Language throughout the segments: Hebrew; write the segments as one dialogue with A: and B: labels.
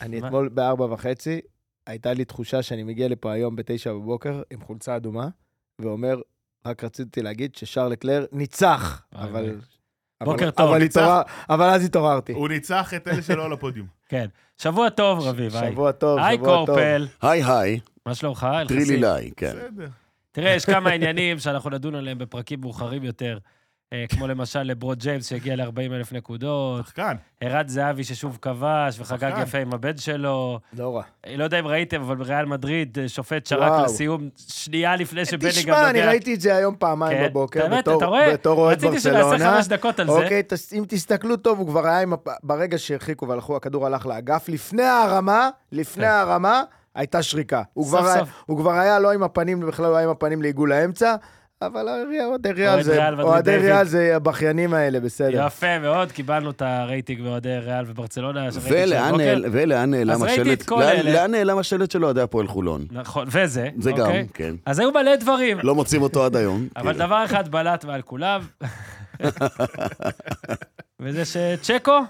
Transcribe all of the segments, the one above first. A: אני
B: מה?
A: אתמול בארבע וחצי, הייתה לי תחושה שאני מגיע לפה היום בתשע בבוקר עם חולצה אדומה, ואומר, רק רציתי להגיד ששרלט לר ניצח,
B: אוי,
A: אבל...
B: אוי.
A: אבל-
B: בוקר טוב,
A: אבל
C: ניצח.
A: התעורר- אבל אז התעוררתי.
C: הוא ניצח את אלה שלא על הפודיום.
B: כן. שבוע טוב, רביב, היי.
A: שבוע טוב,
B: היי
A: שבוע טוב.
B: קורפל,
D: היי היי,
B: מה שלומך? אל חסיד.
D: טרילילאי, כן.
C: בסדר.
B: תראה, יש כמה עניינים שאנחנו נדון עליהם בפרקים מאוחרים יותר, אה, כמו למשל לברוד ג'יימס שהגיע ל-40 אלף נקודות,
C: שחקן.
B: ערן זהבי ששוב כבש וחגג
A: נכון.
C: שחקן.
B: יפה עם הבן שלו.
A: לא רע.
B: אה, לא יודע אם ראיתם, אבל בריאל מדריד, אה, שופט שרק
A: וואו.
B: לסיום, שנייה לפני שבני גם נוגע.
A: תשמע, אני ראיתי את זה היום פעמיים
B: כן,
A: בבוקר,
B: באמת,
A: בתור-
B: אתה רואה?
A: בתור אוהד ברצלונה.
B: רציתי שנעשה חמש דקות על זה.
A: אוקיי, תס- אם תסתכלו טוב, הוא כבר היה עם... הפ- ברגע שהרחיקו והלכו, הכדור הלך לאגף. לפני ההרמה, לפני
B: כן.
A: ההרמה, הייתה שריקה. הוא
B: סוף
A: כבר היה-
B: סוף.
A: הוא כבר היה לא עם הפנים, בכלל לא היה עם הפנים לעיגול האמצע, אבל הרי- אוהדי ריאל זה...
B: ריאל מדריד
A: אוהדי
B: דיוויד.
A: ריאל זה הבכיינים האלה, בסדר.
B: יפה מאוד, קיבלנו את הרייטינג מאוהדי ריאל וברצלונה. הרייטינג של
D: ולאן
B: הבוקר.
D: נעל- ולאן נעלם
B: אוקיי. ראיתי את
D: השלט?
B: כל
D: לאן-
B: אלה.
D: לאן נעלם השלט של אוהדי הפועל חולון?
B: נכון, וזה.
D: זה
B: אוקיי?
D: גם, כן.
B: אז היו מלא דברים.
D: לא מוצאים אותו עד היום.
B: אבל
D: כן.
B: דבר אחד בלט מעל כולם, וזה שצ'קו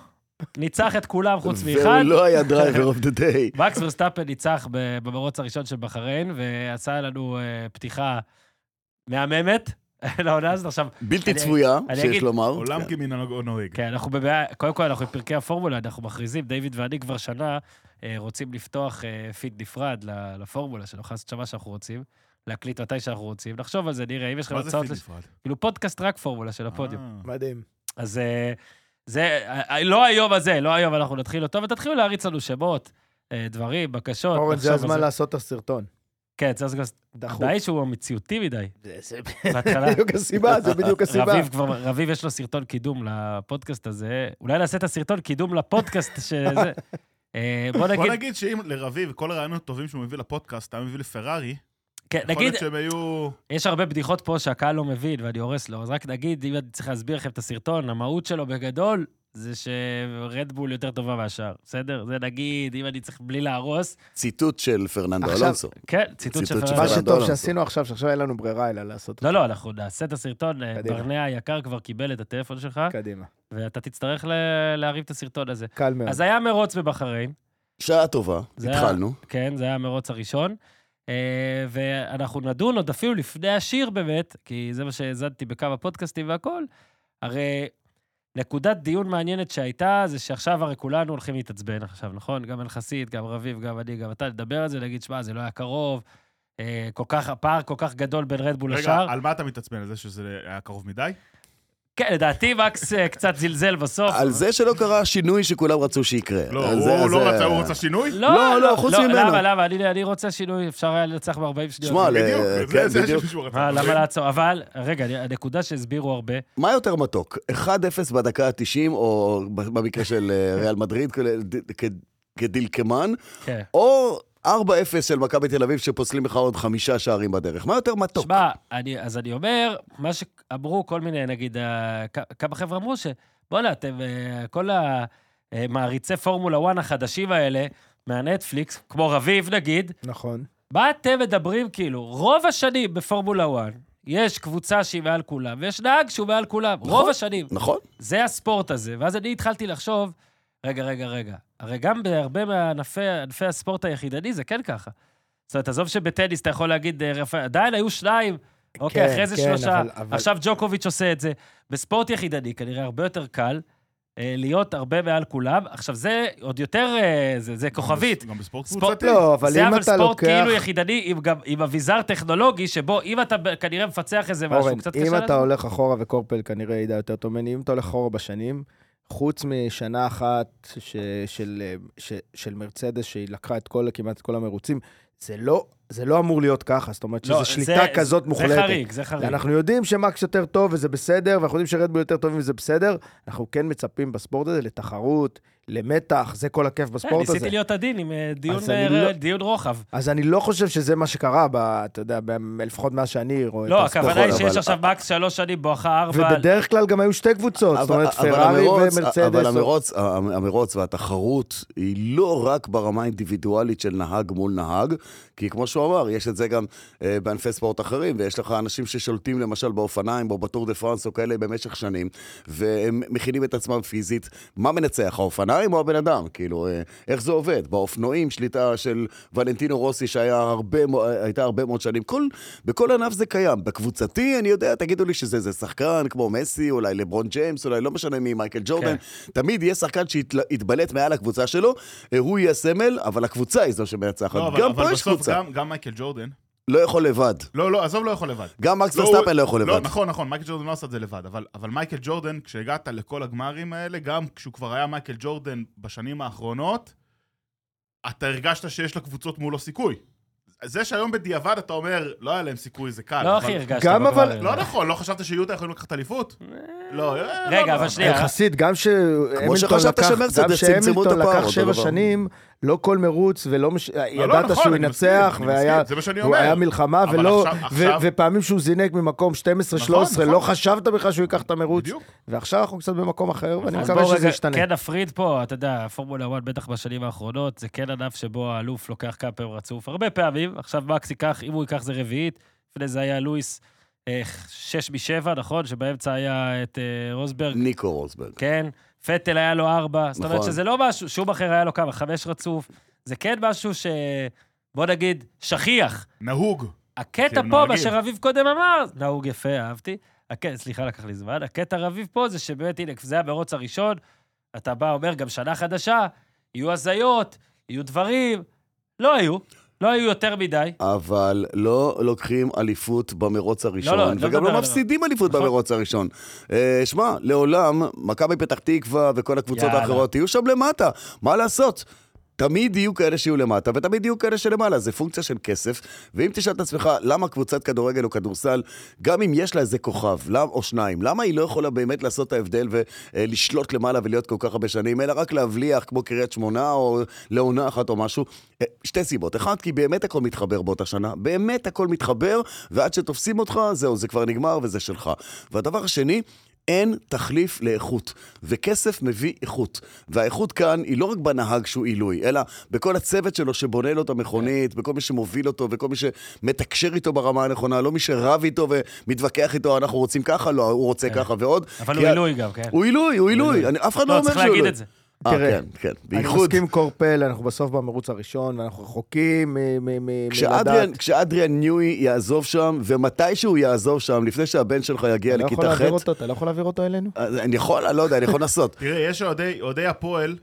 B: ניצח את כולם חוץ מאחד.
D: והוא לא היה דרייבר אוף דה דיי.
B: מקס ורסטאפל ניצח ב- במרוץ הראשון של בחריין, ועשה לנו אה, פתיחה מהממת לעונה הזאת. עכשיו,
D: בלתי
B: אני-
D: צפויה,
B: אני
D: שיש
B: אגיד,
D: לומר.
C: עולם
D: כן.
C: כמנהגו נוהג.
B: כן, אנחנו בבעיה, קודם כל אנחנו עם פרקי הפורמולה, אנחנו מכריזים, דיוויד ואני כבר שנה אה, רוצים לפתוח אה, פיד נפרד ל- לפורמולה, שנוכל לעשות שם מה שאנחנו רוצים, להקליט מתי שאנחנו רוצים, נחשוב על זה, נראה, אם יש לכם
C: מה זה
B: הצעות,
C: פיד
B: לש-
C: נפרד?
B: כאילו פודקאסט רק פורמולה של הפודיום.
C: אה,
A: מדהים.
B: אז אה, זה, אה, לא היום הזה, לא היום אנחנו נתחיל אותו, ותתחילו להריץ לנו שמות, אה, דברים, בקשות.
A: אורן, זה
B: נחשוב על
A: הזמן לעשות את הסרטון.
B: כן, זה הזמן.
A: דחוף.
B: הבעיה היא שהוא המציאותי מדי.
A: זה-
D: כן.
A: זה
B: בהתחלה,
A: בדיוק הסיבה, זה בדיוק הסיבה.
B: רביב כבר, רביב יש לו סרטון קידום לפודקאסט הזה. אולי נעשה את הסרטון קידום לפודקאסט שזה... אה, בוא
C: בוא
B: נגיד,
C: נגיד שאם לרביב, כל הרעיונות הטובים שהוא מביא לפודקאסט, היה מביא לפרארי,
B: כן,
C: יכול
B: נגיד,
C: להיות שהם היו...
B: יש הרבה בדיחות פה שהקהל לא מבין ואני הורס לו, אז רק נגיד, אם אני צריך להסביר לכם את הסרטון, המהות שלו בגדול זה שרדבול יותר טובה מהשאר, בסדר? זה נגיד, אם אני צריך בלי להרוס,
D: ציטוט של פרננדו
A: עכשיו-
D: אלונסו.
B: כן, ציטוט של
D: ציטוט
B: פרננדו.
D: של
A: מה
D: רנדו
A: שטוב
D: אלונסו.
A: שעשינו עכשיו, שעכשיו אין לנו ברירה אלא לעשות
B: לא, לא, אנחנו נעשה את הסרטון. אה,
A: קדימה. כן.
B: ברנע היקר כבר קיבל את הטלפון שלך,
A: קדימה.
B: ואתה תצטרך ל- להרים את הסרטון הזה.
A: קל מאוד.
B: אז היה מרוץ בבחריין,
D: שעה טובה,
B: זה היה-
D: התחלנו.
B: כן, זה היה המרוץ הראשון. אה, ואנחנו נדון עוד אפילו לפני השיר באמת, כי זה מה שהאזנתי בכמה פודקאסטים והכול. הרי נקודת דיון מעניינת שהייתה, זה שעכשיו הרי כולנו הולכים להתעצבן עכשיו, נכון? גם אלחסית, גם רביב, גם אני, גם אתה, נדבר על זה, נגיד, שמע, זה לא היה קרוב, אה, כל כך, הפער כל כך גדול בין רדבול
C: רגע,
B: לשאר.
C: על מה אתה מתעצבן? על זה שזה היה קרוב מדי?
B: כן, לדעתי מקס אה, קצת זלזל בסוף.
D: על זה שלא קרה השינוי שכולם רצו שיקרה.
C: לא,
D: על אה, זה-
C: הוא לא
D: זה-
C: רצה, הוא רצה שינוי?
D: לא, לא, חוץ ממנו.
B: למה, למה? אני, אני רוצה שינוי, אפשר היה לנצח ב-40
D: שמע, לא.
B: שניות.
D: ל-
C: בדיוק,
D: כן,
C: זה- זה
D: בדיוק.
C: השינוי שהוא רצה.
B: אה, למה לעצור? אבל, רגע, אני- הנקודה שהסבירו הרבה,
D: מה יותר מתוק? 1-0 בדקה ה-90, או במקרה של אה, ריאל מדריד, כ- כ- כדלקמן,
B: כן.
D: או 4-0 של מכבי תל אביב, שפוסלים לך עוד חמישה שערים בדרך. מה יותר מתוק?
B: שמע, אני- אז אני אומר, מה שאמרו כל מיני, נגיד, אה, כ- כמה חבר'ה אמרו ש... בואנה, אתם, אה, כל המעריצי פורמולה 1 החדשים האלה, מהנטפליקס, כמו רביב נגיד,
A: נכון.
B: מה אתם מדברים, כאילו, רוב השנים בפורמולה 1, יש קבוצה שהיא מעל כולם, ויש נהג שהוא מעל כולם, רוב
D: נכון.
B: השנים.
D: נכון?
B: זה הספורט הזה. ואז אני התחלתי לחשוב, רגע, רגע, רגע, הרי גם בהרבה מענפי ענפי הספורט היחידני זה כן ככה. זאת אומרת, עזוב שבטניס אתה יכול להגיד, אה, רפא- עדיין היו שניים, אוקיי,
A: כן,
B: אחרי זה
A: כן,
B: שלושה,
A: אבל- אבל-
B: עכשיו ג'וקוביץ' עושה את זה. בספורט יחידני כנראה הרבה יותר קל אה, להיות הרבה מעל כולם. עכשיו, זה עוד יותר, אה, זה, זה כוכבית.
C: גם בספורט
B: ספורט-
C: קבוצתי.
A: לא, אבל
B: זה
A: אם
B: אבל
A: אתה
B: ספורט
A: לוקח...
B: כאילו יחידני עם, גם, עם אביזר טכנולוגי, שבו אם אתה ב- כנראה מפצח איזה משהו,
A: אורן,
B: קצת קשה
A: אם
B: לזה.
A: אתה הולך אחורה, וקורפל כנראה ידע יותר טוב ממני, אם אתה הולך אחורה בשנים, חוץ משנה אחת ש, של, אה, ש, של מרצדס, שהיא לקחה את כל, כמעט את כל המרוצים, זה לא, זה לא אמור להיות ככה, זאת אומרת שזו
B: לא,
A: שליטה
B: זה-
A: כזאת
B: זה
A: מוחלטת.
B: חריג, זה חריג.
A: אנחנו יודעים שמקס יותר טוב וזה בסדר, ואנחנו יודעים שרדבול יותר טובים וזה בסדר, אנחנו כן מצפים בספורט הזה לתחרות, למתח, זה כל הכיף
B: כן,
A: בספורט הזה.
B: ניסיתי להיות עדין עם אה, דיון,
A: אז אני
B: אה,
A: לא-
B: דיון רוחב.
A: אז אני לא חושב שזה מה שקרה, ב, אתה יודע, ב- לפחות מאז שאני רואה
B: לא,
A: את הספורט.
B: הכוונה היא
D: נכון,
B: שיש
D: אבל-
B: עכשיו מקס שלוש שנים בואכה ארבע.
A: ובדרך כלל גם היו שתי קבוצות, זאת אומרת,
D: אבל
A: פרארי
D: המרוץ-
A: ומרצדס.
D: אבל המרוץ, המרוץ והתחרות היא לא רק ברמה האינדיבידואלית של נהג מול נהג, כי כמו שהוא אמר, יש את זה גם אה, בענפי ספורט אחרים, ויש לך אנשים ששולטים למשל באופניים או בטור דה פרנס או כאלה במשך שנים, והם מכינים את עצמם פיזית. מה מנצח, האופניים או הבן אדם? כאילו, אה, איך זה עובד? באופנועים, שליטה של ולנטינו רוסי, שהייתה הרבה, מו- הייתה הרבה מאוד שנים. כל, בכל ענף זה קיים. בקבוצתי, אני יודע, תגידו לי שזה זה שחקן כמו מסי, אולי לברון ג'יימס, אולי לא משנה מי, מייקל ג'ורדן.
C: כן.
D: תמיד יהיה שחקן שיתבלט מעל הקבוצה שלו, אה, הוא יהיה סמל, אבל הקבוצה היא זו שמנצחת.
C: לא, אבל-
D: גם
C: אבל
D: פה יש
C: בסוף
D: קבוצה.
C: גם- גם מייקל ג'ורדן.
D: לא יכול לבד.
C: לא, לא, עזוב, לא יכול לבד.
D: גם מקס
C: הוא-
D: ורסטאפן לא יכול
C: לא,
D: לבד.
C: נכון, נכון, מייקל ג'ורדן לא עשה את זה לבד, אבל, אבל מייקל ג'ורדן, כשהגעת לכל הגמרים האלה, גם כשהוא כבר היה מייקל ג'ורדן בשנים האחרונות, אתה הרגשת שיש לקבוצות מולו סיכוי. זה שהיום בדיעבד אתה אומר, לא היה להם סיכוי, זה קל.
B: לא
C: אבל-
B: הכי הרגשת.
A: גם
B: בגמר.
A: אבל-
C: לא נכון, לא חשבת שיוטה יכולים לקחת אליפות? לא, אה, לא,
B: רגע,
C: לא.
B: אבל שנייה.
A: יחסית, גם שהמילטון
D: שחשבת
A: לקח,
D: שמרצדס
A: גם
D: צמצמו את
A: שהמילטון
D: הפער,
A: לקח
D: אותו
A: שבע
D: דבר.
A: שנים, לא כל מרוץ ולא מש...
C: לא, לא,
A: ידעת
C: נכון,
A: שהוא
C: אני מסכים,
A: ינצח,
C: אני
A: והיה
C: מסכים, זה מה שאני
A: הוא
C: אומר.
A: היה מלחמה,
C: אבל
A: ולא,
C: עכשיו-
A: ו-
C: עכשיו-
A: ופעמים שהוא זינק ממקום 12-13,
C: נכון,
A: לא
C: נכון.
A: חשבת בכלל שהוא ייקח את המרוץ,
C: בדיוק.
A: ועכשיו אנחנו קצת במקום אחר, ואני
B: אז
A: מקווה
B: בואו
A: שזה
B: רגע,
A: ישתנה.
B: כן נפריד פה, אתה יודע, פורמולה 1 בטח בשנים האחרונות, זה כן ענף שבו האלוף לוקח כמה פעמים רצוף, הרבה פעמים, עכשיו מקס ייקח, אם הוא ייקח זה רביעית, לפני זה היה לואיס אה, שש משבע, נכון? שבאמצע היה את אה, רוסברג,
D: ניקו רוסברג.
B: כן? פטל היה לו ארבע, זאת אומרת
D: נכון.
B: שזה לא משהו, שום אחר היה לו כמה, חמש רצוף, זה כן משהו ש... בוא נגיד, שכיח.
C: נהוג.
B: הקטע
C: כן,
B: פה, מה
C: נוהגים.
B: שרביב קודם אמר, נהוג יפה, אהבתי. הקטע, סליחה, לקח לי זמן. הקטע רביב פה זה שבאמת, הנה, זה המרוץ הראשון, אתה בא, אומר, גם שנה חדשה, יהיו הזיות, יהיו דברים. לא היו, לא היו יותר מדי.
D: אבל לא לוקחים אליפות במרוץ הראשון,
B: לא, לא
D: וגם
B: מדבר
D: לא
B: על-
D: מפסידים אליפות
B: נכון.
D: במרוץ הראשון. אה, שמע, לעולם, מכבי פתח תקווה וכל הקבוצות
B: יאללה.
D: האחרות יהיו שם למטה, מה לעשות? תמיד יהיו כאלה שיהיו למטה, ותמיד יהיו כאלה שלמעלה, זה פונקציה של כסף. ואם תשאל את עצמך למה קבוצת כדורגל או כדורסל, גם אם יש לה איזה כוכב, למ, או שניים, למה היא לא יכולה באמת לעשות את ההבדל ולשלוט למעלה ולהיות כל כך הרבה שנים, אלא רק להבליח כמו קריית שמונה, או לעונה אחת או משהו? אה, שתי סיבות. אחת, כי באמת הכל מתחבר באותה שנה, באמת הכל מתחבר, ועד שתופסים אותך, זהו, זה כבר נגמר וזה שלך. והדבר השני, אין תחליף לאיכות, וכסף מביא איכות. והאיכות כאן היא לא רק בנהג שהוא עילוי, אלא בכל הצוות שלו שבונה לו את המכונית, בכל מי שמוביל אותו, וכל מי שמתקשר איתו ברמה הנכונה, לא מי שרב איתו ומתווכח איתו, אנחנו רוצים ככה, לא, הוא רוצה ככה ועוד.
B: כן. אבל
D: כי
B: הוא
D: ה-
B: עילוי גם, כן.
D: הוא עילוי, הוא עילוי, אני- אף אחד לא
B: לא,
D: אומר
B: צריך
D: שהוא עילוי.
B: להגיד את זה.
D: אה,
A: תראה,
D: כן, כן,
A: אני
D: בייחוד.
A: מסכים קורפל, אנחנו בסוף במרוץ הראשון, ואנחנו רחוקים מ- מ- מ- מלדעת.
D: כשאדריאן, כשאדריאן ניוי יעזוב שם, ומתי שהוא יעזוב שם, לפני שהבן שלך יגיע
A: אתה לא יכול
D: לכיתה ח',
A: להעביר אותו, אתה לא יכול להעביר אותו אלינו?
D: אז אני יכול, אני לא יודע, אני יכול לנסות.
C: תראה, יש אוהדי אוהדי הפועל,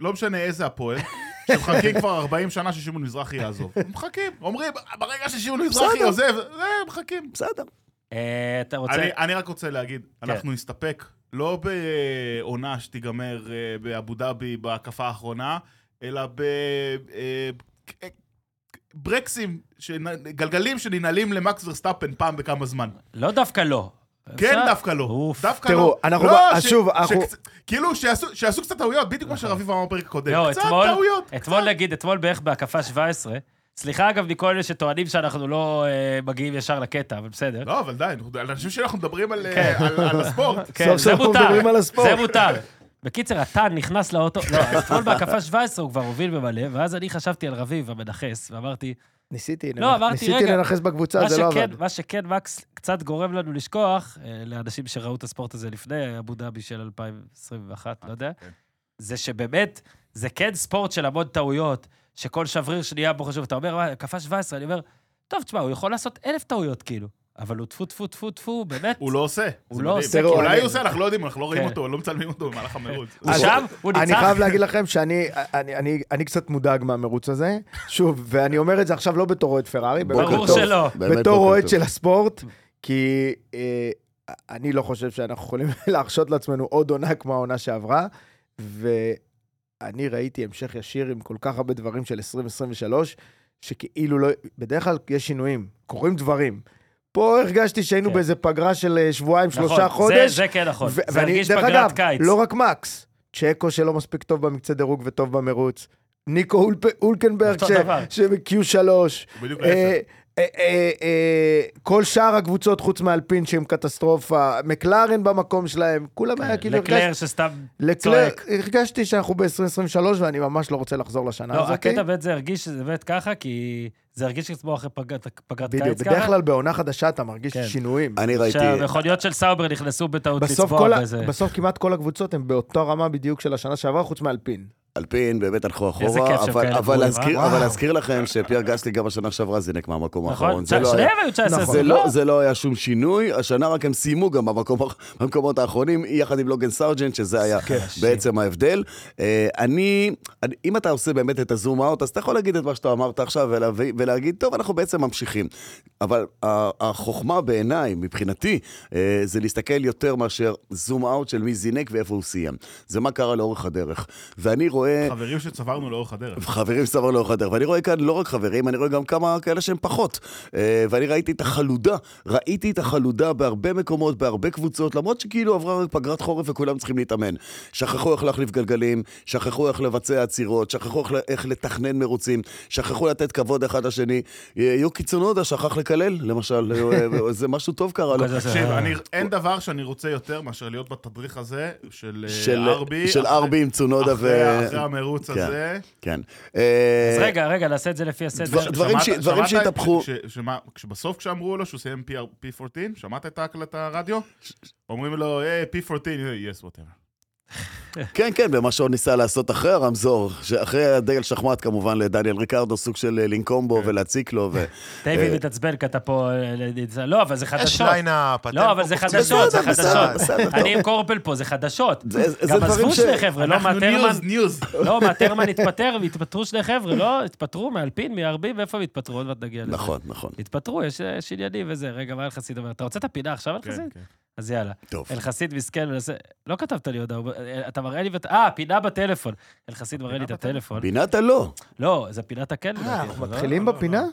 C: לא משנה איזה הפועל, שמחכים כבר 40 שנה ששמעון מזרחי יעזוב. הם מחכים, אומרים, ברגע ששמעון מזרחי
D: בסדר.
C: עוזב, אה, הם מחכים.
D: בסדר.
B: אה, אתה רוצה...
C: אני, אני רק רוצה להגיד, אנחנו נסתפק לא בעונה שתיגמר אה, באבו דאבי בהקפה האחרונה, אלא ב... אה, ק- ברקסים, שנ- גלגלים שננעלים למקס ורסטאפן פעם בכמה זמן.
B: לא דווקא לא.
C: כן,
B: אפשר?
C: דווקא לא.
B: אוף.
C: דווקא
A: תראו,
C: לא.
A: אנחנו-
C: לא,
A: אז
C: ש-
A: שוב,
C: ש-
A: אנחנו- נכון.
C: קצ- כאילו, שיעשו שיעשו קצת טעויות, בדיוק מה שרביב אמר בפרק הקודם.
B: לא,
C: קצת
B: אתמול,
C: טעויות.
B: אתמול נגיד, אתמול בערך בהקפה 17. סליחה, אגב, מכל אלה שטוענים שאנחנו לא אה, מגיעים ישר לקטע, אבל בסדר.
C: לא, אבל די, אנחנו- על אנשים שאנחנו מדברים על אה,
B: כן.
C: על- על הספורט.
B: כן,
A: סוף סוף
B: זה
A: אנחנו
B: מותר,
A: מדברים על הספורט.
B: זה מותר. בקיצר, הטן נכנס לאוטו, לא, אז אתמול בהקפה 17 הוא כבר הוביל במלא, ואז אני חשבתי על רביב המנכס, ואמרתי,
A: ניסיתי,
B: לא,
A: לנח-
B: אמרתי,
A: ניסיתי
B: רגע,
A: לנכס בקבוצה,
B: מה
A: זה לא
B: שכן-
A: עבד.
B: מה שכן, מקס קצת גורם לנו לשכוח, אה, לאנשים שראו את הספורט הזה לפני אבו דאבי של 2021, לא יודע,
C: כן.
B: זה שבאמת, זה כן ספורט של המון טעויות, שכל שבריר שנייה בו חשוב, אתה אומר, "מה, קפא 17, אני אומר, טוב, תשמע, הוא יכול לעשות אלף טעויות, כאילו, אבל הוא טפו, טפו, טפו, טפו, באמת.
C: הוא לא עושה.
B: הוא
C: זה
B: לא
C: מדהים.
B: עושה,
A: תראו,
C: אולי
A: אני-
C: הוא עושה, אנחנו לא יודעים, אנחנו לא רואים
B: כן.
C: אותו, לא מצלמים אותו במהלך המרוץ.
B: הוא
A: אז-
B: שם, הוא ניצח.
A: אני חייב להגיד לכם שאני אני, אני, אני קצת מודאג מהמרוץ הזה, שוב, ואני אומר את זה עכשיו לא בתור אוהד פרארי,
D: בוקר
B: ברור
D: טוב.
B: שלא.
D: באמת
A: בתור
D: בוקר
A: אוהד
D: טוב.
A: של הספורט, כי אה, אני לא חושב שאנחנו יכולים להרשות לעצמנו עוד עונה כמו העונה שעברה, ואני ראיתי המשך ישיר עם כל כך הרבה דברים של 2023, שכאילו לא, בדרך כלל יש שינויים, קורים דברים. פה הרגשתי שהיינו
B: כן.
A: באיזה פגרה של אה, שבועיים,
B: נכון,
A: שלושה
B: זה-
A: חודש.
B: זה כן נכון,
A: ו-
B: זה
A: ואני-
B: הרגיש
A: דרך
B: פגרת
A: אגב,
B: קיץ.
A: לא רק מקס, צ'קו שלא מספיק טוב במקצה דירוג וטוב במרוץ, ניקו אולפ- אולקנברג
B: אותו
A: ש-
B: דבר.
A: ש- ב-Q3,
C: הוא בדיוק
A: אה,
C: ההפך.
A: אה, אה, אה, כל שאר הקבוצות חוץ מאלפין שהם קטסטרופה, מקלרן במקום שלהם, כולם היה כאילו...
B: כן, לקלר
A: הרגש-
B: שסתם
A: לקלר,
B: צועק.
A: הרגשתי שאנחנו ב-2023 ואני ממש לא רוצה לחזור לשנה
B: לא,
A: הזאת.
B: הקטע באמת זה הרגיש שזה באמת ככה, כי זה הרגיש כמו אחרי פגרת פגרת קיץ ככה.
A: בדיוק, בדרך כלל בעונה חדשה אתה מרגיש
B: כן.
A: שינויים.
D: אני ראיתי...
B: שהמכוניות של סאובר נכנסו בטעות
A: בסוף,
B: לצבוע
A: כל ה...
B: באיזה...
A: בסוף כמעט כל הקבוצות הן באותה רמה בדיוק של השנה שעברה, חוץ מאלפין.
B: אה,
D: אלפין באמת הלכו
B: איזה כיף
D: אחורה,
B: שהם
D: אבל-
B: כאלה
D: אבל
B: גרועים,
D: להזכיר-
B: אה?
D: אבל להזכיר לכם שפייר גסלי גם השנה שעברה זינק מהמקום
B: נכון?
D: האחרון. זה לא היה-
B: שניהם היו 19
A: נכון.
D: זה
B: זה
D: לא, זה לא היה שום שינוי, השנה רק הם סיימו גם במקום, במקומות האחרונים, יחד עם לוגן סרג'נט, שזה היה בעצם ההבדל. אה, אני, אני, אם אתה עושה באמת את הזום אאוט, אז אתה יכול להגיד את מה שאתה אמרת עכשיו ולה, ולהגיד, טוב, אנחנו בעצם ממשיכים. אבל ה- החוכמה בעיניי, מבחינתי, אה, זה להסתכל יותר מאשר זום אאוט של מי זינק ואיפה הוא סיים. זה מה קרה לאורך הדרך. ואני רואה...
C: חברים שצברנו לאורך הדרך.
D: חברים סבר לאורך הדרך, ואני רואה כאן לא רק חברים, אני רואה גם כמה כאלה שהם פחות. אה, ואני ראיתי את החלודה, ראיתי את החלודה בהרבה מקומות, בהרבה קבוצות, למרות שכאילו עברה רק פגרת חורף וכולם צריכים להתאמן. שכחו איך להחליף גלגלים, שכחו איך לבצע עצירות, שכחו איך, איך לתכנן מרוצים, שכחו לתת כבוד אחד לשני. אה, יוקי צונודה שכח לקלל, למשל, אה, זה משהו טוב קרה לו.
B: כזה זה-
C: תקשיב,
B: אה.
C: אני- אין דבר שאני רוצה יותר מאשר להיות בתדריך הזה של
D: של
C: אה, ארבי.
D: של
C: אחרי-
D: ארבי עם צונודה
C: אחרי
D: ו...
C: אחרי המרוץ
D: כן.
C: הזה.
D: כן.
B: אז
D: אה,
B: רגע, רגע, נעשה את זה לפי הסדר.
D: דבר- דברים ש-
C: שמעת-
D: דברים
C: שמעת את-
D: שהתהפכו.
C: ש- שמה- כשבסוף כשאמרו לו שהוא סיים PR P14, שמעת את ההקלטה הרדיו? אומרים לו, "אה, היי, P14, yes, whatever.
D: כן, כן, ומה שעוד ניסה לעשות אחרי הרמזור, שאחרי הדגל שחמט כמובן לדניאל ריקרדו, סוג של אה, לנקום
B: כן.
D: בו ולהציק לו, ו...
B: דיוויד
D: אה.
B: מתעצבן כי אתה פה... אה, ל- לא, אבל זה
E: יש
B: חדשות.
E: ליינה,
B: לא, אבל זה חדשות, זה
D: בסדר, בסדר,
B: חדשות.
D: בסדר,
B: אני עם קורפל פה, זה חדשות.
D: זה- זה
B: גם
D: דברים
B: עזבו
D: ש-
B: שני חבר'ה, לא,
C: אנחנו
B: מהטרמן...
C: ניוז, ניוז.
B: לא, מהטרמן התפטר, והתפטרו שני חבר'ה, לא? התפטרו מאלפין, מארבי, ואיפה הם התפטרו? עוד מעט נגיע לזה.
D: נכון, נכון.
B: התפטרו, יש- אה, יש עניינים וזה. רגע, מה אלחסיד אומר? אתה רוצה את הפינה עכשיו,
C: כן,
D: כן.
B: אלחסיד? אז יאללה.
D: טוב.
B: אלחסיד מסכן מנסה... לא כתבת לי הודעה, הוא- אתה מראה לי... בת- אה, פינה בטלפון. אלחסיד מראה לי את הטלפון.
D: פינת הלא.
B: לא, זה פינת הכן. לדעתי,
E: אנחנו
B: אבל לא?
A: מתחילים
C: לא, לא,
A: בפינה?
C: לא.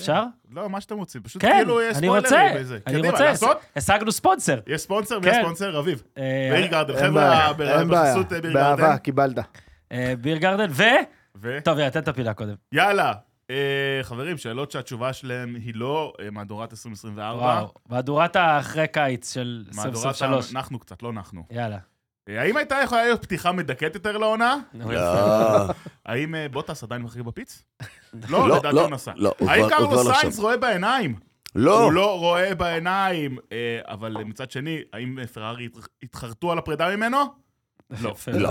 B: אפשר?
C: לא, מה שאתם רוצים, פשוט
B: כן,
C: כאילו יש
B: אני
C: ספוילרים
B: רוצה,
C: בזה.
B: אני
C: קדימה,
B: רוצה,
C: לעשות?
B: השגנו ספונסר.
C: יש ספונסר, מי
B: כן.
C: הספונסר? רביב.
B: אה,
C: ביר גארדן,
A: אין בעיה,
C: חבר'ה,
A: אין בעיה.
C: בחסות אה, ביר גארדן.
A: באהבה, קיבלת.
B: אה, ביר גרדן, ו...
C: ו-
B: טוב, יאללה, תן את הפינה קודם.
C: יאללה. אה, חברים, שאלות שהתשובה שלהם היא לא אה, מהדורת 2024.
B: וואו, מהדורת האחרי קיץ של
C: מהדורת
B: 2023.
C: אנחנו קצת, לא אנחנו.
B: יאללה.
C: אה, האם הייתה יכולה להיות פתיחה מדכאת יותר לעונה?
B: נו, יפה.
D: אה,
C: האם אה, בוטס עדיין מחריב בפיץ?
D: לא,
C: לא, לדעתי
D: לא,
C: הוא נסע.
D: לא, הוא
C: האם
D: כבר- הוא
C: קרלוס
D: כבר לא
C: סיינס
D: שם.
C: רואה בעיניים?
D: לא.
C: הוא לא רואה בעיניים. אה, אבל מצד שני, האם אה, פרארי הת- התחרטו על הפרידה ממנו? לא.
B: יפה.
D: לא.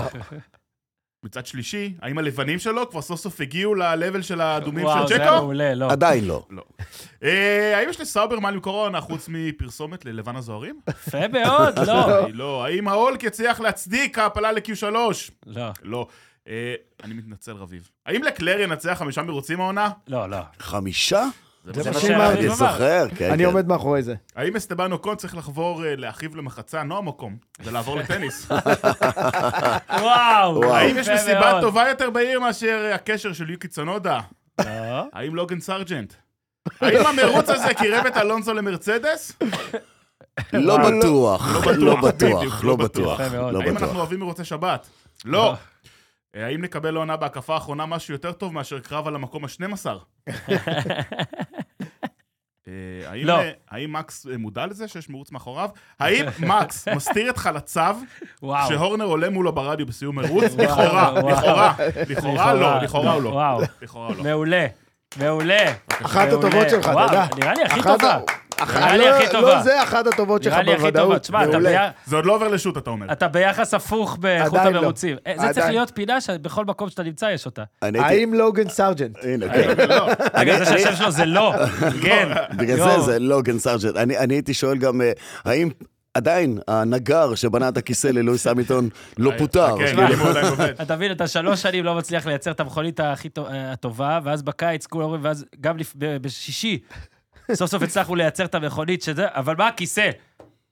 C: מצד שלישי, האם הלבנים שלו כבר סוף סוף הגיעו ל-level של האדומים
B: וואו,
C: של
B: זה היה
C: צ'קו?
B: מעולה, לא.
D: עדיין לא.
C: אה, האם יש לסאובר מה למכור העונה חוץ מפרסומת ללבן הזוהרים?
B: יפה מאוד, לא.
C: אה, לא. האם ההולק יצליח להצדיק העפלה ל-Q3?
B: לא,
C: לא. אה, אני מתנצל, רביב. האם לקלר ינצח חמישה מרוצים העונה?
B: לא, לא.
D: חמישה?
B: זה
A: מה
B: מה
A: שאמרתי.
B: שאמרתי.
D: אני זוכר, כן,
A: אני
D: כן.
A: עומד מאחורי זה.
C: האם אסטבן אוקון צריך לחבור אה, לאחיו למחצה, נועם אוקום, ולעבור לטניס?
B: וואו.
D: וואו.
C: האם
B: יפה
C: יש מסיבה
B: מאוד.
C: טובה יותר בעיר מאשר אה, הקשר של יוקי צונודה?
B: לא.
C: האם לוגן סרג'נט? האם המרוץ הזה קירב את אלונזו למרצדס?
D: לא
B: וואו.
D: בטוח. לא
C: בטוח,
D: בטוח.
C: בדיוק,
D: לא
C: לא בטוח.
D: בטוח.
B: יפה מאוד.
D: לא
C: האם אנחנו
D: בטוח.
C: אוהבים מרוצי שבת?
B: לא.
C: לא. אה, האם נקבל לעונה בהקפה האחרונה משהו יותר טוב מאשר קרב על המקום ה-12? אה, האם-
B: לא.
C: אה, האם מקס אה, מודע לזה שיש מרוץ מאחוריו? האם מקס מסתיר את חלציו
B: וואו.
C: שהורנר עולה מולו ברדיו בסיום מרוץ?
B: וואו,
C: לכאורה,
B: וואו.
C: לכאורה, לכאורה
B: לכאורה,
C: לא, לכאורה הוא לא.
B: וואו.
C: לכאורה הוא לא.
B: מעולה. מעולה.
A: אחת
B: מעולה.
A: הטובות שלך,
B: וואו,
A: תודה.
B: נראה לי הכי
A: אחת
B: טובה.
A: ה- אח-
B: נראה לי
A: לא-
B: אה, הכי
A: לא
B: טובה.
A: זה אחת הטובות שלך
B: נראה לי הכי טובה.
A: בוודאות.
B: תשמע, אתה
A: מעולה.
B: ביה-
C: זה עוד לא עובר לשו"ת, אתה אומר.
B: אתה ביחס הפוך באיכות
A: עדיין לא.
B: המרוצים. אה, זה צריך
A: עדיין.
B: להיות פינה שבכל מקום שאתה נמצא יש אותה.
D: אני הייתי...
A: האם לוגן סרג'נט?
D: הנה, כן.
C: לא.
B: רגע, זה שהשם שלו זה לא. כן.
D: בגלל
B: יואו.
D: זה זה לוגן סרג'נט. אני אני הייתי שואל גם, אה, האם עדיין הנגר שבנה את הכיסא ללואיס המילטון לא
B: אה,
D: פוטר?
C: כן, אם הוא עדיין עובד.
B: אתה מבין, אתה שלוש שנים לא מצליח לייצר את המכונית הכי טוב- אה, הטובה, ואז בקיץ כולם אומרים, ואז גם לפ- ב- בשישי, סוף סוף הצלחנו לייצר את המכונית שזה, אבל מה הכיסא?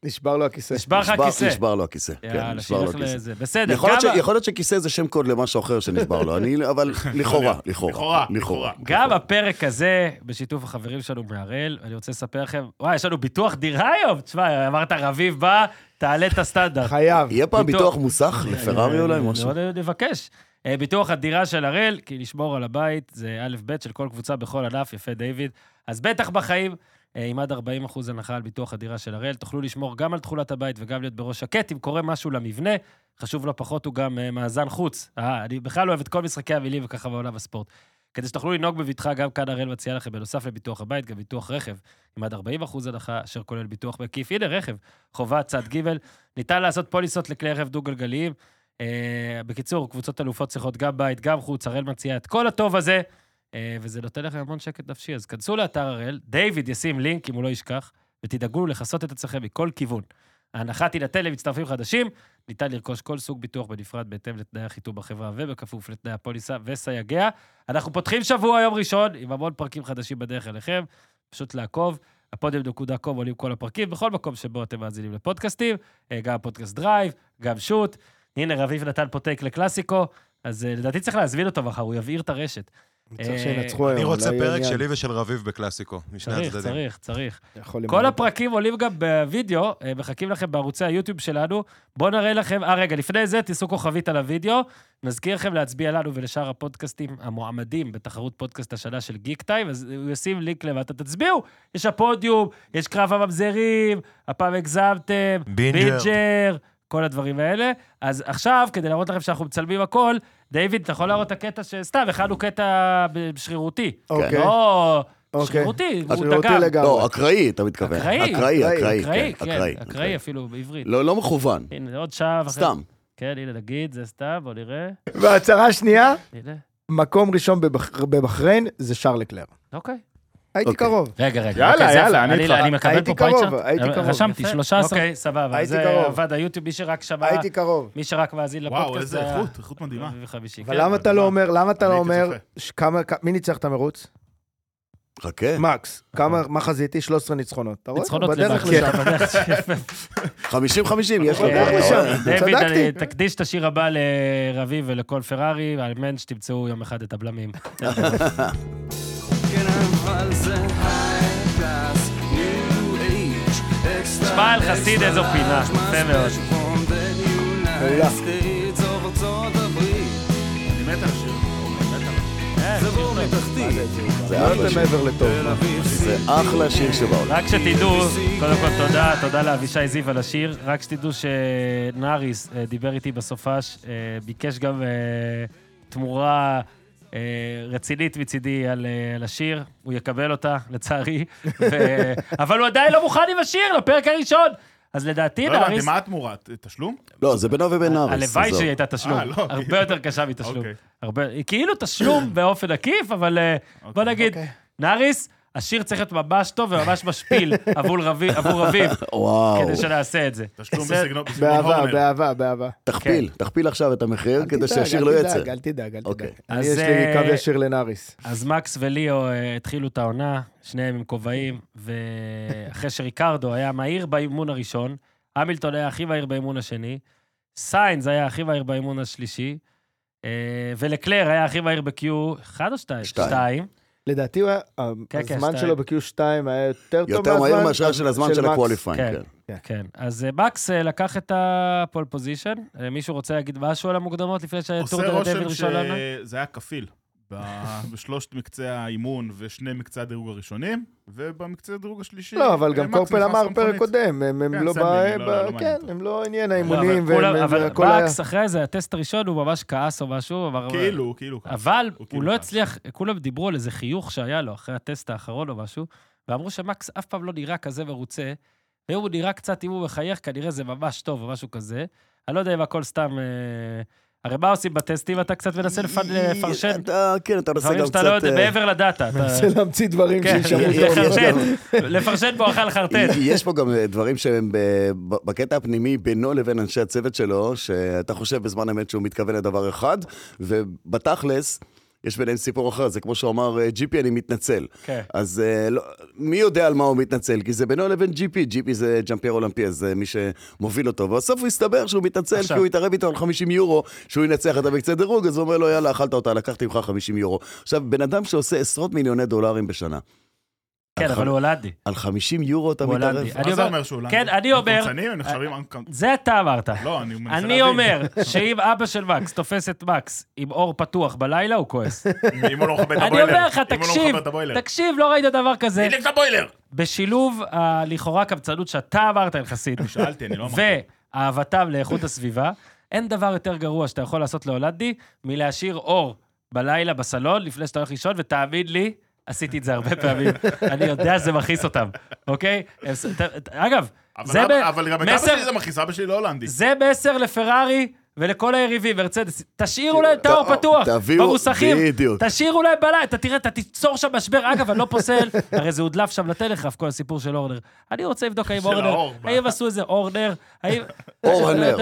A: נשבר לו הכיסא.
B: נשבר לך
D: נשבר-
B: הכיסא.
D: נשבר לו הכיסא. כן,
B: יאללה,
D: נשבר לו
B: שילך
D: הכיסא.
B: לזה. בסדר,
D: יכול להיות, ש...
B: גם-
D: יכול להיות שכיסא זה שם קוד למשהו אחר שנשבר לו, אני, אבל לכאורה, לכאורה,
C: לכאורה,
D: לכאורה.
C: לכאורה.
B: גם הפרק הזה, בשיתוף החברים שלנו מהראל, אני רוצה לספר לכם, וואי, יש לנו ביטוח דירה היום. תשמע, אמרת, רביב בא, תעלה את הסטנדרט.
A: חייב.
D: יהיה פעם
B: ביטוח- לא
D: ביטוח מוסך לפרארי אולי, משהו?
B: מאוד נבקש. אה, ביטוח הדירה של הראל, כי לשמור על הבית זה א'-ב' של כל קבוצה בכל ענף, יפה דיוויד. אז בטח בחיים, אה, עם עד 40% הנחה על ביטוח הדירה של הראל, תוכלו לשמור גם על תכולת הבית וגם להיות בראש שקט. אם קורה משהו למבנה, חשוב לא פחות, הוא גם אה, מאזן חוץ. אה, אני בכלל אוהב את כל משחקי המילים וככה בעולם הספורט. כדי שתוכלו לנהוג בבטחה, גם כאן הראל מציעה לכם, בנוסף לביטוח הבית, גם ביטוח רכב, עם עד 40% הנחה, אשר כולל ביטוח מקיף. הנה, רכב, חובה צד ג', ניתן לעשות פוליסות לכלי רכב דו-גלגליים. אה, בקיצור, קבוצות אלופות צריכות גם בית, גם חוץ, הראל מציעה את כל הטוב הזה, אה, וזה נותן לכם המון שקט נפשי. אז כנסו לאתר הראל, דיוויד ישים לינק, אם הוא לא ישכח, ותדאגו לכסות את עצמכם מכל כיוון. ההנחה תינתן למצטרפים חדשים, ניתן לרכוש כל סוג ביטוח בנפרד בהתאם לתנאי החיתום בחברה ובכפוף לתנאי הפוליסה וסייגיה. אנחנו פותחים שבוע יום ראשון עם המון פרקים חדשים בדרך אליכם, פשוט לעקוב. הפודיום.קום עולים כל הפרקים בכל מקום שבו אתם מאזינים לפודקאסטים, אה, גם פודקאסט דרייב, גם שוט. הנה, רביב נתן פה טייק לקלאסיקו, אז אה, לדעתי צריך להזמין אותו מחר, הוא יבעיר את הרשת. אה,
A: צריך שינצחו היום.
E: אני
A: אולי
E: רוצה
A: יהיה
E: פרק
A: עניין.
E: שלי ושל רביב בקלאסיקו, משני
B: צריך,
E: הצדדים.
B: צריך, צריך.
A: יכול למנות.
B: כל הפרקים עולים גם בווידאו, אה, מחכים לכם בערוצי היוטיוב שלנו. בואו נראה לכם, אה רגע, לפני זה תיסעו כוכבית על הווידאו. נזכיר לכם להצביע לנו ולשאר הפודקאסטים המועמדים בתחרות פודקאסט השנה של גיק טיים, אז הוא ישים לינק למטה, תצביעו. יש הפודיום, יש קרב הממזרים, הפעם הגזמתם,
E: בינג'ר.
B: בינג'ר, כל הדברים האלה. אז עכשיו, כדי להראות לכם שאנחנו מצלמים הכל, דיוויד, אתה יכול להראות את הקטע שסתם, הכנו קטע שרירותי.
A: אוקיי.
B: לא
A: אוקיי.
B: שרירותי, הוא
A: שרירותי
B: דגם.
A: לגמרי.
D: לא, אקראי, אתה מתכוון.
B: אקראי.
D: אקראי, אקראי,
B: אקראי,
D: כן, אקראי.
B: כן, אקראי אוקיי. אפילו בעברית.
D: לא, לא מכוון,
B: הנה, עוד שעה וחצי.
D: סתם.
B: כן, הנה, נגיד, זה סתם, בוא נראה.
A: והצהרה שנייה,
B: הנה,
A: מקום ראשון בבח- בבחריין זה שרל לקלר.
B: אוקיי.
A: הייתי
D: אוקיי.
A: קרוב.
B: רגע, רגע.
C: יאללה,
B: אוקיי, זה
C: יאללה,
B: יפה.
C: אני איתך.
B: אני מקבל
A: הייתי
B: פה פייצ'ארט.
A: קרוב, הייתי קרוב.
B: רשמתי,
A: יפה.
B: 13. אוקיי, סבבה.
A: הייתי
B: זה
A: קרוב.
B: עבד היוטיוב, מי שרק שמע,
A: הייתי קרוב.
B: מי שרק מאזין לפודקאסט.
C: וואו, איזה
B: זה היה
C: איכות, איכות מדהימה.
B: רביעי וחמישי, כן.
A: אבל למה אתה לא אומר, למה אתה
C: אני
A: לא
C: הייתי
A: אומר,
C: צופה.
A: ש- כמה, כ- מי ניצח את המרוץ?
D: חכה.
A: מקס. כמה, מה חזיתי? 13 ניצחונות. אתה רואה?
B: ניצחונות
A: הוא בדרך
B: לבד.
A: לשם.
B: אתה יודע, יפה.
D: 50-50, יש לו.
A: הוא בדרך
B: אה,
A: לשם.
B: דוד,
A: צדקתי.
B: אני- תקדיש את השיר הבא לרביב ולכל פרארי, האמן שתמצאו יום אחד את הבלמים. תשמע על חסיד איזו פינה, יפה מאוד.
A: מעולה.
C: אני מת על השיר. אני מת על השיר.
B: אה, שיר טוב.
D: זה
A: לא
D: אחלה
A: יותר
D: שיר.
A: מעבר לטוב.
D: זה אחלה שיר שבעולם.
B: רק שתדעו, קודם כל תודה, תודה לאבישי זיו על השיר. רק שתדעו שנאריס אה, דיבר איתי בסופש, אה, ביקש גם אה, תמורה אה, רצינית מצידי על אה, על השיר, הוא יקבל אותה, לצערי, ו- אבל הוא עדיין לא מוכן עם השיר, לפרק הראשון. אז לדעתי,
C: לא הבנתי,
B: נאריס,
C: מה התמורה? ת- תשלום?
D: לא, זה בינו ובין אריס.
B: הלוואי
D: עזוב.
B: שהיא הייתה תשלום,
C: אה, לא,
B: הרבה יותר קשה מתשלום.
C: אוקיי.
B: הרבה- היא כאילו תשלום באופן עקיף, אבל אה,
C: אוקיי.
B: בוא נגיד,
D: אוקיי.
B: נאריס, השיר צריך להיות ממש טוב וממש משפיל עבור רביב, עבור רביב,
D: וואו.
B: כדי שנעשה את זה.
C: תשלום
B: זה-
C: בסגנון בסגנון
A: באהבה,
C: הורנר.
A: באהבה, באהבה.
D: תכפיל, תכפיל עכשיו את המחיר
A: כן. אל
D: כדי
A: תדאג,
D: שהשיר
A: אל
D: לא
A: תדאג,
D: יצא.
A: אל תדאג, אל
D: אוקיי.
A: תדאג. אני,
B: אז,
A: יש לי קו
B: אה,
A: ישיר לנאריס.
B: אז מקס וליאו אה, התחילו את העונה, שניהם עם כובעים, ואחרי שריקרדו היה מהיר באימון הראשון, המילטון היה הכי מהיר באימון השני, סיינס היה הכי מהיר באימון השלישי, אה, ולקלר היה הכי מהיר ב-Q, אחד או שתיים?
D: שתיים.
A: לדעתי הוא היה-
B: כן,
A: הזמן
B: שתיים.
A: שלו ב-Q2 היה יותר טוב מהזמן.
D: יותר מהר מאשר של הזמן של
A: מקס.
D: הקווליפיין,
B: כן.
D: כן.
B: כן, אז אה, מקס אה, לקח את הפול פוזיישן. אה, מישהו רוצה להגיד משהו על המוקדמות לפני שהטור
C: עושה
B: דה דויד
C: רושם
B: ראשון לנו?
C: שזה היה כפיל. ב- בשלושת מקצי האימון ושני מקצי הדירוג הראשונים, ובמקצה הדירוג השלישי... אה,
A: לא,
B: אה,
A: אבל גם
C: מקס נכנס
A: קורפל אמר
C: למכונית.
A: פרק קודם, הם הם
C: כן,
A: לא
C: סמי,
A: ב...
C: לא-
A: ב-
C: לא מעניין
A: כן,
C: אותו.
A: הם לא עניין
B: לא, אבל
A: האימונים,
B: כולם-
A: והם-
B: אבל
A: והכל היה...
B: מקס אחרי זה, הטסט הראשון, הוא ממש כעס או משהו, אבל...
C: כאילו, כאילו. ככה.
B: אבל
C: הוא
B: הוא
C: כאילו
B: לא
C: כעס.
B: הצליח, כולם דיברו על איזה חיוך שהיה לו אחרי הטסט האחרון או משהו, ואמרו שמקס אף פעם לא נראה כזה מרוצה, ואם הוא נראה קצת, אם הוא מחייך, כנראה זה ממש טוב או משהו כזה. אני לא יודע אם הכל סתם... אה, הרי מה עושים בטסטים? אתה קצת מנסה לפ- לפרשן
D: אה, אתה- כן, אתה מנסה
B: דברים
D: גם
B: שאתה לא
D: קצת...
B: יודע,
D: אה,
B: מעבר לדאטה. אתה-
A: מנסה להמציא דברים
B: כן,
A: שישמעו טוב.
B: לחרטט, לפרשן בואכה לחרטט.
D: יש פה גם אה, דברים שהם ב- ב- בקטע הפנימי בינו לבין אנשי הצוות שלו, שאתה חושב בזמן אמת שהוא מתכוון לדבר אחד, ובתכלס... יש ביניהם סיפור אחר, זה כמו שהוא אמר, אה, GP אני מתנצל.
B: כן.
D: אז אה, לא, מי יודע על מה הוא מתנצל? כי זה בינו לבין GP, GP זה ג'מפייר אולמפי, אז זה מי שמוביל אותו. ובסוף הוא הסתבר שהוא מתנצל,
B: עכשיו.
D: כי הוא התערב איתו על 50 יורו, שהוא ינצח את המקצה דירוג, אז הוא אומר לו, יאללה, אכלת אותה, לקחתי ממך 50 יורו. עכשיו, בן אדם שעושה עשרות מיליוני דולרים בשנה,
B: כן, אבל הוא הולנדי.
D: על 50 יורו אתה
B: הוא
D: מתערב?
B: הולנדי. אני
C: מה זה
B: אומר-
C: אומר שהוא הולנדי?
B: כן, אני אומר-
C: קמצנים? הם נחשבים... אנקמצ-
B: זה אתה אמרת.
C: לא, אני מנסה
B: אני
C: להבין.
B: אומר שאם אבא של מקס תופס את מקס עם אור פתוח בלילה, הוא כועס.
C: אם הוא לא מכבד את
B: אני
C: הבוילר.
B: אומר לך,
C: אם הוא לא
B: תקשיב,
C: מכבד את הבוילר.
B: תקשיב, לא ראית דבר כזה.
C: תדליק את הבוילר!
B: בשילוב הלכאורה קבצנות שאתה אמרת, יחסית,
C: שאלתי, אני לא אמרתי.
B: ואהבתם לאיכות הסביבה, אין דבר יותר גרוע שאתה יכול לעשות להולנדי מלהשאיר אור בלילה בסלון לפני שאתה הולך לישון, ותאמין לי, עשיתי את זה הרבה פעמים. אני יודע שזה מכעיס אותם, אוקיי? הם ס- ת- ת- אגב,
C: אבל
B: זה
C: אבא-
B: ב-
C: אבל גם את אבא
B: מסר-
C: שלי זה מכניס, אבא שלי לא הולנדי.
B: זה מסר לפרארי ולכל היריבים, מרצדס. תשאירו להם את האור
D: תא-
B: פתוח,
D: תביאו-
B: במוסכים.
D: בדיוק.
B: תשאירו להם בלילה, אתה תראה, אתה תיצור שם משבר. אגב, אני לא פוסל, הרי זה הודלף שם לטלגרף, כל הסיפור של אורנר. אני רוצה לבדוק האם
C: של
B: אורנר,
C: האור.
B: האם עשו איזה אורנר, האם...
D: אורנר.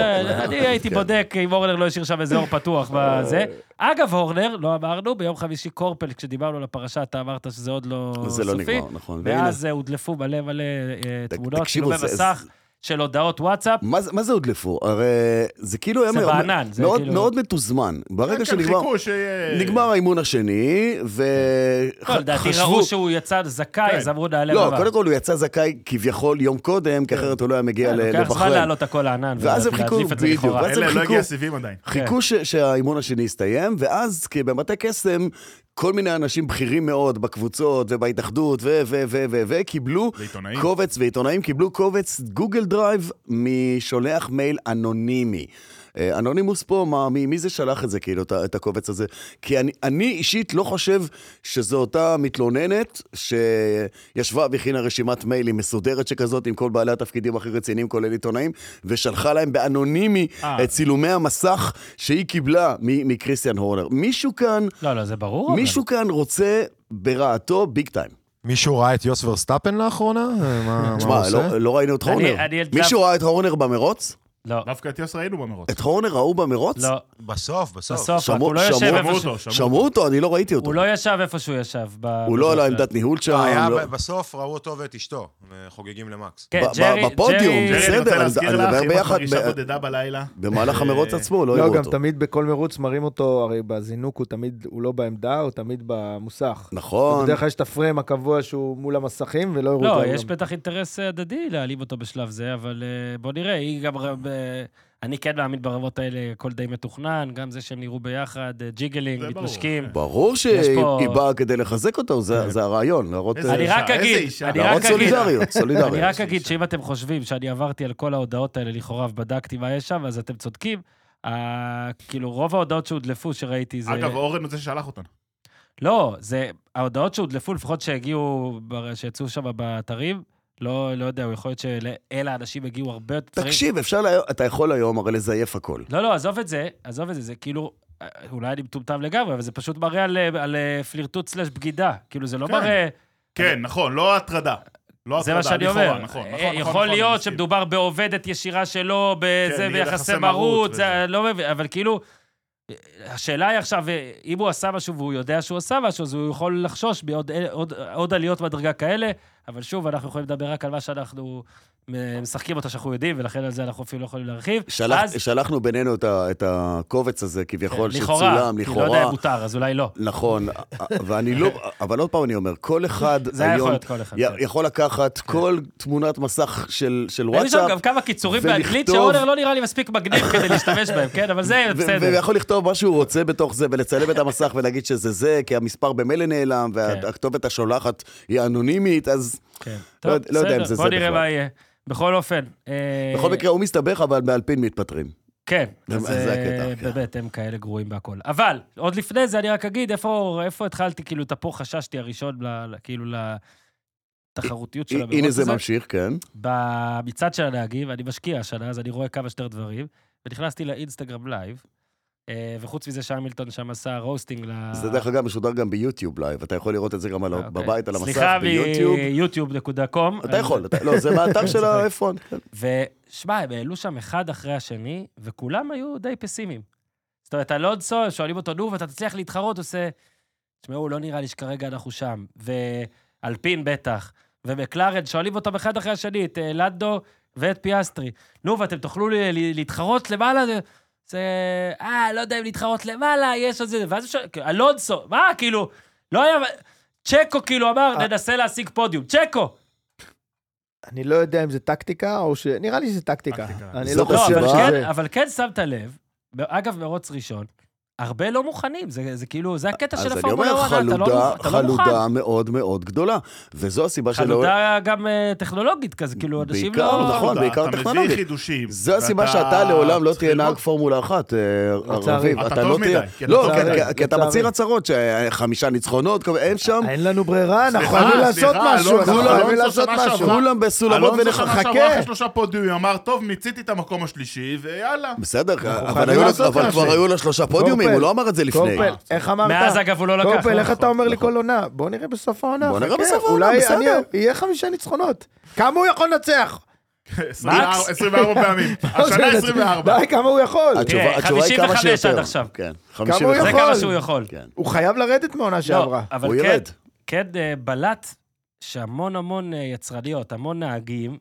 B: אני הייתי
D: כן.
B: בודק אם אורנר לא השאיר שם איזה אור פתוח
D: אה.
B: בזה. אגב, אורנר, לא אמרנו, ביום חמישי קורפל, כשדיברנו על הפרשה, אתה אמרת שזה עוד לא סופי.
D: זה לא נגמר, נכון. והנה,
B: ואז אה, הודלפו מלא מלא אה,
D: תק-
B: תמונות,
D: תקשיבו,
B: צילומי
D: זה-
B: מסך של הודעות וואטסאפ.
D: מה זה- מה זה הודלפו? הרי זה כאילו היה
B: זה
D: מאוד-
B: בענן, זה
D: מאוד-
B: כאילו-
D: מאוד מתוזמן. ברגע
C: כן,
D: שנגמר...
C: חיכו שיהיה-
D: נגמר האימון השני,
B: לא, לדעתי
D: וחשבו...
B: ראו שהוא יצא זכאי,
C: כן.
B: אז אמרו נעלה
D: לא,
B: בבא.
D: קודם כל הוא יצא זכאי כביכול יום קודם, כי אחרת הוא לא היה מגיע
B: כן,
D: ל-
B: לוקח זמן
D: לבחריין.
B: להעלות הכל לענן.
D: ואז הם
B: ולהדליף
D: חיכו,
B: את זה
D: בדיוק,
B: לכאורה.
D: ואז הם
C: אלה לא
D: חיכו.
C: הגיע סיבים עדיין.
B: כן.
D: חיכו ש- שהאימון השני יסתיים, ואז כי במטה קסם, כל מיני אנשים בכירים מאוד בקבוצות ובהתאחדות ו... ו... ו... ו... ו... קיבלו
C: ועיתונאים.
D: קובץ, ועיתונאים קיבלו קובץ גוגל דרייב משולח מייל אנונימי. אה, אנונימוס פה, מה, מי, מי זה שלח את זה, כאילו, את, ה- את הקובץ הזה? כי אני, אני אישית לא חושב שזו אותה מתלוננת שישבה והכינה רשימת מיילים מסודרת שכזאת עם כל בעלי התפקידים הכי רציניים, כולל עיתונאים, ושלחה להם באנונימי
C: אה.
D: את צילומי המסך שהיא קיבלה מ- מקריסטיאן הורנר. מישהו כאן,
B: לא, לא, זה ברור. אבל.
D: מישהו כאן רוצה ברעתו ביג טיים.
E: מישהו ראה את יוס ורסטאפן לאחרונה? אה, מה מה הוא
D: תשמע,
E: עושה?
D: לא, לא ראינו את
B: אני-
D: הורנר.
B: אני אלדף-
D: מישהו ראה את הורנר במרוץ?
B: לא,
C: דווקא את יוס ראינו במרוץ.
D: את הורנר ראו במרוץ?
B: לא.
E: בסוף, בסוף.
B: בסוף, רק
D: שמעו-
B: הוא לא יושב
D: שמעו-
B: איפה
C: שמעו
B: שהוא-
C: אותו,
D: שמעו אותו, אני לא ראיתי אותו.
B: הוא לא ישב איפה שהוא ישב. ב-
D: הוא לא על
B: בדרך
D: העמדת ניהול שם.
E: אה, היה
D: לא-
E: ב- בסוף ראו אותו ואת אשתו, אה, חוגגים למקס.
B: כן,
D: ב- ב-
B: ג'רי-
D: בפודיום,
B: ג'רי-
D: בסדר,
C: ג'רי, אני רוצה
D: אני-
C: להזכיר
D: אני
C: לך,
D: מדבר
C: אם את
D: ביחד
C: מרגישה
D: ב- אוקיי.
C: בודדה בלילה,
B: אה,
D: במהלך המרוץ עצמו לא
A: לא,
D: הראו
A: גם
D: אותו.
A: תמיד בכל מרוץ מראים אותו, הרי בזינוק הוא תמיד, הוא לא בעמדה, הוא תמיד במוסך.
D: נכון.
A: בדרך כלל יש את הפריים הקבוע שהוא מול המסכים, ולא הראו אותו.
B: לא,
A: היום.
B: יש בטח אינטרס אה, הדדי להעלים אותו בשלב זה, אבל אה, בוא נראה, היא גם... רב- אה, אני כן מאמין ברמות האלה, הכל די מתוכנן, גם זה שהם נראו ביחד, אה, ג'יגלינג,
C: זה ברור. כן.
B: מתנשקים.
D: ברור
B: יש
D: שהיא
B: פה- כן.
D: היא באה כדי לחזק אותו, זה זה הרעיון, להראות...
C: איזה
D: אה,
B: אני רק
C: אישה, איזה
B: אגיד,
C: אישה.
B: אני רק
D: להראות
B: אגיד,
D: סולידריות,
B: אני
D: סולידריות.
B: רק אגיד שאם אתם חושבים שאני עברתי על כל ההודעות האלה לכאורה ובדקתי מה יש שם, אז אתם צודקים. ה- כאילו, רוב ההודעות שהודלפו שראיתי זה...
C: אגב, אורן הוא זה ששלח אותנו.
B: לא, זה... ההודעות שהודלפו, לפחות שהגיעו, בר- שיצאו שם באתרים, לא, לא יודע, יכול להיות שאלה האנשים הגיעו הרבה יותר...
D: תקשיב, אפשר, לה- אתה יכול היום הרי לזייף הכל.
B: לא, לא, עזוב את זה, עזוב את זה, זה כאילו... אה, אולי אני מטומטם לגמרי, אבל זה פשוט מראה על, אה, על אה, פלירטוט סלאש בגידה. כאילו, זה לא
C: כן.
B: מראה...
C: כן, נכון, לא הטרדה. לא
B: זה מה
C: הטרדה,
B: שאני
C: לכאורה,
B: אומר.
C: נכון,
B: אה,
C: נכון, נכון.
B: יכול
C: נכון, אני
B: להיות
C: מסכים.
B: שמדובר בעובדת ישירה שלו, בזה,
C: כן,
B: ביחסי
C: יחסי
B: מרות,
C: מרות
B: זה,
C: וזה.
B: אני לא מבין, אבל כאילו, אה, השאלה היא עכשיו, אה, אם הוא עשה משהו והוא יודע שהוא עשה משהו, אז הוא יכול לחשוש בעוד אה, עוד- עוד עליות מדרגה כאלה, אבל שוב, אנחנו יכולים לדבר רק על מה שאנחנו אה, משחקים אותה, שאנחנו יודעים, ולכן על זה אנחנו אפילו לא יכולים להרחיב.
D: שלח-
B: אז-
D: שלחנו בינינו את ה- את הקובץ הזה כביכול,
B: לכאורה,
D: שצולם,
B: כי לא יודע
D: לכאורה.
B: אם מותר, אז אולי לא.
D: נכון, ואני לא, אבל עוד פעם אני אומר, כל אחד
B: זה היה יכול
D: היום
B: להיות כל אחד.
D: י-
B: כן.
D: יכול לקחת כל תמונת מסך של של
B: היו שם
D: וואטסאפ,
B: גם כמה קיצורים באנגלית
D: ולכתוב-
B: שהאונר לא נראה לי מספיק מגניב כדי להשתמש בהם, כן? אבל זה
D: ו-
B: בסדר.
D: ויכול לכתוב מה שהוא רוצה בתוך זה, ולצלם את המסך ולהגיד שזה זה, כי המספר במילא נעלם,
B: כן.
D: והכתובת השולחת היא אנונימית, אז
B: כן.
D: לא
B: טוב,
D: יודע- לא יודע אם
B: בסדר,
D: זה
B: בוא
D: זה
B: נראה
D: בכלל.
B: מה יהיה. בכל אופן, אה,
D: בכל מקרה הוא מסתבך, אבל באלפין מתפטרים.
B: כן,
D: זה-
B: אז
D: זה
B: אה,
D: הקטע, כן.
B: באמת, הם כאלה גרועים בהכל. אבל, עוד לפני זה אני רק אגיד, איפה איפה התחלתי, כאילו, את הפה חששתי הראשון, ל- ל- כאילו, לתחרותיות של המרוץ
D: הנה זה
B: הזה. אה.
D: ממשיך, כן.
B: במצעד של הנהגים, אני משקיע השנה, אז אני רואה כמה שיותר דברים, ונכנסתי לאינסטגרם לייב, אה, וחוץ מזה שהמילטון שם עשה רוסטינג ל...
D: זה דרך אגב משודר גם ביוטיוב לייב, אתה יכול לראות את זה גם על ה-
B: אוקיי.
D: בבית, על המסך,
B: סליחה,
D: ביוטיוב.
B: מיוטיוב.com.
D: אתה יכול, אתה- לא, זה מהאתר של האפרון.
B: ושמע, הם העלו שם אחד אחרי השני, וכולם היו די פסימיים. זאת אומרת, אלונסו, הם שואלים אותו, נו, ואתה תצליח להתחרות, הוא עושה... תשמעו, לא נראה לי שכרגע אנחנו שם. ואלפין בטח, ומקלרן, שואלים אותם אחד אחרי השני, את אה, לנדו ואת פיאסטרי. נו, ואתם תוכלו ל- ל- להתחרות למעלה? זה- זה... אה, לא יודע אם להתחרות למעלה, יש עוד זה... ואז הוא שואל, אלונסו, מה, כאילו, לא היה... צ'קו כאילו אמר, ננסה להשיג פודיום. צ'קו!
A: אני לא יודע אם זה טקטיקה או ש... נראה לי שזה טקטיקה.
C: טקטיקה.
A: אני
D: זאת
A: לא
B: לא,
A: חושב
B: אבל
D: הסיבה.
A: שזה...
B: כן, אבל כן שמת לב, אגב, מרוץ ראשון, הרבה לא מוכנים, זה זה כאילו, זה הקטע של
D: אז אני אומר,
B: הפורמולה 1, אתה לא
D: חלודה,
B: מוכן. אתה לא מוכן.
D: חלודה מאוד מאוד גדולה. וזו הסיבה שלא...
B: חלודה גם אה, טכנולוגית כזה, כאילו, אנשים
D: בעיקר,
B: לא...
D: נכון. בעיקר
C: אתה
D: טכנולוגית.
C: מביא חידושים.
D: זו הסיבה
C: ואתה
D: שאתה לעולם לא
C: צריך
D: תהיה נהג
C: ללמוד.
D: פורמולה אחת, אה, רביב.
A: אתה
D: לא
C: טוב
D: תהיה-
C: מדי, כי אתה
D: לא,
C: טוב
D: כן,
A: מדי.
D: כי- כי אתה
A: לצערי. אה,
D: מצהיר הצהרות, שחמישה ניצחונות, כל- אין שם.
A: אין לנו ברירה, אנחנו
C: סליחה,
A: חייבים
D: לא,
A: לעשות
C: סליחה,
A: משהו, אנחנו
C: אלונזו,
A: חייבים
C: אלונזו
A: לעשות
C: שנה
A: משהו.
C: שעברה.
D: כולם בסולמות
C: אלונזו
D: ונחכה.
C: שנה שעברה אחרי שלושה פודיומים, אמר, טוב, מיציתי את המקום השלישי, ויאללה.
D: בסדר, אבל,
A: חייבים
D: היו לו,
A: לעשות
D: אבל
A: משהו.
D: כבר היו לו שלושה פודיומים,
A: קורפל,
D: הוא לא אמר את זה לפני.
A: קורפל, איך אמרת?
B: מאז, אגב, הוא לא לקח.
A: קורפל,
B: לא
A: איך
B: נכון.
A: אתה אומר לי כל עונה? בוא נראה בסוף העונה.
D: בוא נראה
A: חכה,
D: בסוף העונה, בסדר.
A: אולי אני- יהיה חמישה ניצחונות. כמה הוא יכול לנצח? לא
C: 24 24 פעמים.
D: לא
C: השנה 24.
A: די, כמה הוא יכול?
D: התשובה,
B: תראה,
D: התשובה היא כמה
B: 55
D: שיותר.
B: עד עכשיו.
D: כן,
A: כמה הוא
B: זה
D: 55.
B: כמה
A: יכול.
B: שהוא יכול.
D: כן.
A: הוא חייב לרדת מהעונה
B: לא,
A: שעברה.
B: אבל
D: הוא
B: כן,
D: ירד.
B: כן אה, בלט שהמון המון אה, יצרניות, המון נהגים,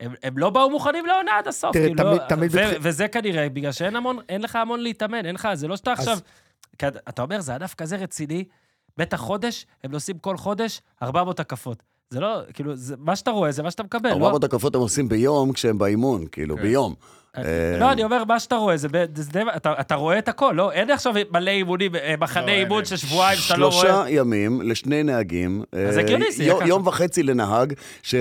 B: הם, הם לא באו מוכנים לעונה עד הסוף.
A: תראה,
B: כאילו, לא-
A: תמיד- תמיד
B: ו-
A: בתח-
B: וזה כנראה בגלל שאין המון, אין לך המון להתאמן, אין לך, זה לא שאתה עכשיו... כי אתה- אתה אומר, זה ענף כזה רציני, בטח חודש, הם נוסעים כל חודש 400 הקפות. זה לא, כאילו, זה, מה שאתה רואה זה מה שאתה מקבל. לא, כן.
D: 400 הקפות הם עושים ביום כשהם באימון, כאילו, ביום. אה,
B: לא, אני אומר, מה שאתה רואה, זה, ב- זה, זה אתה, אתה רואה את הכל, לא? אין עכשיו מלא אימונים, אה,
C: לא,
B: מחנה
C: אין,
B: אימון
C: אין.
B: של שבועיים שאתה לא רואה.
D: שלושה ימים לשני נהגים.
B: אז
D: אה,
B: הגיוני, זה יהיה
D: יום-
B: ככה.
D: יום וחצי לנהג, ש-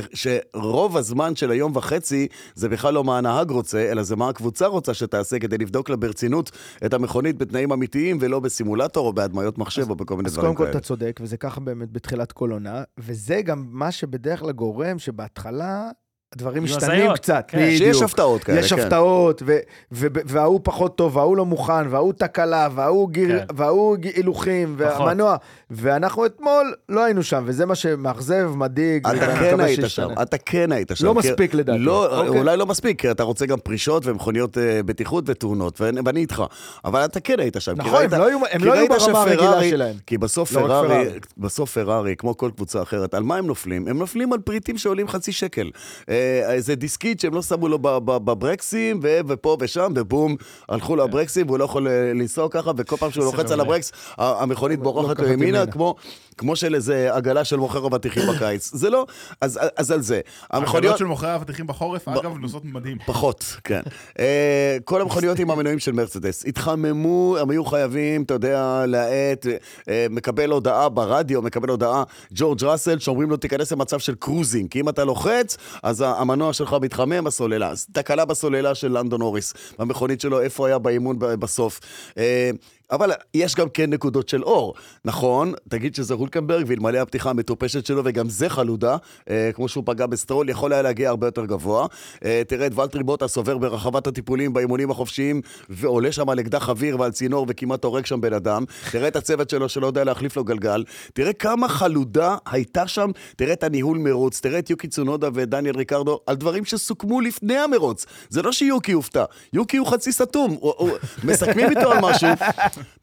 D: שרוב הזמן של היום וחצי זה בכלל לא מה הנהג רוצה, אלא זה מה הקבוצה רוצה שתעשה כדי לבדוק לה ברצינות את המכונית בתנאים אמיתיים ולא בסימולטור או בהדמיות מחשב או בכל מיני
A: אז
D: דברים
A: קודם כל
D: כאלה.
A: אתה צודק, וזה ככה באמת בתחילת כל עונה, וזה גם מה שבדרך כלל גורם שבהתחלה הדברים
B: יהיו
A: משתנים
B: הזיות,
A: קצת,
B: כן.
A: בדיוק.
D: שיש הפתעות כאלה,
A: יש
D: כן.
A: הפתעות, ו- ו- וההוא פחות טוב, וההוא לא מוכן, וההוא תקלה, וההוא גיר-
B: כן.
A: וההוא ג- הילוכים,
B: פחות.
A: והמנוע. ואנחנו אתמול לא היינו שם, וזה מה שמאכזב, מדאיג.
D: אתה
A: ואני
D: כן
A: מקווה
D: היית
A: שישתנה.
D: שם, אתה כן היית שם.
A: לא
D: כי-
A: מספיק לדעתי.
D: לא,
A: אוקיי.
D: אולי לא מספיק, כי אתה רוצה גם פרישות ומכוניות אה, בטיחות ותאונות, ואני ואני איתך. אבל אתה כן היית שם. כי
A: נכון,
D: ראית-
A: הם לא היו- הם
D: כי
A: לא היו
D: ראית
A: ברמה
D: שפרארי-
A: הרגילה שלהם.
D: כי בסוף
A: לא רק
D: פרארי,
A: פרארי.
D: בסוף פרארי, כמו כל קבוצה אחרת, על מה הם נופלים? הם נופלים על פריטים שעולים חצי שקל. אה, איזה דיסקית שהם לא שמו לו ב- ב- בברקסים, ו- ופה ושם, ובום, הלכו לו הברקסים, והוא לא יכול אה, לנסוע ככה, וכל פעם שהוא לוחץ על
B: מעולה.
D: הברקס, ה- המכונית בורחת לו
A: לוקחת
D: ימינה,
A: ימינה.
D: כמו, כמו של איזה עגלה של מוכר אבטיחים בקיץ. זה לא, אז, אז על זה.
C: המכוניות
D: המכוניות...
C: של מוכרי האבטיחים בחורף, אגב, נוסעות מדהים.
D: פחות, כן. אה, כל המכוניות עם המנועים של מרצדס התחממו, הם היו חייבים, אתה יודע, להאט, אה, מקבל הודעה ברדיו, מקבל הודעה ג'ורג' ראסל, שאומרים לו, תיכנס למצב של קרוזינג, כי אם אתה לוחץ, אז ה- המנוע שלך מתחמם בסוללה. אז תקלה בסוללה של לנדון אוריס, במכונית שלו, איפה היה באימון ב- בסוף. אה, אבל יש גם כן נקודות של אור. נכון, תגיד שזה הולקנברג, ואלמלא הפתיחה המטופשת שלו, וגם זה חלודה, אה, כמו שהוא פגע בסטרול, יכול היה להגיע הרבה יותר גבוה. אה, תראה את ולטרי בוטס עובר ברחבת הטיפולים באימונים החופשיים, ועולה שם על אקדח אוויר ועל צינור, וכמעט הורג שם בן אדם. תראה את הצוות שלו שלא יודע להחליף לו גלגל. תראה כמה חלודה הייתה שם, תראה את הניהול מרוץ, תראה את יוקי צונודה ואת דניאל ריקרדו, על דברים שסוכמו לפני המרוץ. זה לא שיוקי הופתע, יוקי הוא חצי סתום. הוא- הוא- מסכמים איתו על משהו,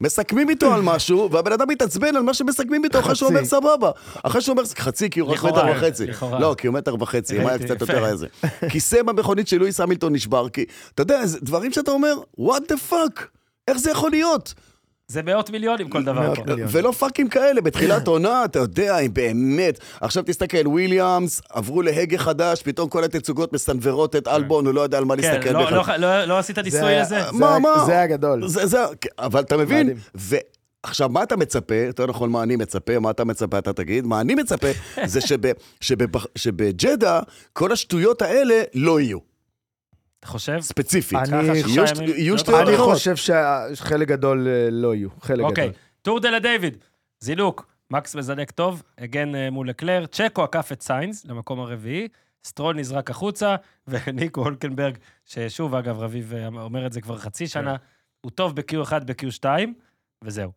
D: מסכמים איתו על משהו, והבן אדם מתעצבן על מה שמסכמים איתו אחרי שהוא אומר
A: חצי.
D: סבבה. אחרי שהוא אומר חצי, כי הוא רק
B: לכאורה,
D: מטר וחצי.
B: לכאורה.
D: לא, כי הוא מטר וחצי, אם היה
B: ראיתי,
D: קצת
B: יפה.
D: יותר היה זה. כיסא במכונית של לואיס המילטון נשבר, כי אתה יודע, זה דברים שאתה אומר, what the fuck, איך זה יכול להיות? אה,
B: זה מאות מיליונים כל דבר
A: מאות
B: פה.
A: מיליונים.
D: ולא פאקים כאלה,
B: כן.
D: בתחילת עונה, אתה יודע, אם באמת. עכשיו תסתכל, וויליאמס, עברו להגה חדש, פתאום כל התצוגות מסנוורות את אלבון, הוא לא יודע על מה
B: כן,
D: להסתכל
B: לא-
D: בכלל.
B: לא- לא- לא עשית ניסוי
A: היה-
B: לזה?
A: זה
D: מה,
A: היה-
D: מה?
A: זה היה גדול.
D: זה, זה, אבל אתה מבין?
A: מדהים.
D: ו... עכשיו, מה אתה מצפה, יותר נכון, מה אני מצפה, מה אתה מצפה, אתה תגיד, מה אני מצפה, זה שב, שבב, שבג'דה, כל השטויות האלה לא יהיו,
B: אתה חושב?
D: ספציפית.
A: אני-
B: ככה
A: יהיו
B: שישה
D: שת-
B: ימים?
D: יהיו
B: לא
D: שתי-
B: יודע.
A: אני
D: נכון.
A: חושב שחלק גדול אה, לא יהיו, חלק
B: אוקיי,
A: גדול.
B: טור דה לדיוויד, זינוק, מקס מזנק טוב, הגן אה, מול לקלר, צ'קו עקף את סיינס למקום הרביעי, סטרול נזרק החוצה, וניקו הולקנברג, ששוב, אגב, רביב אה, אומר את זה כבר חצי שנה, הוא טוב ב-Q1, ב-Q2, וזהו.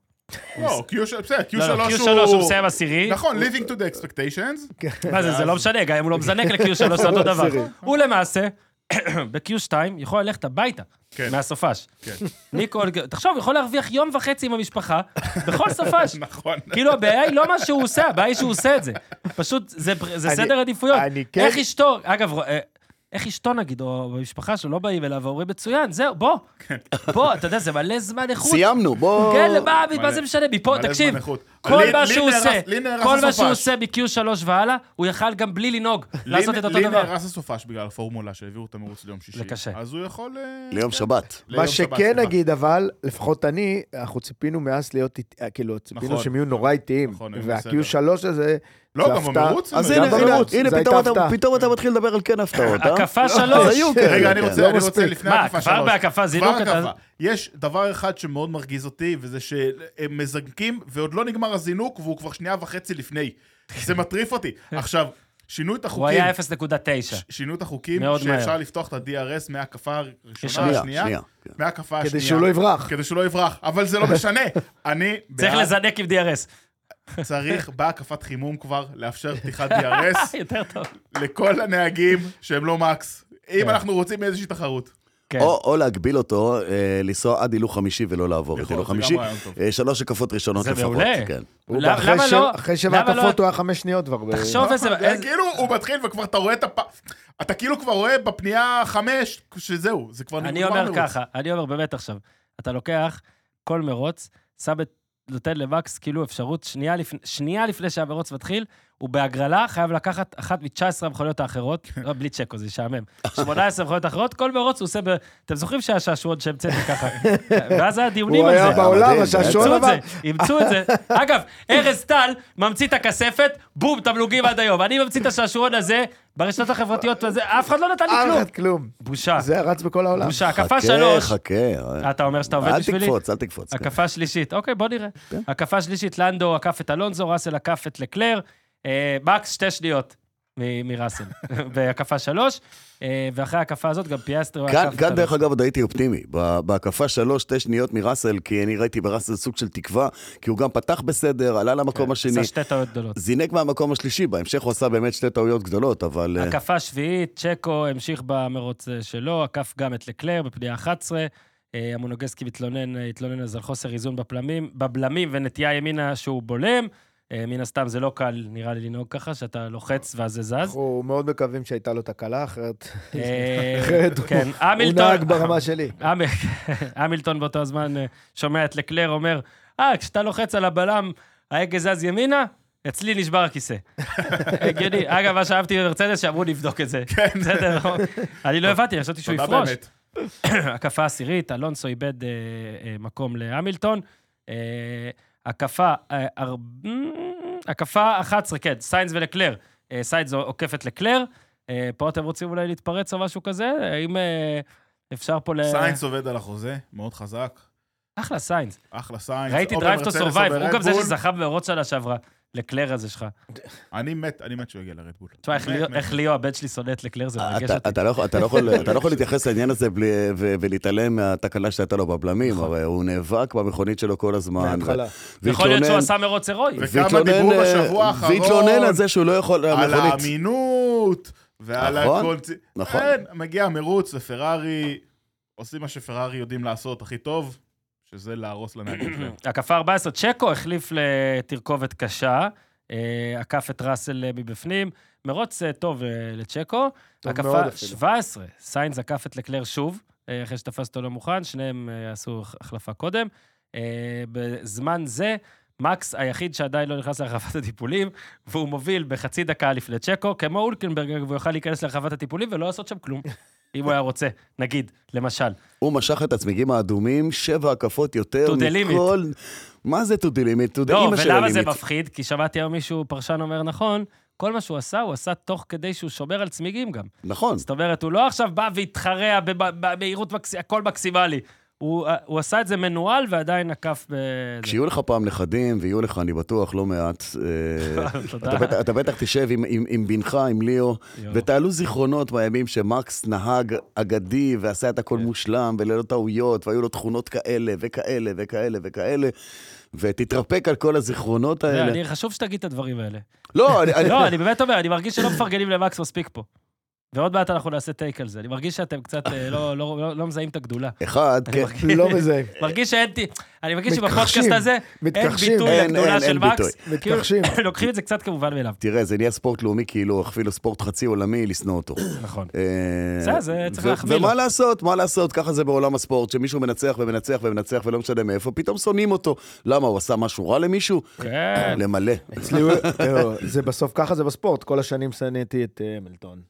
C: לא, Q שלוש, בסדר, Q
B: לא, לא,
C: שלוש
B: Q3 הוא
C: הוא...
B: מסיים עשירי.
C: נכון, living to the expectations.
B: מה זה, זה לא משנה, גם אם הוא לא מזנק ל-Q3 זה אותו דבר.
A: עשירי.
B: הוא למעשה, ב-Q2 יכול ללכת הביתה.
C: כן.
B: מהסופש.
C: כן.
B: ניקו, תחשוב, יכול להרוויח יום וחצי עם המשפחה, בכל סופש.
C: נכון.
B: כאילו, הבעיה היא לא מה שהוא עושה, הבעיה היא שהוא עושה את זה. פשוט, זה פר- זה
A: אני-
B: סדר עדיפויות.
A: אני כן-
B: איך אשתו, אגב, אה, איך אשתו נגיד, או במשפחה שלו, לא באים אליו ואומרים, מצוין, זהו, בוא.
C: כן.
B: בוא, אתה יודע, זה מלא זמן איכות.
D: סיימנו, בוא...
B: כן, למה, מה
C: מלא-
B: זה משנה? מפה,
C: מלא זמן
B: תקשיב,
C: איכות.
B: כל
C: לי-
B: מה
C: לי
B: שהוא
C: נהרס-
B: עושה,
C: לי נהרס
B: כל מה שהוא
C: הסופש.
B: עושה מ-Q3 והלאה, הוא יכל גם בלי לנהוג
C: לי-
B: לעשות את אותו
C: לי
B: דבר.
C: נהרס הסופש בגלל הפורמולה שהעבירו את המרוץ ליום שישי.
B: זה קשה.
C: אז הוא יכול... אה,
D: ליום
C: כן.
D: שבת.
C: ליום
A: מה
C: שבת,
A: שכן
C: סליחה.
A: נגיד, אבל, לפחות אני, אנחנו ציפינו מאז להיות, איט- אה, כאילו, ציפינו
C: נכון.
A: שהם יהיו נורא איטיים.
C: נכון, הם
A: וה-Q3 הזה,
C: לא,
A: זה
C: גם
A: הפתעה.
C: במרוץ הם
D: אז
C: גם
D: הנה, הנה,
A: במרוץ,
D: הנה,
A: זה
D: פתאום
A: הייתה
D: אתה-
A: הפתעה.
D: פתאום אתה מתחיל לדבר על כן הפתעות, אה?
B: הקפה
D: אז
B: שלוש.
D: היו כאלה,
C: רגע, אני
D: כן.
C: רוצה,
A: לא
C: אני רוצה
A: מספיק.
C: לפני
B: מה,
C: ההקפה
B: כבר לא
C: שלוש.
B: בהקפה
C: כבר
B: זינוק אתה...
C: הקפה. יש דבר אחד שמאוד מרגיז אותי, וזה שהם מזנקים, ועוד לא נגמר הזינוק, והוא כבר שנייה וחצי לפני. זה מטריף אותי. עכשיו, שינו את
B: הוא
C: החוקים.
B: היה 0.9.
C: שינו את החוקים,
B: מאוד מהר.
C: שאפשר לפתוח את ה-DRS מההקפה הראשונה,
D: שנייה,
C: השנייה,
D: שנייה.
C: מההקפה השנייה.
A: כדי שהוא לא יברח.
C: כדי שהוא לא יברח, אבל זה לא משנה. אני
B: צריך
C: בעד,
B: לזנק עם DRS.
C: צריך בהקפת חימום כבר לאפשר פתיחת DRS
B: יותר טוב.
C: לכל הנהגים שהם לא מקס. אם אנחנו רוצים איזושהי תחרות.
B: כן.
D: או, או להגביל אותו, אה, לנסוע עד הילוך חמישי ולא לעבור את
C: יכול,
D: הילוך
C: זה גם
D: חמישי.
C: רעיון טוב.
D: אה, שלוש הקפות ראשונות
B: זה
D: לפחות.
B: מעולה.
D: כן.
A: הוא
B: למה-
A: אחרי
B: למה
A: של-
B: לא-
A: אחרי שבע
B: למה לא-
A: הקפות הוא היה חמש שניות כבר. ב-
B: תחשוב איזה...
C: זה
B: איזה-
C: כאילו, הוא מתחיל וכבר אתה רואה את הפ... אתה כאילו כבר רואה בפנייה חמש, שזהו, זה כבר
B: אני
C: נגמר
B: אומר
C: מרוץ.
B: ככה, אני אומר באמת עכשיו, אתה לוקח כל מרוץ, שם את... נותן למקס כאילו אפשרות, שנייה, לפ... שנייה לפני שהמרוץ מתחיל, הוא בהגרלה חייב לקחת אחת מ-19 המכוניות האחרות,
A: כן.
B: לא, בלי צ'קו, זה ישעמם, 18 מכוניות האחרות, כל מרוץ הוא עושה ב... אתם זוכרים שהיה שעשועון שהמצאתי ככה? ואז היה דיונים
A: הוא
B: על זה.
A: היה בעולם,
D: מדהים,
A: השעשועון
B: אימצו את
A: עבר.
B: זה, אימצו את זה. אגב, ארז טל ממציא את הכספת, בום, תמלוגים עד היום. אני ממציא את השעשועון הזה, ברשתות החברתיות, וזה, אף אחד לא נתן לי כלום.
A: אף אה, כלום.
B: בושה,
A: זה רץ בכל העולם.
B: בושה.
D: חכה,
B: הקפה שלוש,
D: חכה. אה.
B: אתה אומר שאתה עובד
D: אל
B: בשבילי?
D: תקפוץ, כן. אל תקפוץ. כן.
B: הקפה שלישית, אוקיי, בוא נראה. הקפה שלישית, לנדו עקף את אלונזו, ראסל עקף את לקלר, אה, מקס שתי שניות מ- מראסל, בהקפה שלוש, אה, ואחרי ההקפה הזאת גם פיאסטרו עקף את
D: כאן,
B: אלונזו.
D: כאן דרך אגב עוד הייתי אופטימי, ב- בהקפה שלוש, שתי שניות מראסל, כי אני ראיתי בראסל סוג של תקווה, כי הוא גם פתח בסדר, עלה למקום השני,
B: כן, עשה שתי טעויות גדולות.
D: זינק מהמקום השלישי, בהמשך הוא עשה באמת שתי טעויות גדולות, אבל...
A: כן.
D: אה,
B: הקפה שביעית, צ'קו המשיך במרוץ אה, שלו, עקף גם את לקלר בפנייה 11. אה, המונוגסקי מתלונן, אה, התלונן אז על חוסר איזון בפלמים, בבלמים ונטייה ימינה שהוא בולם. אה, מן הסתם זה לא קל, נראה לי, לנהוג ככה, שאתה לוחץ ואז זה זז.
A: אנחנו מאוד מקווים שהייתה לו תקלה, אחרת
B: אה,
A: אחרת הוא-
B: כן,
A: הוא
B: המילטון...
A: נהג ברמה שלי.
B: המ- המילטון באותו הזמן אה, שומע את לקלר אומר, אה, כשאתה לוחץ על הבלם, ההגה זז ימינה, אצלי נשבר הכיסא. הגיוני. אגב, מה שאהבתי במרצדס, שאמרו נבדוק את זה. כן. בסדר, אני לא הבנתי, חשבתי שהוא
C: תודה
B: יפרוש.
C: באמת.
B: הקפה עשירית, אלונסו איבד אה, אה, מקום להמילטון. אה, הקפה, אה, אר- הקפה 11, כן, סיינס ולקלר. אה, סיינס עוקף את לקלר. אה, פה אתם רוצים אולי להתפרץ או משהו כזה? האם אה, אפשר פה ל...
C: סיינס עובד על החוזה, מאוד חזק.
B: אחלה סיינס.
C: אחלה סיינס.
B: ראיתי
C: או
B: דרייב טו
C: במרצדס או
B: סורווייב, הוא גם זה
C: ברדבול.
B: שזכה במרוץ שנה שעברה. לקלר הזה שלך.
C: אני מת, אני מת שהוא יגיע לרדבול.
B: תשמע, איך
C: מת,
B: ליאו-
C: מת.
B: איך ליאו, הבן שלי שונא את לקלר, זה מרגש
D: אתה-
B: אותי.
D: אתה לא יכול- אתה לא יכול- אתה לא יכול להתייחס לעניין הזה בלי- ו- ולהתעלם מהתקלה שהייתה לו בבלמים,
B: נכון.
D: הרי הוא נאבק במכונית שלו כל הזמן.
A: מההתחלה.
B: יכול להיות שהוא
D: והתלונן-
B: עשה מרוץ הירואי.
C: וכמה
D: והתלונן,
C: דיברו
D: אה,
C: בשבוע האחרון
D: והתלונן על זה שהוא לא יכול,
C: על
D: המכונית.
C: האמינות, ועל
D: נכון,
C: הכל...
D: נכון.
C: כן, מגיע המרוץ ופרארי, עושים מה שפרארי יודעים לעשות הכי טוב, שזה להרוס לנהגים שלהם.
B: הקפה 14, צ'קו החליף לתרכובת קשה, אה, עקף את ראסל אה, מבפנים. מרוץ אה, טוב אה, לצ'קו.
A: טוב מאוד
B: הקפה
A: אפילו.
B: 17, סיינס עקף את לקלר שוב, אה, אחרי שתפס אותו לא מוכן, שניהם אה, עשו הח- החלפה קודם. אה, בזמן זה, מקס היחיד שעדיין לא נכנס לרחבת הטיפולים, והוא מוביל בחצי דקה לפני צ'קו, כמו אולקנברג, והוא יוכל להיכנס לרחבת הטיפולים ולא לעשות שם כלום, אם הוא היה רוצה, נגיד, למשל.
D: הוא משך את הצמיגים האדומים, שבע הקפות יותר
B: To the limit.
D: מכל... מה זה to the limit? to the
B: לא,
D: אימא של
B: ולמה זה
D: הlimit.
B: מפחיד? כי שמעתי היום מישהו, פרשן אומר נכון, כל מה שהוא עשה, הוא עשה תוך כדי שהוא שומר על צמיגים גם.
D: נכון.
B: זאת אומרת, הוא לא עכשיו בא והתחרע בב- במהירות, מקס- הכל מקסימלי. הוא אה, הוא עשה את זה מנוהל ועדיין עקף ב...
D: כשיהיו לך פעם נכדים, ויהיו לך, אני בטוח, לא מעט, אה,
B: תודה.
D: אתה בטח- אתה בטח תשב עם- עם עם בנך, עם ליאו,
B: יואו.
D: ותעלו זיכרונות מהימים שמקס נהג אגדי ועשה את
B: כן.
D: הכל מושלם, וללא טעויות, והיו לו תכונות כאלה וכאלה וכאלה וכאלה, ותתרפק על כל הזיכרונות
B: אתה יודע,
D: האלה.
B: לא, אני- חשוב שתגיד את הדברים האלה.
D: לא, אני... אני-
B: לא, אני באמת אומר, אני מרגיש שלא מפרגנים למקס מספיק פה. ועוד מעט אנחנו נעשה טייק על זה. אני מרגיש שאתם קצת אה, לא- לא לא- לא מזהים את הגדולה.
D: אחד,
B: אני
D: כן.
B: מרגיש-
A: לא מזהים.
B: מרגיש שאין... ת- אני מרגיש
A: מתכחשים,
B: שבפודקאסט הזה אין
A: מתכחשים,
B: ביטוי
D: אין,
B: לגדולה
D: אין,
B: של
D: אין
B: מקס. כאילו,
A: מתכחשים.
B: לוקחים את זה קצת כמובן מאליו.
D: תראה, זה נהיה ספורט לאומי כאילו, אפילו ספורט חצי עולמי, לשנוא אותו.
B: נכון.
D: אה,
B: בסדר, זה צריך
D: ו-
B: להחמיא לו.
D: ומה לעשות, מה לעשות, ככה זה בעולם הספורט, שמישהו מנצח ומנצח ומנצח ולא משנה מאיפה, פתאום שונאים אותו. למה, הוא עשה משהו רע למישהו?
B: כן.
D: למלא.
A: אצלי הוא- תראו, לא, זה בסוף ככה זה בספורט, כל השנים שנאתי את אה, מילטון.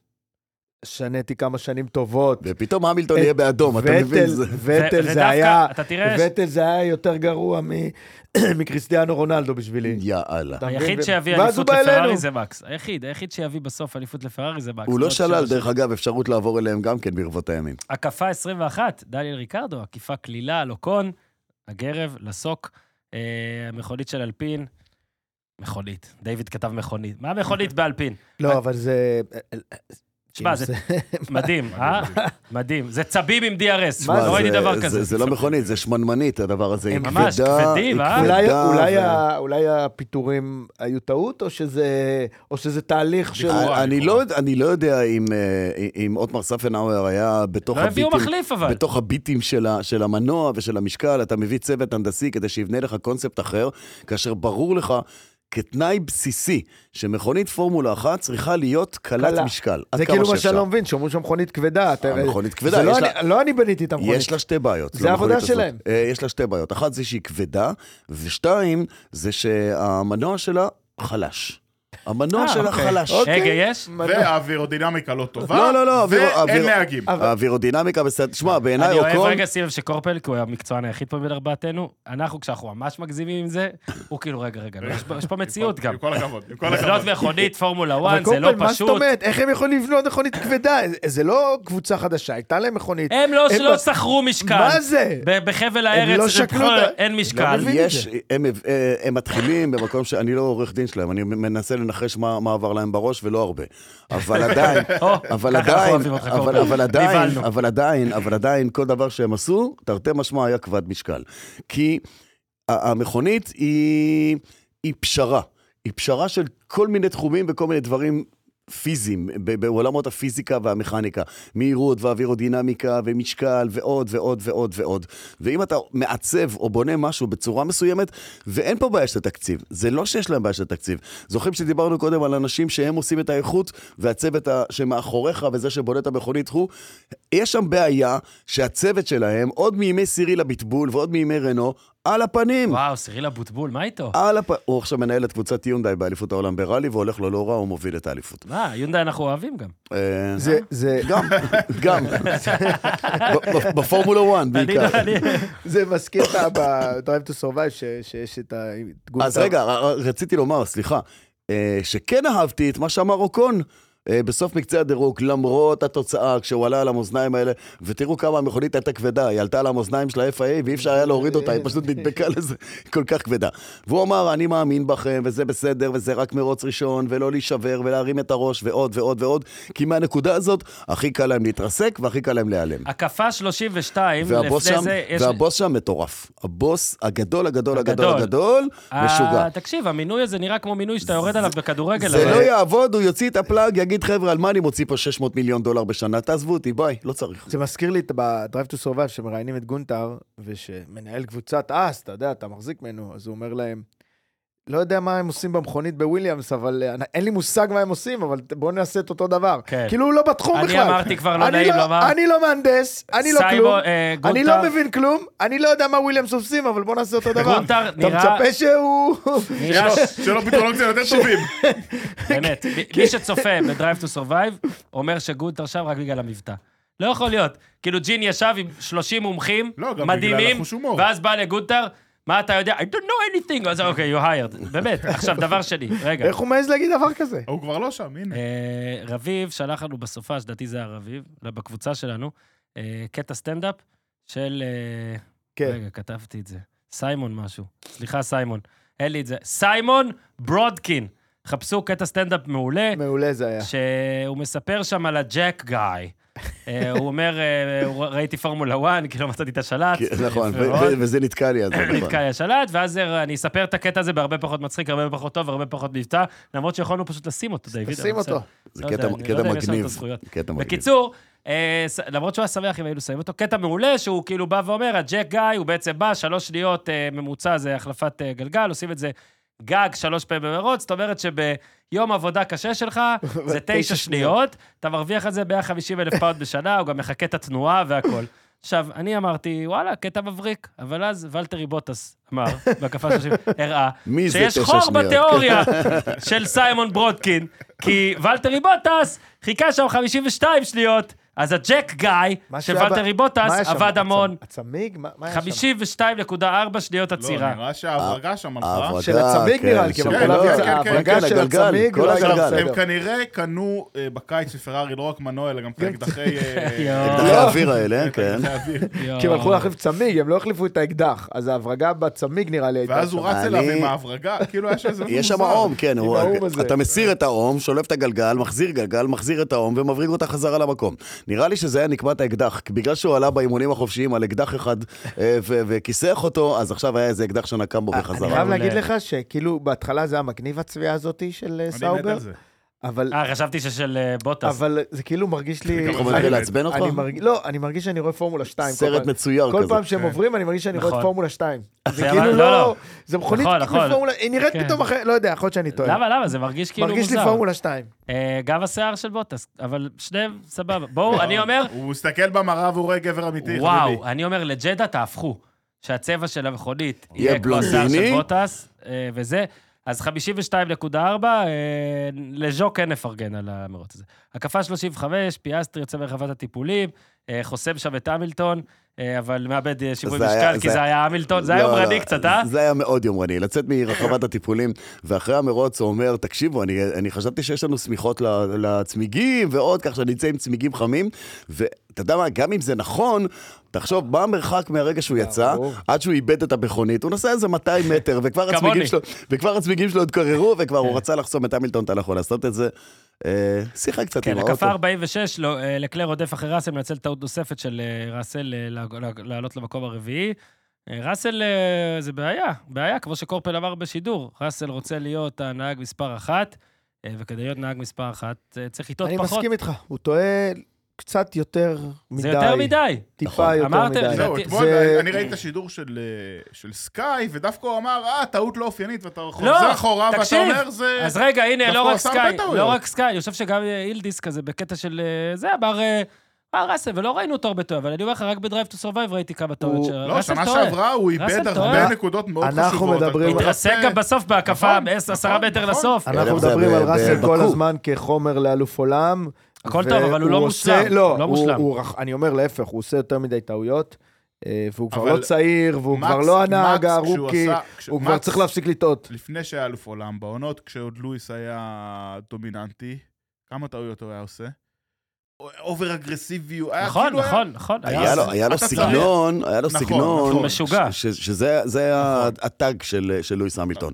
A: שנאתי כמה שנים טובות.
D: ופתאום המילטון יהיה באדום, אתה מבין?
A: אה, וטל,
D: זה-
B: ו-
A: וטל
B: ודווקא
A: זה היה,
B: אתה תראה, ש-
A: וטל זה היה יותר גרוע מ- מקריסטיאנו רונלדו בשבילי.
D: יאללה.
A: אתה מבין?
B: היחיד
A: ו-
B: שיביא
A: ואז הוא
B: אליפות
A: בא
B: לפרארי
A: אלינו.
B: זה מקס. היחיד, היחיד שיביא בסוף אליפות לפרארי זה מקס.
D: הוא לא
B: בעוד
D: שלל,
B: שלוש-
D: דרך אגב, אפשרות לעבור אליהם גם כן ברבות הימים.
B: הקפה 21, דניאל ריקרדו, עקיפה קלילה, לוקון, הגרב, לסוק, אה, מכונית של אלפין, מכונית. דיוויד כתב מכונית. מה מכונית באלפין?
A: לא, אבל זה... כאילו,
B: תשמע, זה מדהים, אה? מדהים. זה צבים עם DRS,
A: מה
B: לא
D: זה-
B: ראיתי דבר
D: זה-
B: כזה.
D: זה לא מכונית, זה שמנמנית, הדבר הזה. היא
B: הם ממש
D: כבדה,
B: כבדים,
D: היא
B: אה?
D: כבדה,
A: אולי, אולי,
D: ו-
A: ה, אולי הפיטורים היו טעות, או שזה, או שזה תהליך של...
C: לכאורה.
D: אני לא, אני לא יודע אם, אה, אם אוטמר ספנאוור היה בתוך
B: לא הביאו
D: הביטים,
B: מחליף אבל.
D: בתוך הביטים של, ה, של המנוע ושל המשקל, אתה מביא צוות הנדסי כדי שיבנה לך קונספט אחר, כאשר ברור לך כתנאי בסיסי שמכונית פורמולה אחת צריכה להיות קלת
A: קלה.
D: משקל. עד
A: זה
D: כמה
A: כאילו מה שאני
D: שאפשר. אה,
A: לא מבין, שאומרים שהמכונית כבדה. אתה-
D: המכונית כבדה,
A: זה לא
D: יש
A: אני-
D: לה-
A: לא אני בניתי את המכונית.
D: יש לה שתי בעיות.
A: זה העבודה
D: למכונית הזאת.
A: שלהם.
D: אה, יש לה שתי בעיות. אחת זה שהיא כבדה, ושתיים זה שהמנוע שלה חלש. המנוע
B: אה,
D: שלה
B: אוקיי.
D: חלש.
B: הגה יש?
C: והאווירודינמיקה לא טובה,
D: לא, לא, לא, אוויר-
C: ואין
D: אוויר-
C: נהגים.
A: אבל-
D: האווירודינמיקה בסדר. תשמע,
A: לא,
D: בעיניי
B: אני אוהב
D: אוקון...
B: רגע שים לב שקורפל, כי הוא המקצוען היחיד פה בין ארבעתנו, אנחנו, כשאנחנו ממש מגזימים עם זה, הוא כאילו, רגע, רגע, לא, יש פה- יש פה מציאות גם.
C: עם כל הכבוד, עם כל
B: לבנות
C: הכבוד.
B: מכונית, פורמולה 1,
A: אבל
B: זה
A: קודם
B: לא
A: כל, מה זאת
B: פשוט.
A: אומרת? איך הם יכולים לבנות מכונית כבדה? זה- זה לא קבוצה חדשה, הייתה להם מכונית.
B: הם לא
A: הם
B: לא
A: לא-
B: סחרו משקל.
A: מה זה?
B: ב- בחבל הארץ,
A: לא
B: זה
A: שקלו
B: בכלל
A: את ה- לא
B: אין משקל.
A: מבין. את
D: יש, הם, אה, הם מתחילים במקום ש... אני לא עורך דין שלהם, אני מנסה לנחש מה, מה עבר להם בראש, ולא הרבה. אבל עדיין,
B: או,
D: אבל
B: ככה אנחנו
D: עדיין,
B: אוהבים אותך,
D: אבל,
B: קורפל.
D: אבל עדיין,
B: נבהלנו.
D: אבל עדיין, אבל עדיין, כל דבר שהם עשו, תרתי משמע היה כבד משקל. כי ה- המכונית היא, היא פשרה. היא פשרה של כל מיני תחומים וכל מיני דברים פיזיים, ב- בעולמות הפיזיקה והמכניקה. מהירות ואווירודינמיקה ומשקל ועוד ועוד ועוד ועוד. ואם אתה מעצב או בונה משהו בצורה מסוימת, ואין פה בעיה של תקציב. זה לא שיש להם בעיה של תקציב. זוכרים שדיברנו קודם על אנשים שהם עושים את האיכות, והצוות ה- שמאחוריך וזה שבונה את המכונית הוא, יש שם בעיה שהצוות שלהם, עוד מימי סיריל הביטבול ועוד מימי רנו, על הפנים.
B: וואו, סיריל אבוטבול, מה איתו?
D: על הפ... הוא עכשיו מנהל את קבוצת יונדאי באליפות העולם בראלי, והולך לו לא רע, הוא מוביל את האליפות.
B: מה, יונדאי אנחנו אוהבים גם.
D: אה,
A: זה, זה,
D: גם, גם. ב- ב- בפורמולה 1
B: אני לא
D: בעיקר.
B: אני-
A: זה מזכיר את ה-Drive to Survive ש- שיש את ה...
D: אז רגע, ר- רציתי לומר, סליחה, אה, שכן אהבתי את מה שאמר אוקון. אה, בסוף מקצה הדירוג, למרות התוצאה, כשהוא עלה על המאזניים האלה, ותראו כמה המכונית הייתה כבדה, היא עלתה על המאזניים של ה-FIA ואי אפשר היה להוריד אותה, היא פשוט נדבקה לזה, היא כל כך כבדה. והוא אמר, אני מאמין בכם, וזה בסדר, וזה רק מרוץ ראשון, ולא להישבר, ולהרים את הראש, ועוד ועוד ועוד, כי מהנקודה הזאת, הכי קל להם להתרסק, והכי קל להם להיעלם.
B: הקפה 32,
D: והבוס
B: לפני
D: שם,
B: זה יש...
D: והבוס שם מטורף. הבוס הגדול, הגדול, הגדול,
B: הגדול.
D: הגדול,
B: אה,
D: משוגע.
B: תקשיב, המינוי הזה נראה כמו מינוי שאתה יורד עליו בכדורגל.
D: זה
B: אבל-
D: לא יעבוד, הוא יוציא את הפלאג, יגיד, חבר'ה, על מה אני מוציא פה 600 מיליון דולר בשנה? תעזבו אותי, ביי, לא צריך.
A: זה מזכיר לי את ב-Drive to Survive, שמראיינים את גונטר, ושמנהל קבוצת אס, אתה יודע, אתה מחזיק ממנו, אז הוא אומר להם, לא יודע מה הם עושים במכונית בוויליאמס, אבל אה, אין לי מושג מה הם עושים, אבל בואו נעשה את אותו דבר.
B: כן.
A: כאילו הוא לא בתחום
B: אני
A: בכלל.
B: אמרתי כבר, לא
A: אני
B: נעים לומר.
A: אני לא מהנדס, אני לא כלום,
B: סיימון, אה,
A: אני
B: גונטר.
A: לא מבין כלום, אני לא יודע מה וויליאמס עושים, אבל בואו נעשה אותו דבר.
B: גונטר
A: אתה
B: נראה-
A: מצפה שהוא...
B: נראה
C: שלא- שלא פתרונות קצת יותר טובים.
B: באמת, מי-
C: כן.
B: מי שצופה ב-Drive to Survive, אומר שגונטר שם רק בגלל המבטא. לא יכול להיות. כאילו ג'ין ישב עם 30 מומחים
C: לא, גם בגלל
B: מדהימים,
C: החוש הומור.
B: ואז בא לגונטר, מה אתה יודע? I don't know anything. אז אוקיי, you hired. באמת. עכשיו, דבר שני, רגע.
A: איך הוא מעז להגיד דבר כזה?
C: הוא כבר לא שם, הנה.
B: אה, רביב שלח לנו בסופה, לדעתי זה היה רביב, לא, בקבוצה שלנו, אה, קטע סטנדאפ של... אה,
A: כן.
B: רגע, כתבתי את זה. סיימון משהו. סליחה, סיימון. אין לי את זה. סיימון ברודקין. חפשו קטע סטנדאפ מעולה.
A: מעולה זה היה.
B: שהוא מספר שם על הג'ק גאי. אה, הוא אומר, אה, הוא- ראיתי פורמולה 1, כי לא מצאתי את השלט.
D: כן, נכון, ו-
B: יפה מאוד.
D: ו- וזה נתקע לי אז. נכון.
B: נתקע לי השלט, ואז אה, אני אספר את הקטע הזה בהרבה פחות מצחיק, הרבה פחות טוב, הרבה פחות מבטא, למרות שיכולנו פשוט לשים אותו, דיוויד. אבל
A: תשים
B: בסדר.
A: אותו.
D: זה
B: לא
D: קטע
B: יודע, אני לא
D: קטע
B: יודע אם יש לנו את
D: מגניב.
B: הזכויות.
D: קטע מגניב.
B: בקיצור, אה, ס- למרות שהוא היה שמח אם היינו שמים אותו, קטע מעולה שהוא כאילו בא ואומר, הג'ק גיא, הוא בעצם בא, שלוש שניות אה, ממוצע זה החלפת אה, גלגל, עושים את זה גג שלוש פעמים במרוץ, זאת אומרת שביום עבודה קשה שלך, זה תשע שניות, אתה מרוויח על זה 150 אלף פאונד בשנה, הוא גם מחכה את התנועה והכול. עכשיו, אני אמרתי, וואלה, קטע מבריק, אבל אז ולטרי בוטס אמר, בהקפה 30, הראה,
D: מי זה
B: שיש
D: תשע
B: חור
D: שניות?
B: בתיאוריה של סיימון ברודקין, כי ולטרי בוטס חיכה שם 52 שניות, אז הג'ק גיא,
A: מה
B: של
A: שהיה ב-
B: ולטרי
A: מה
B: בוטס,
A: היה שם?
B: עבד
A: הצ-
B: המון.
A: הצמיג? מה מה היה שם?
B: 52.4 שניות
C: לא,
B: עצירה.
C: נראה
D: אה,
C: שההברגה שם הלכה.
D: ההברקה,
A: של הצמיג
D: כן,
A: נראה לי, כי
D: של-
A: אבל
C: כן,
A: כל
C: לא,
A: ההברגה-
C: כן, כן,
A: ההברגה
D: כן,
A: של
D: הגלגל,
A: הצמיג
D: כל
A: לא הייתה
D: הגלגל.
C: עכשיו,
A: בסדר.
C: הם כנראה קנו אה, בקיץ לפרארי לא רק מנוע, אלא גם את האקדחי... אה,
B: כן. יואו.
D: אקדחי האוויר האלה,
A: אה.
C: את
D: כן.
C: האקדחי האוויר.
B: אה,
A: כי הם הלכו להחליף צמיג, הם לא החליפו את האקדח, אז ההברגה בצמיג נראה לי הייתה
C: ואז הוא
A: שם.
C: רץ אליו
D: אני-
C: עם ההברגה, כאילו היה שם איזה... משהו
D: יש שם
C: מוזר.
D: עום, כן, הוא-
A: האום הזה.
D: אתה מסיר את העום, שולף את הגלגל, מחזיר גלגל, מחזיר את העום ומבריג אותה חזרה למקום. נראה לי שזה היה נקמת האקדח, כי בגלל שהוא עלה באימונים החופשיים על אקדח אחד אה, ו- וכיסח אותו, אז עכשיו היה איזה אקדח שנקם בו
A: אני
D: בחזרה.
A: חייב להגיד לך שכאילו בהתחלה זה היה מגניב הצביעה הזאת של אה,
C: אני מת
A: סאובר,
C: על זה.
A: אבל
B: אה, חשבתי ששל אה, בוטס.
A: אבל זה כאילו מרגיש לי...
D: אתה מתחיל
A: אני-
D: לעצבן אותך?
A: אני מרגיש- לא, אני מרגיש שאני רואה פורמולה 2.
D: סרט מצויר
A: כל
D: כזה.
A: פעם
C: כן.
A: שהם עוברים, אני מרגיש שאני רואה
B: נכון.
A: את פורמולה 2. זה
B: אבל-
A: כאילו
B: לא,
A: לא...
B: לא.
A: זה מכונית
B: נכון,
A: כאילו
B: נכון.
A: פורמולה... היא נראית
B: כן.
A: פתאום אחרת, לא יודע, יכול להיות שאני טועה.
B: למה, למה? זה מרגיש כאילו
A: מרגיש לי
B: מוזר.
A: פורמולה 2.
B: אה, גם השיער של בוטס, אבל שניהם סבבה. בואו, אני אומר,
C: הוא מסתכל במראה והוא רואה גבר אמיתי, חביבי.
B: וואו, אני אומר, לג'דה תהפכו. שהצבע של המכונית יהיה כמו השיער
D: בלונדיני?
B: של בוטס, אה, וזה. אז 52.4, אה, לז'וק אין לפרגן על המרוץ הזה. הקפה 35, פיאסטרי יוצא מרחבת הטיפולים, אה, חוסם שם את המילטון, אה, אבל מאבד אה, שיווי
D: זה היה-
B: משקל, כי
D: זה-
B: זה היה המילטון, זה היה
D: לא,
B: יומרני
D: לא,
B: קצת, אה?
D: זה היה מאוד יומרני, לצאת מרחבת הטיפולים, ואחרי המרוץ הוא אומר, תקשיבו, אני, אני חשבתי שיש לנו שמיכות ל- לצמיגים ועוד, כך שאני אצא עם צמיגים חמים, ואתה יודע מה, גם אם זה נכון, תחשוב, מה המרחק מהרגע שהוא יצא,
A: ברור.
D: עד שהוא איבד את המכונית, הוא נסע איזה 200 מטר, וכבר,
B: כמוני.
D: הצמיגים, שלו, וכבר הצמיגים שלו עוד קררו, וכבר הוא רצה לחסום את המילטון, אתה לא יכול לעשות את זה. אה, שיחה קצת
B: כן,
D: עם האוטו.
B: הקפה 46, לא, אה, לקלר רודף אחרי ראסל, מנצל טעות נוספת של אה, ראסל אה, לג- לג- לעלות למקום הרביעי. אה, ראסל אה, זה בעיה, בעיה, כמו שקורפל אמר בשידור. ראסל רוצה להיות הנהג מספר אחת, אה, וכדי להיות נהג מספר אחת אה, צריך לטעות
A: אני
B: פחות.
A: מסכים איתך, הוא טועה קצת יותר מדי.
B: זה יותר מדי.
A: טיפה
D: נכון.
A: יותר
B: אמרתם,
A: מדי.
C: זהו,
B: זה-
C: אתמול
A: זה-
C: אני ראיתי את השידור של, אה, של סקאי, ודווקא הוא אמר, אה, טעות לא אופיינית, ואתה
B: לא,
C: חוזר אחורה, ואתה
B: תקשיב.
C: אומר, זה...
B: אז רגע, הנה,
C: דווקא
B: לא
C: הוא
B: רק
C: עשה
B: סקאי,
C: הרבה טעויות.
B: לא רק סקאי, אני חושב שגם אה, אילדיס כזה, בקטע של אה, זה, אמר... אה, אה, ראסל, ולא ראינו אותו הרבה טועה, אבל אני אומר לך, רק בדרייב טו סורווייב ראיתי כמה טעויות
A: הוא-
B: של
C: לא,
B: ראסל
C: שנה
B: טועה.
C: שעברה הוא
B: ראסל
C: איבד
B: טועה.
C: הרבה נקודות מאוד חשובות.
A: אנחנו
C: אתה
A: מדברים-
C: רוצה-
B: התרסק גם בסוף בהקפה,
C: נכון,
B: בעשר- עשרה
C: נכון,
B: מטר
C: נכון.
B: לסוף.
A: אנחנו
D: זה
A: מדברים
D: ב-
A: על ראסל כל
D: בבקו.
A: הזמן כחומר לאלוף עולם.
B: הכל טוב, אבל הוא לא
A: והוא
B: מושלם,
A: עושה- לא,
B: לא
A: הוא-
B: מושלם.
A: הוא רך- אני אומר להפך, הוא עושה יותר מדי טעויות, אה, והוא כבר
C: אבל
A: לא צעיר, והוא
C: מקס-
A: כבר לא הנהג
C: מקס, כשהוא
A: הרוקי,
C: עשה- כש-
A: הוא כבר
C: מקס- לא,
A: צריך להפסיק לטעות.
C: לפני שהיה אלוף עולם בעונות, כשעוד לואיס היה דומיננטי, כמה טעויות הוא היה עושה? אובר אגרסיבי, הוא היה
B: נכון,
C: כאילו... היה-
B: נכון, נכון.
D: היה לו,
B: זה.
D: היה לו
C: אתה
D: סגנון, היה לו
C: נכון,
D: סגנון,
C: נכון.
B: משוגע.
D: ש- ש- שזה זה ה- הטאג של של לואיס המילטון.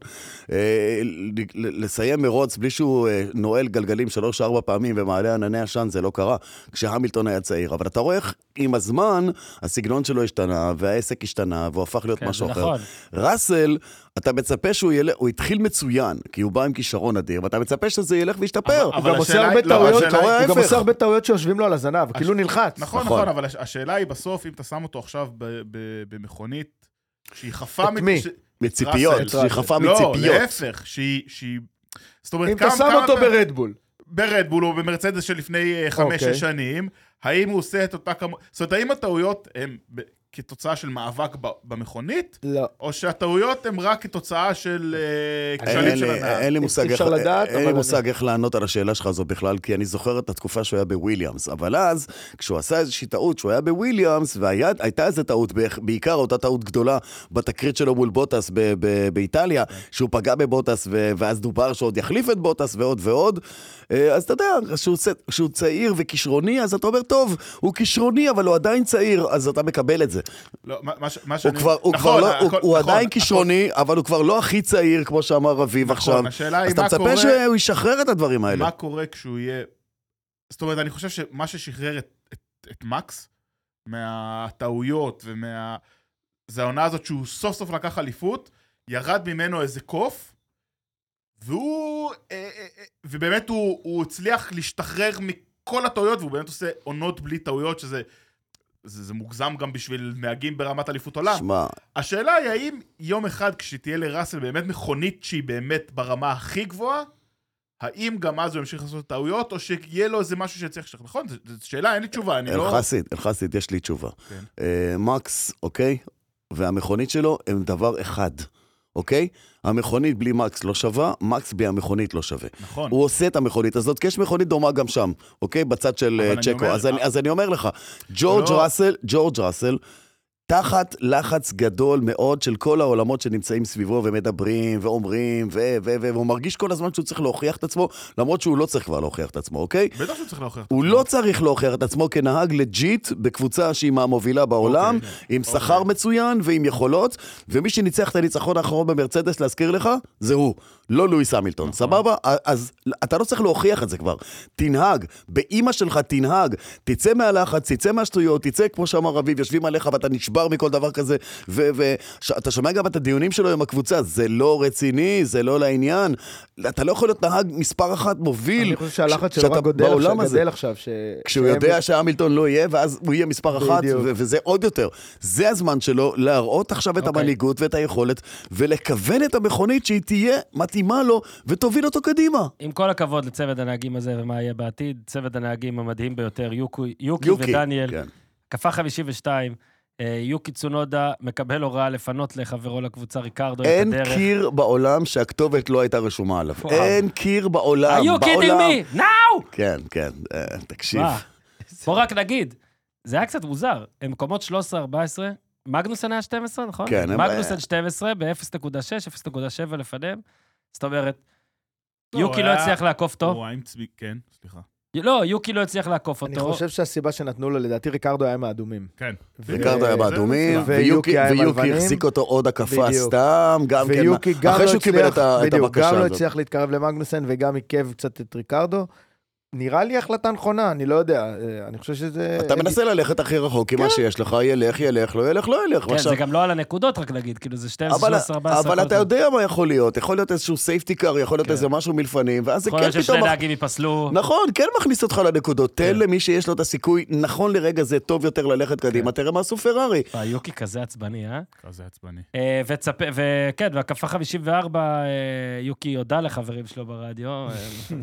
D: אה, ל- ל- לסיים מרוץ בלי שהוא אה, נועל גלגלים שלוש-ארבע פעמים ומעלה ענני עשן, זה לא קרה, כשהמילטון היה צעיר. אבל אתה רואה איך עם הזמן הסגנון שלו השתנה, והעסק השתנה, והוא הפך להיות
B: כן, זה
D: משהו אחר.
B: נכון.
D: ראסל, אתה מצפה שהוא ילך, הוא התחיל מצוין, כי הוא בא עם כישרון אדיר, ואתה מצפה שזה ילך וישתפר.
A: הוא
C: אבל
A: גם עושה
C: השאלה
A: הרבה
C: היא- לא,
A: טעויות,
C: השאלה
D: היא-
A: הוא גם
D: ההפך.
A: עושה הרבה טעויות שיושבים לו על הזנב, כאילו נלחץ.
C: נכון,
D: נכון.
C: נכון, אבל הש- השאלה היא בסוף, אם אתה שם אותו עכשיו ב- ב- במכונית, שהיא חפה...
A: את
C: מ-
A: מי?
C: ש-
D: מציפיות,
C: ראסל.
D: שהיא חפה
C: לא,
D: מציפיות.
C: להפך, שהיא... שהיא- זאת אומרת,
A: אם אתה שם
C: כמה- כמה
A: אותו
C: פעמים-
A: ברדבול.
C: ברדבול או במרצדס שלפני אה, חמש,
A: אוקיי.
C: שש שנים, האם הוא עושה את אותה כמו... זאת אומרת, האם הטעויות הן ב- כתוצאה של מאבק ב- במכונית,
A: לא.
C: או שהטעויות הן רק כתוצאה של אה,
D: אין
C: כשלים של
D: לי-
C: הנהג?
D: אין לי מושג
A: אפשר
D: איך-
A: לדעת,
D: אין לי
A: אבל
D: מושג איך לענות על השאלה שלך הזו בכלל, כי אני זוכר את התקופה שהוא היה בוויליאמס. אבל אז, כשהוא עשה איזושהי טעות, שהוא היה בוויליאמס, והייתה איזו טעות, בערך- בעיקר אותה טעות גדולה בתקרית שלו מול בוטס ב- ב- באיטליה, שהוא פגע בבוטס, ו- ואז דובר שעוד יחליף את בוטס ועוד ועוד. אה, אז אתה יודע, כשהוא צ- כשהוא צעיר וכישרוני, אז אתה אומר, טוב, הוא כישרוני, אבל הוא עדיין צעיר, אז אתה מקבל את זה.
C: לא, מה- מה ש- מה
D: הוא
C: שאני-
D: כבר, הוא
C: נכון,
D: כבר לא, הוא,
C: הכל-
D: הוא
C: נכון,
D: עדיין
C: הכל-
D: כישרוני, אבל הוא כבר לא הכי צעיר, כמו שאמר רביב
C: נכון,
D: עכשיו.
C: השאלה היא
D: אז אתה
C: מה
D: מצפה
C: קורה-
D: שהוא ישחרר את הדברים האלה.
C: מה קורה כשהוא יהיה... זאת אומרת, אני חושב שמה ששחרר את, את, את מקס מהטעויות ומה... זה העונה הזאת שהוא סוף סוף לקח אליפות, ירד ממנו איזה קוף, והוא... אה, אה, אה, ובאמת הוא, הוא הצליח להשתחרר מכל הטעויות, והוא באמת עושה עונות בלי טעויות, שזה... זה, זה מוגזם גם בשביל נהגים ברמת אליפות עולם.
D: שמע,
C: השאלה היא האם יום אחד כשתהיה לראסל באמת מכונית שהיא באמת ברמה הכי גבוהה, האם גם אז הוא ימשיך לעשות טעויות, או שיהיה לו איזה משהו שצריך לשחק. נכון, זו זו שאלה, אין לי תשובה, אני לא...
D: אלחסית, אלחסית, יש לי תשובה.
C: כן.
D: אה, מקס, אוקיי? והמכונית שלו הם דבר אחד, אוקיי? המכונית בלי מקס לא שווה, מקס בלי המכונית לא שווה.
C: נכון.
D: הוא עושה את המכונית הזאת, כי יש מכונית דומה גם שם, אוקיי? בצד של
C: אבל
D: אה,
C: אני
D: צ'קו.
C: אומר-
D: אז אני- אז אני אומר לך, ג'ורג'
C: לא.
D: ראסל, ג'ורג' ראסל, תחת לחץ גדול מאוד של כל העולמות שנמצאים סביבו ומדברים ואומרים, ו... ו... ו... והוא מרגיש כל הזמן שהוא צריך להוכיח את עצמו, למרות שהוא לא צריך כבר להוכיח את עצמו, אוקיי?
C: בטח שהוא צריך להוכיח. את
D: הוא
C: עצמו.
D: לא צריך להוכיח את עצמו כנהג לג'יט בקבוצה שהיא מהמובילה בעולם,
A: אוקיי.
D: עם שכר מצוין ועם יכולות, ומי שניצח את הניצחון האחרון במרצדס, להזכיר לך, זה הוא, לא לואיס המילטון,
A: נכון.
D: סבבה? אז אתה לא צריך להוכיח את זה כבר. תנהג, באימא שלך תנהג, תצא מהלחץ, תצא מהשטויות, תצא, כמו שאמר רביב, יושבים עליך ואתה נשבר מכל דבר כזה, ואתה שומע גם את הדיונים שלו עם הקבוצה, זה לא רציני, זה לא לעניין. אתה לא יכול להיות נהג מספר אחת מוביל.
A: אני חושב שהלחץ
D: ש-
A: שלו
D: שאתה
A: רק גודל עכשיו,
D: בעולם הזה.
A: גדל עכשיו, ש...
D: כשהוא
A: שהם-
D: יודע שהמילטון לא יהיה, ואז הוא יהיה מספר אחת,
A: בדיוק.
D: ו- וזה עוד יותר. זה הזמן שלו להראות עכשיו את
B: אוקיי.
D: המנהיגות ואת היכולת, ולכוון את המכונית שהיא תהיה מתאימה לו, ותוביל אותו קדימה.
B: עם כל הכבוד לצוות הנהגים הזה ומה יהיה בעתיד, צוות הנהגים המדהים ביותר, יוקי,
A: אוקיי,
B: יוקי,
D: יוקי.
B: יוקי ודניאל,
D: כן.
B: הקפה 52, אה, יוקי צונודה מקבל הוראה לפנות לחברו לקבוצה ריקרדו את
D: אין
B: הדרך.
D: קיר בעולם שהכתובת לא הייתה רשומה עליו.
B: וואו.
D: אין קיר בעולם,
B: Are you kidding
D: בעולם.
B: me? Now!
D: כן, כן, אה, תקשיב.
B: מה? בוא רק נגיד, זה היה קצת מוזר. הם מקומות 13-14, מגנוסן היה 12, נכון?
D: כן, הם-
B: מגנוסן 12 ב-0.6, 0.7 לפניהם. זאת אומרת,
C: לא,
B: יוקי
C: הוא
B: לא
C: היה-
B: הצליח לעקוף אותו.
C: הוא היה עם צבי... כן, סליחה.
B: לא, יוקי לא הצליח לעקוף
A: אני
B: אותו.
A: חושב שהריקרדו שהסיבה שנתנו לו, לדעתי ריקרדו היה מהאדומים.
C: כן.
A: ו-
D: ריקרדו היה
A: אה, זה
D: באדומים,
A: מצוין.
D: ויוקי
A: ויוקי היה עם
D: ויוקי
A: הלבנים.
D: החזיק אותו עוד הקפה
A: בדיוק.
D: סתם, גם כן,
A: ויוקי גם
D: אחרי
A: לא
D: שהוא קיבל את ה-
A: הצליח,
D: את
A: בדיוק,
D: הבקשה
A: גם לא
D: הזאת.
A: הצליח להתקרב למגנוסן וגם עיכב קצת את ריקרדו. נראה לי החלטה נכונה, אני לא יודע, אה, אני חושב שזה...
D: אתה מנסה ללכת הכי רחוק
A: כן.
D: עם מה שיש לך, ילך, ילך, לא ילך, לא ילך.
B: כן,
D: ועכשיו-
B: זה גם לא על הנקודות, רק נגיד, כאילו זה 12,
D: אבל,
B: 13, 14.
D: אבל
B: כל
D: אתה
B: הזמן.
D: יודע מה יכול להיות, יכול להיות איזשהו סייפטי קאר, יכול להיות
B: כן.
D: איזה משהו מלפנים, ואז זה
B: יכול
D: כן
B: להיות ששני
D: פתאום...
B: נהגים ייפסלו.
D: נכון, כן מכניס אותך לנקודות, תן
B: כן.
D: למי שיש לו את הסיכוי, נכון לרגע זה טוב יותר ללכת קדימה, תראה מה עשו פרארי.
B: וואי, אה, יוקי כזה עצבני, אה?
C: כזה עצבני.
B: אה, וצפ... וכן, והקפה 54, אה, יוקי הודה לחברים שלו ברדיו,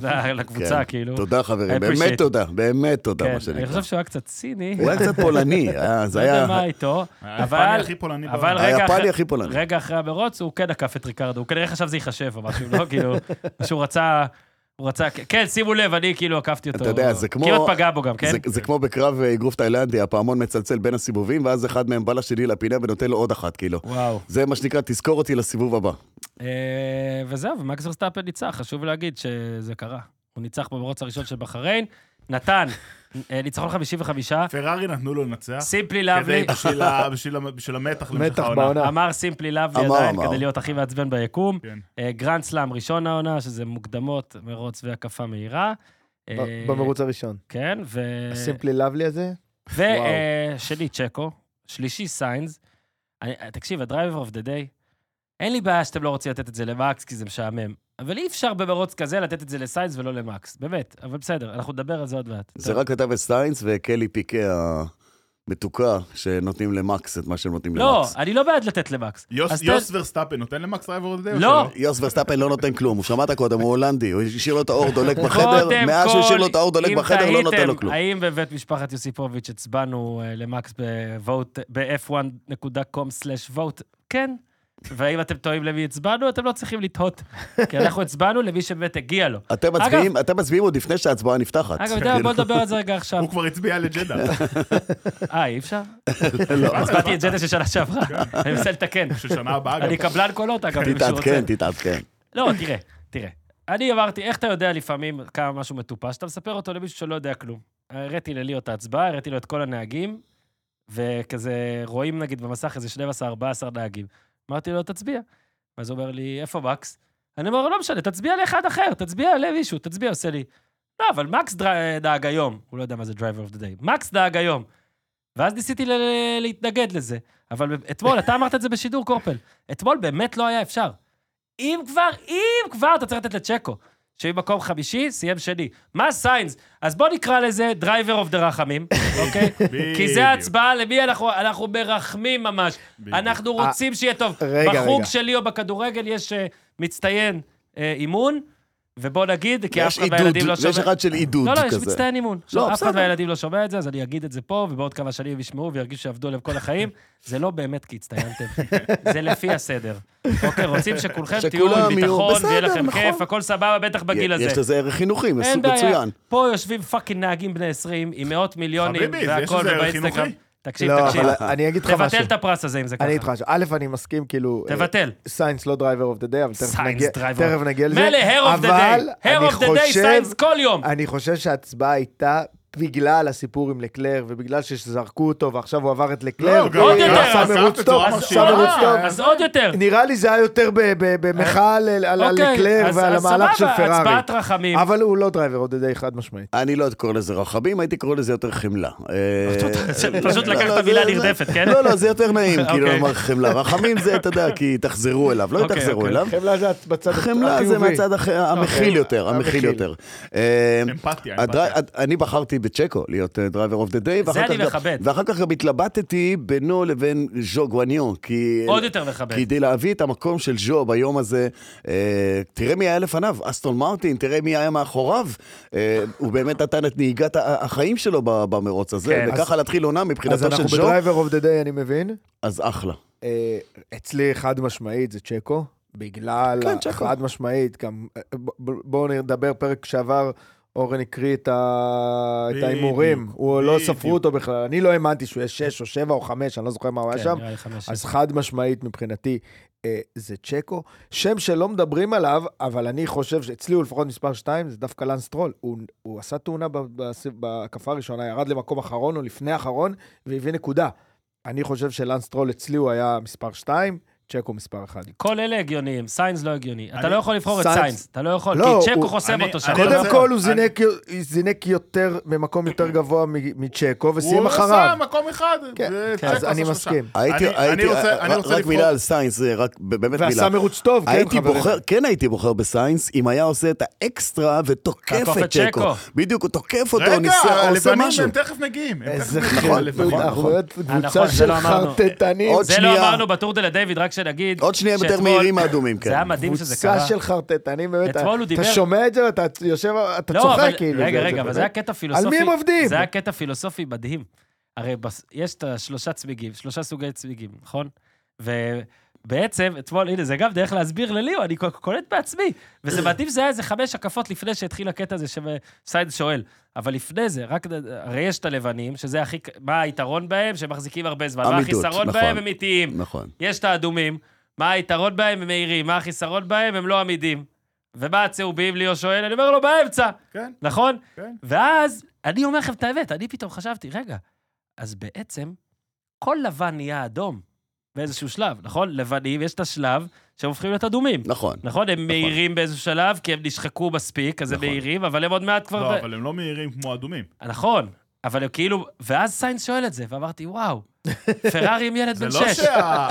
B: אה, לקבוצה,
D: כן.
B: כאילו.
D: תודה חברים,
B: I appreciate
D: באמת
B: it.
D: תודה, באמת תודה,
B: כן,
D: מה
B: אני
D: שנקרא.
B: חושב שהוא היה קצת ציני,
D: הוא היה קצת פולני, אה, זה
B: לא יודע מה
D: היה
B: איתו,
C: היפני
B: אבל...
C: הכי פולני
B: אבל
C: בעולם.
B: רגע
D: היפני
B: אחרי-
D: הכי פולני.
B: רגע אחרי המרוץ, הוא כן עקף את ריקרדו, הוא כנראה חשב שזה ייחשב או משהו, לא? כאילו, שהוא רצה... הוא רצה... כן, שימו לב, אני כאילו עקפתי אותו.
D: אתה יודע, זה כמו-
B: כמעט פגע בו גם, כן?
D: זה, זה כמו בקרב אה, אגרוף תאילנדי, הפעמון מצלצל בין הסיבובים, ואז אחד מהם בא לשני לפינה ונותן לו עוד אחת, כאילו.
B: וואו.
D: זה מה שנקרא, תזכור אותי לסיבוב הבא.
B: אה, וזהו, ומקס ורסטאפל ניצח, חשוב להגיד שזה קרה. הוא ניצח במרוץ הראשון של בחריין, נתן אה, ניצחון 55,
C: פרארי נתנו לו לנצח,
B: סימפלי
C: כדי
B: לאבלי,
C: בשביל ה- בשביל ה- בשביל המתח למשך
A: מתח
C: העונה.
A: בעונה.
B: אמר סימפלי לאבלי
D: אמר,
B: עדיין,
D: אמר.
B: כדי להיות הכי מעצבן ביקום.
C: כן.
B: אה, גרנד סלאם ראשון העונה, שזה מוקדמות, מרוץ והקפה מהירה.
A: ב-
B: אה,
A: במרוץ הראשון.
B: כן, ו...
A: הסימפלי לאבלי הזה?
B: ושני אה, צ'קו, שלישי סיינס. אני- אה, תקשיב, הדרייבר אוף דה דיי, אין לי בעיה שאתם לא רוצים לתת את זה למקס, כי זה משעמם. אבל אי אפשר במרוץ כזה לתת את זה לסיינס ולא למקס, באמת. אבל בסדר, אנחנו נדבר על זה עוד מעט. לא,
D: זה רק אתה וסיינס וקלי פיקה המתוקה, שנותנים למקס את מה שהם נותנים
B: לא,
D: למקס.
B: אני לא בעד לתת למקס.
C: יוס-
B: אז תן-
C: יוס ורסטאפן נותן למקס רייבר לדייו
B: לא.
D: יוס ורסטאפן לא נותן כלום, הוא שמעת קודם, הוא הולנדי, הוא השאיר לו את האור דולק בחדר,
B: קודם
D: מאז שהוא השאיר לו את האור
B: כל,
D: דולק
B: אם
D: בחדר, לא נותן לו
B: תהיתם,
D: כלום.
B: האם בבית משפחת יוסיפוביץ' הצבענו אה, למקס ב-vote- ב-f1.com/vote? כן. והאם אתם טועים למי הצבענו? אתם לא צריכים לתהות, כי אנחנו הצבענו למי שבאמת הגיע לו.
D: אתם מצביעים- אתם מצביעים עוד לפני שההצבעה נפתחת. כאילו,
B: אגב, אתה יודע, בוא נדבר על זה רגע עכשיו.
C: הוא כבר הצביע לג'דה.
B: אה, אי אפשר?
D: לא,
B: הצבעתי את ג'דה של שנה שעברה, אני מנסה לתקן.
C: של שנה הבאה גם.
B: אני קבלן קולות, אגב, אם מישהו רוצה.
D: כן. תתעדכן, תתעדכן.
B: לא, תראה, תראה. אני אמרתי, איך אתה יודע לפעמים כמה משהו מטופש? אתה מספר אותו למישהו שלא יודע כלום. הראיתי לליאו את ההצבעה, הראיתי לו את כל הנהגים, וכזה רואים נגיד במסך איזה 12-14 נהגים. אמרתי לו, תצביע. אז הוא אומר לי, איפה מקס? אני אומר, לא משנה, תצביע לאחד אחר, תצביע למישהו, תצביע, עושה לי. לא, אבל מקס דר- דאג היום, הוא לא יודע מה זה Driver of the Day, מקס דאג היום. ואז ניסיתי ל- להתנגד לזה, אבל אתמול, אתה אמרת את זה בשידור, קורפל, אתמול באמת לא היה אפשר. אם כבר, אם כבר, אתה צריך לתת לצ'קו, שבמקום חמישי, סיים שני. מה סיינס? אז בוא נקרא לזה Driver of the רחמים, אוקיי? כי זה ההצבעה למי אנחנו, אנחנו מרחמים ממש.
C: בדיוק.
B: אנחנו
A: אה,
B: רוצים שיהיה טוב.
A: רגע,
B: בחוג
A: רגע.
B: שלי או בכדורגל יש אה, מצטיין אה, אימון, ובוא נגיד, כי אף
D: יש
B: אחד
D: עידוד,
B: מהילדים לא שומע...
D: יש אחד של עידוד
B: לא, לא, יש
D: כזה.
B: מצטיין אימון. עכשיו, אף אחד
D: בסדר.
B: מהילדים לא שומע את זה, אז אני אגיד את זה פה, ובעוד כמה שנים הם ישמעו וירגישו שעבדו עליהם כל החיים. זה לא באמת כי הצטיינתם, זה לפי הסדר. אוקיי, רוצים שכולכם תהיו
D: שכולם
B: עם
D: יהיו-
B: ביטחון, ויהיה
D: בסדר,
B: לכם
D: נכון.
B: כיף, הכל סבבה, בטח בגיל הזה.
D: יש לזה ערך חינוכי,
B: אין
D: מסוג
B: בעיה.
D: מצוין.
B: פה יושבים פאקינג נהגים בני 20, עם מאות מיליונים,
C: חביבי, זה- יש
B: והכל,
C: לזה ערך
B: ובאינסטגרם.
C: חינוכי.
B: תקשיב,
A: לא,
B: תקשיב.
A: אבל אני אגיד לך משהו.
B: תבטל את הפרס הזה אם זה ככה.
A: אני איתך. עכשיו, א', אני מסכים, כאילו... אה,
B: תבטל.
A: סיינס לא דרייבר אוף דה דיי, אבל תכף
B: סיינס
A: נגיע-
B: driver.
A: תכף נגיע לזה.
B: מילא, הר אוף דה
A: אבל
B: דיי. הר
A: אני
B: אוף דה דיי,
A: חושב-
B: סיינס כל יום.
A: אני חושב שההצבעה הייתה בגלל הסיפור עם לקלר, ובגלל שזרקו אותו, ועכשיו הוא עבר את לקלר.
C: לא, גם-
B: עוד יותר,
A: הוא
C: עשה
A: עשה מרוץ טוב,
C: בצורה
A: עשה
C: מרשימה.
A: מרוץ טוב.
B: אז עוד יותר.
A: נראה לי זה היה יותר ב- ב- במחאה על על- על
B: אוקיי,
A: לקלר
B: אז-
A: ועל
B: אז
A: המהלך של
B: סבבה,
A: פרארי.
B: הצבעת רחמים.
A: אבל הוא לא דרייבר אוף דה דיי, חד משמעית.
D: אני לא קורא לזה רחבים, הייתי קורא לזה יותר חמלה. אה,
B: פשוט
D: לא,
B: לקחת את
D: לא,
B: המילה
D: זה-
B: הנרדפת, כן?
D: לא, לא, זה יותר נעים, כאילו,
B: אוקיי.
D: לומר חמלה. רחמים זה, אתה יודע, כי תחזרו אליו, לא
B: אוקיי,
D: תחזרו
B: אוקיי.
D: אליו.
A: חמלה זה בצד
D: חמלה זה
A: החיובי.
D: מהצד הח- המכיל יותר, המכיל
A: המכיל.
D: יותר. אה,
C: אמפתיה,
D: הדרי-
C: אמפתיה.
D: הד- אני בחרתי בצ'קו להיות אה, דרייבר אוף דה דיי,
B: אני מכבד.
D: ואחר כך גם התלבטתי בינו לבין ז'ו גואניון, כי...
B: עוד יותר מכבד.
D: כדי להביא את המקום של ז'ו ביום הזה, אה, תראה מי היה לפניו, אסטון מרטין, תראה מי היה מאחוריו. אה, הוא באמת נתן את נהיגת ה- החיים שלו ב- במרוץ הזה,
B: כן,
D: וככה להתחיל עונה
A: אז
D: מבחינתו
A: אנחנו
D: של ז'ו,
A: בדרייבר אוף דה דיי, אני מבין.
D: אז אחלה.
A: אה, אצלי חד משמעית זה צ'קו, בגלל,
D: כן, צ'קו.
A: חד משמעית, גם, אה, ב- ב- בואו נדבר פרק שעבר, אורן הקריא את ה- את
C: בדיוק,
A: ההימורים, הוא לא
C: בדיוק.
A: ספרו אותו בכלל, אני לא האמנתי שהוא יהיה שש או שבע או חמש, אני לא זוכר מה הוא היה
B: כן,
A: שם, אז חד משמעית מבחינתי אה, זה צ'קו. שם שלא מדברים עליו, אבל אני חושב שאצלי הוא לפחות מספר שתיים, זה דווקא לנס טרול. הוא, הוא עשה תאונה ב- בס- בהקפה הראשונה, ירד למקום אחרון או לפני אחרון, והביא נקודה. אני חושב שלנס טרול אצלי הוא היה מספר שתיים, צ'קו מספר אחד.
B: כל אלה הגיוניים, סיינס לא הגיוני. אתה
C: אני-
B: לא יכול לבחור את
A: סיינס-
B: סיינס, אתה לא יכול,
A: לא,
B: כי צ'קו
A: הוא-
B: חוסם
C: אני-
B: אותו שם.
C: אני
B: אתה לא
A: קודם
B: יכול.
C: רוצה-
A: כל הוא
C: אני-
A: זינק, זינק יותר, במקום יותר גבוה מ- מצ'קו, וסיים
C: הוא
A: אחריו.
C: עשה מקום אחד.
A: כן,
C: זה צ'ק
A: אז
C: עשה
A: אני
C: שלושה.
A: מסכים.
D: הייתי,
C: אני-
D: הייתי,
C: אני רוצה- אני רוצה
D: רק
C: לבחור-
D: מילה על סיינס, זה רק באמת מילה.
A: ועשה מרוץ טוב, כן,
D: הייתי
A: חברים?
D: בוחר, כן הייתי בוחר בסיינס, אם היה עושה את האקסטרה ותוקף
B: תעקוף
D: את
B: את צ'קו.
D: צ'קו. בדיוק, הוא תוקף אותו, הוא
C: רגע,
D: ניסה, הוא עושה
C: הלבנים
D: משהו.
C: הם תכף מגיעים. הם
A: איזה
C: תכף מגיעים,
A: חרטוט,
C: הלבנים.
A: אנחנו באמת
B: נכון,
A: קבוצה
B: זה
A: של
B: לא אמרנו.
A: חרטטנים.
D: עוד
B: זה לא
D: שנייה.
B: אמרנו בטור דלה דיוויד, רק שנגיד...
D: עוד שנייה הם יותר
B: שאתמול-
D: מהירים מהאדומים, כן.
B: זה היה מדהים שזה קרה.
A: קבוצה של חרטטנים, באמת.
B: אתמול הוא
A: אתה-
B: דיבר-
A: אתה שומע את זה ואתה יושב, אתה
B: לא, אבל-
A: צוחק כאילו.
B: רגע,
A: זה-
B: רגע, אבל זה היה
A: באמת.
B: קטע פילוסופי.
A: על מי הם עובדים?
B: זה היה קטע פילוסופי מדהים. הרי בס... יש את השלושה צמיגים, שלושה סוגי צמיגים, נכון? ובעצם, אתמול, הנה, זה גם דרך להסביר לליאו, אני ק- קולט בעצמי. וזה מדהים, זה היה איזה חמש הקפות לפני שהתחיל הקטע הזה שסיינס שואל. אבל לפני זה, רק, נ- הרי יש את הלבנים, שזה הכי, ק- מה היתרון בהם? שהם מחזיקים הרבה זמן. מה
D: אמיתות,
B: החיסרון
D: נכון.
B: בהם? הם איטיים.
D: נכון.
B: יש את האדומים, מה היתרון בהם? הם מהירים, מה החיסרון בהם? הם לא עמידים. ומה הצהובים? ליאו שואל, אני אומר לו, באמצע,
C: כן,
B: נכון?
C: כן.
B: ואז, אני אומר לכם את האמת, אני פתאום חשבתי, רגע, אז בעצם, כל לבן נהיה אדום באיזשהו שלב, נכון? לבנים, יש את השלב שהם הופכים להיות אדומים.
D: נכון.
B: נכון, הם מהירים באיזשהו שלב, כי הם נשחקו מספיק, אז הם
D: נכון.
B: מהירים, אבל הם עוד מעט כבר...
C: לא, אבל הם לא מהירים כמו אדומים.
B: נכון, אבל הם כאילו... ואז סיינס שואל את זה, ואמרתי, וואו, פרארי עם ילד
C: זה
B: בן
C: לא
B: שש.
C: שה...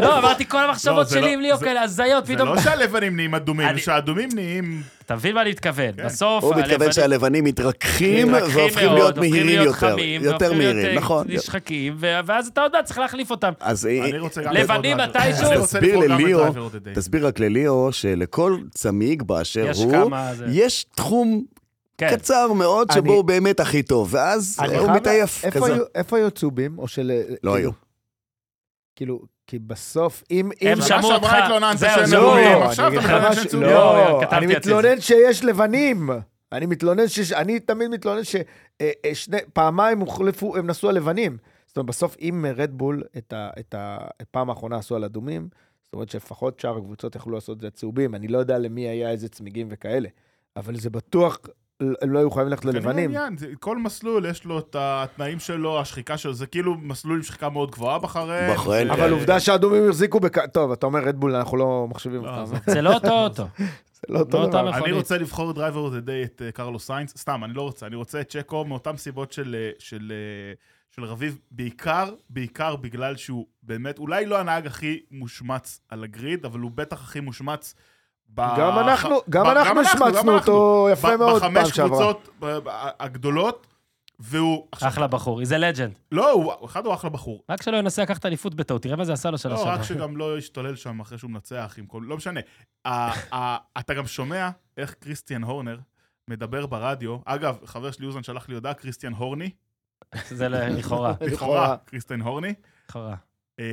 B: לא, אמרתי, כל המחשבות
C: לא, זה לא-
B: שלי עם ליאו
C: זה-
B: כאלה הזיות,
C: זה
B: פתאום...
C: לא שהלבנים נהיים אדומים,
B: אני-
C: זה שהאדומים נהיים...
B: אתה מבין מה אני מתכוון?
C: כן.
B: בסוף...
D: הוא
B: נכון, הלבנים-
D: מתכוון שהלבנים מתרככים
B: מתרככים
D: והופכים
B: מאוד,
D: להיות
B: הופכים
D: מהירים
B: להיות
D: יותר.
B: חמים,
D: יותר
B: והופכים להיות,
D: מהירים,
B: אה,
D: נכון.
B: נשחקים, ו- ואז אתה עוד מעט צריך להחליף אותם.
D: אז
A: אה,
D: אה,
C: אני רוצה גם...
B: לבנים
C: לבחור
B: מתישהו?
C: משהו. אני רוצה
D: תסביר
C: לבחור גם את
D: לליאו-
C: Driver of the Day.
D: תסביר רק לליאו שלכל צמיג באשר
B: יש
D: הוא,
B: כמה... זה-
D: יש תחום
B: כן.
D: קצר מאוד
A: אני-
D: שבו הוא באמת הכי טוב, ואז
A: אני
D: הוא
A: חייב-
D: מתעייף.
A: איפה
D: כזה.
A: היו- איפה היו צהובים? או של...
D: לא
A: כאילו-
D: היו.
A: כאילו, כי בסוף, אם... אם-
B: הם
C: שנה
B: שמעו אותך...
C: שעברה התלוננת
B: זהו,
C: שהם
B: זהו.
A: לא,
C: צהובים,
A: אני
C: כן, עכשיו
A: אגיד
C: אתה
A: לך
C: מתלונן
A: משהו-
C: שהם צהובים.
B: לא,
A: לא,
B: כתבתי
A: אני
B: על זה.
A: מתלונן שיש לבנים. אני מתלונן שיש... אני תמיד מתלונן אה, שפעמיים הוחלפו, הם נסעו על לבנים. זאת אומרת, בסוף, אם רדבול את ה- את הפעם האחרונה עשו על אדומים, זאת אומרת שלפחות שאר הקבוצות יכלו לעשות את זה צהובים. אני לא יודע למי היה איזה צמיגים וכאלה, אבל זה בטוח, הם לא היו חייבים ללכת
C: זה
A: ללבנים.
C: עניין, זה- כל מסלול יש לו את התנאים שלו, השחיקה שלו, זה כאילו מסלול עם שחיקה מאוד גבוהה בחריין.
D: בחריין,
C: זה-
D: כן.
A: אבל עובדה שהאדומים החזיקו בכ... טוב, אתה אומר רדבול, אנחנו לא מחשיבים
C: לא,
A: אותם.
C: עזוב.
B: זה לא אותו אוטו.
A: לא אותו
B: אותה
A: דבר.
B: מכונית.
C: אני רוצה לבחור דרייבר אוף דה דיי את אה, קרלוס סיינס, סתם, אני לא רוצה, אני רוצה את צ'קו מאותן סיבות של, אה, של, אה, של רביב, בעיקר, בעיקר בגלל שהוא באמת, אולי לא הנהג הכי מושמץ על הגריד, אבל הוא בטח הכי מושמץ. ב-
A: גם אנחנו-
C: אה, ב-
A: גם אנחנו השמצנו
C: גם אנחנו.
A: אותו יפה
C: ב-
A: מאוד פעם
C: בחמש
A: שעברה.
C: קבוצות ב- ב- הגדולות, והוא... עכשיו,
B: אחלה בחור, זה לג'נד.
C: לא, הוא- אחד הוא אחלה בחור.
B: רק שלא ינסה לקחת אליפות בטעות, תראה מה זה עשה לו שנה
C: לא,
B: שעברה.
C: רק שגם לא ישתולל שם אחרי שהוא מנצח עם כל... לא משנה. ה- ה- אתה גם שומע איך קריסטיאן הורנר מדבר ברדיו. אגב, חבר שלי אוזן שלח לי הודעה, קריסטיאן הורני.
B: זה ל- לכאורה,
A: לכאורה.
C: לכאורה, קריסטיאן הורני.
B: לכאורה.
C: אמ,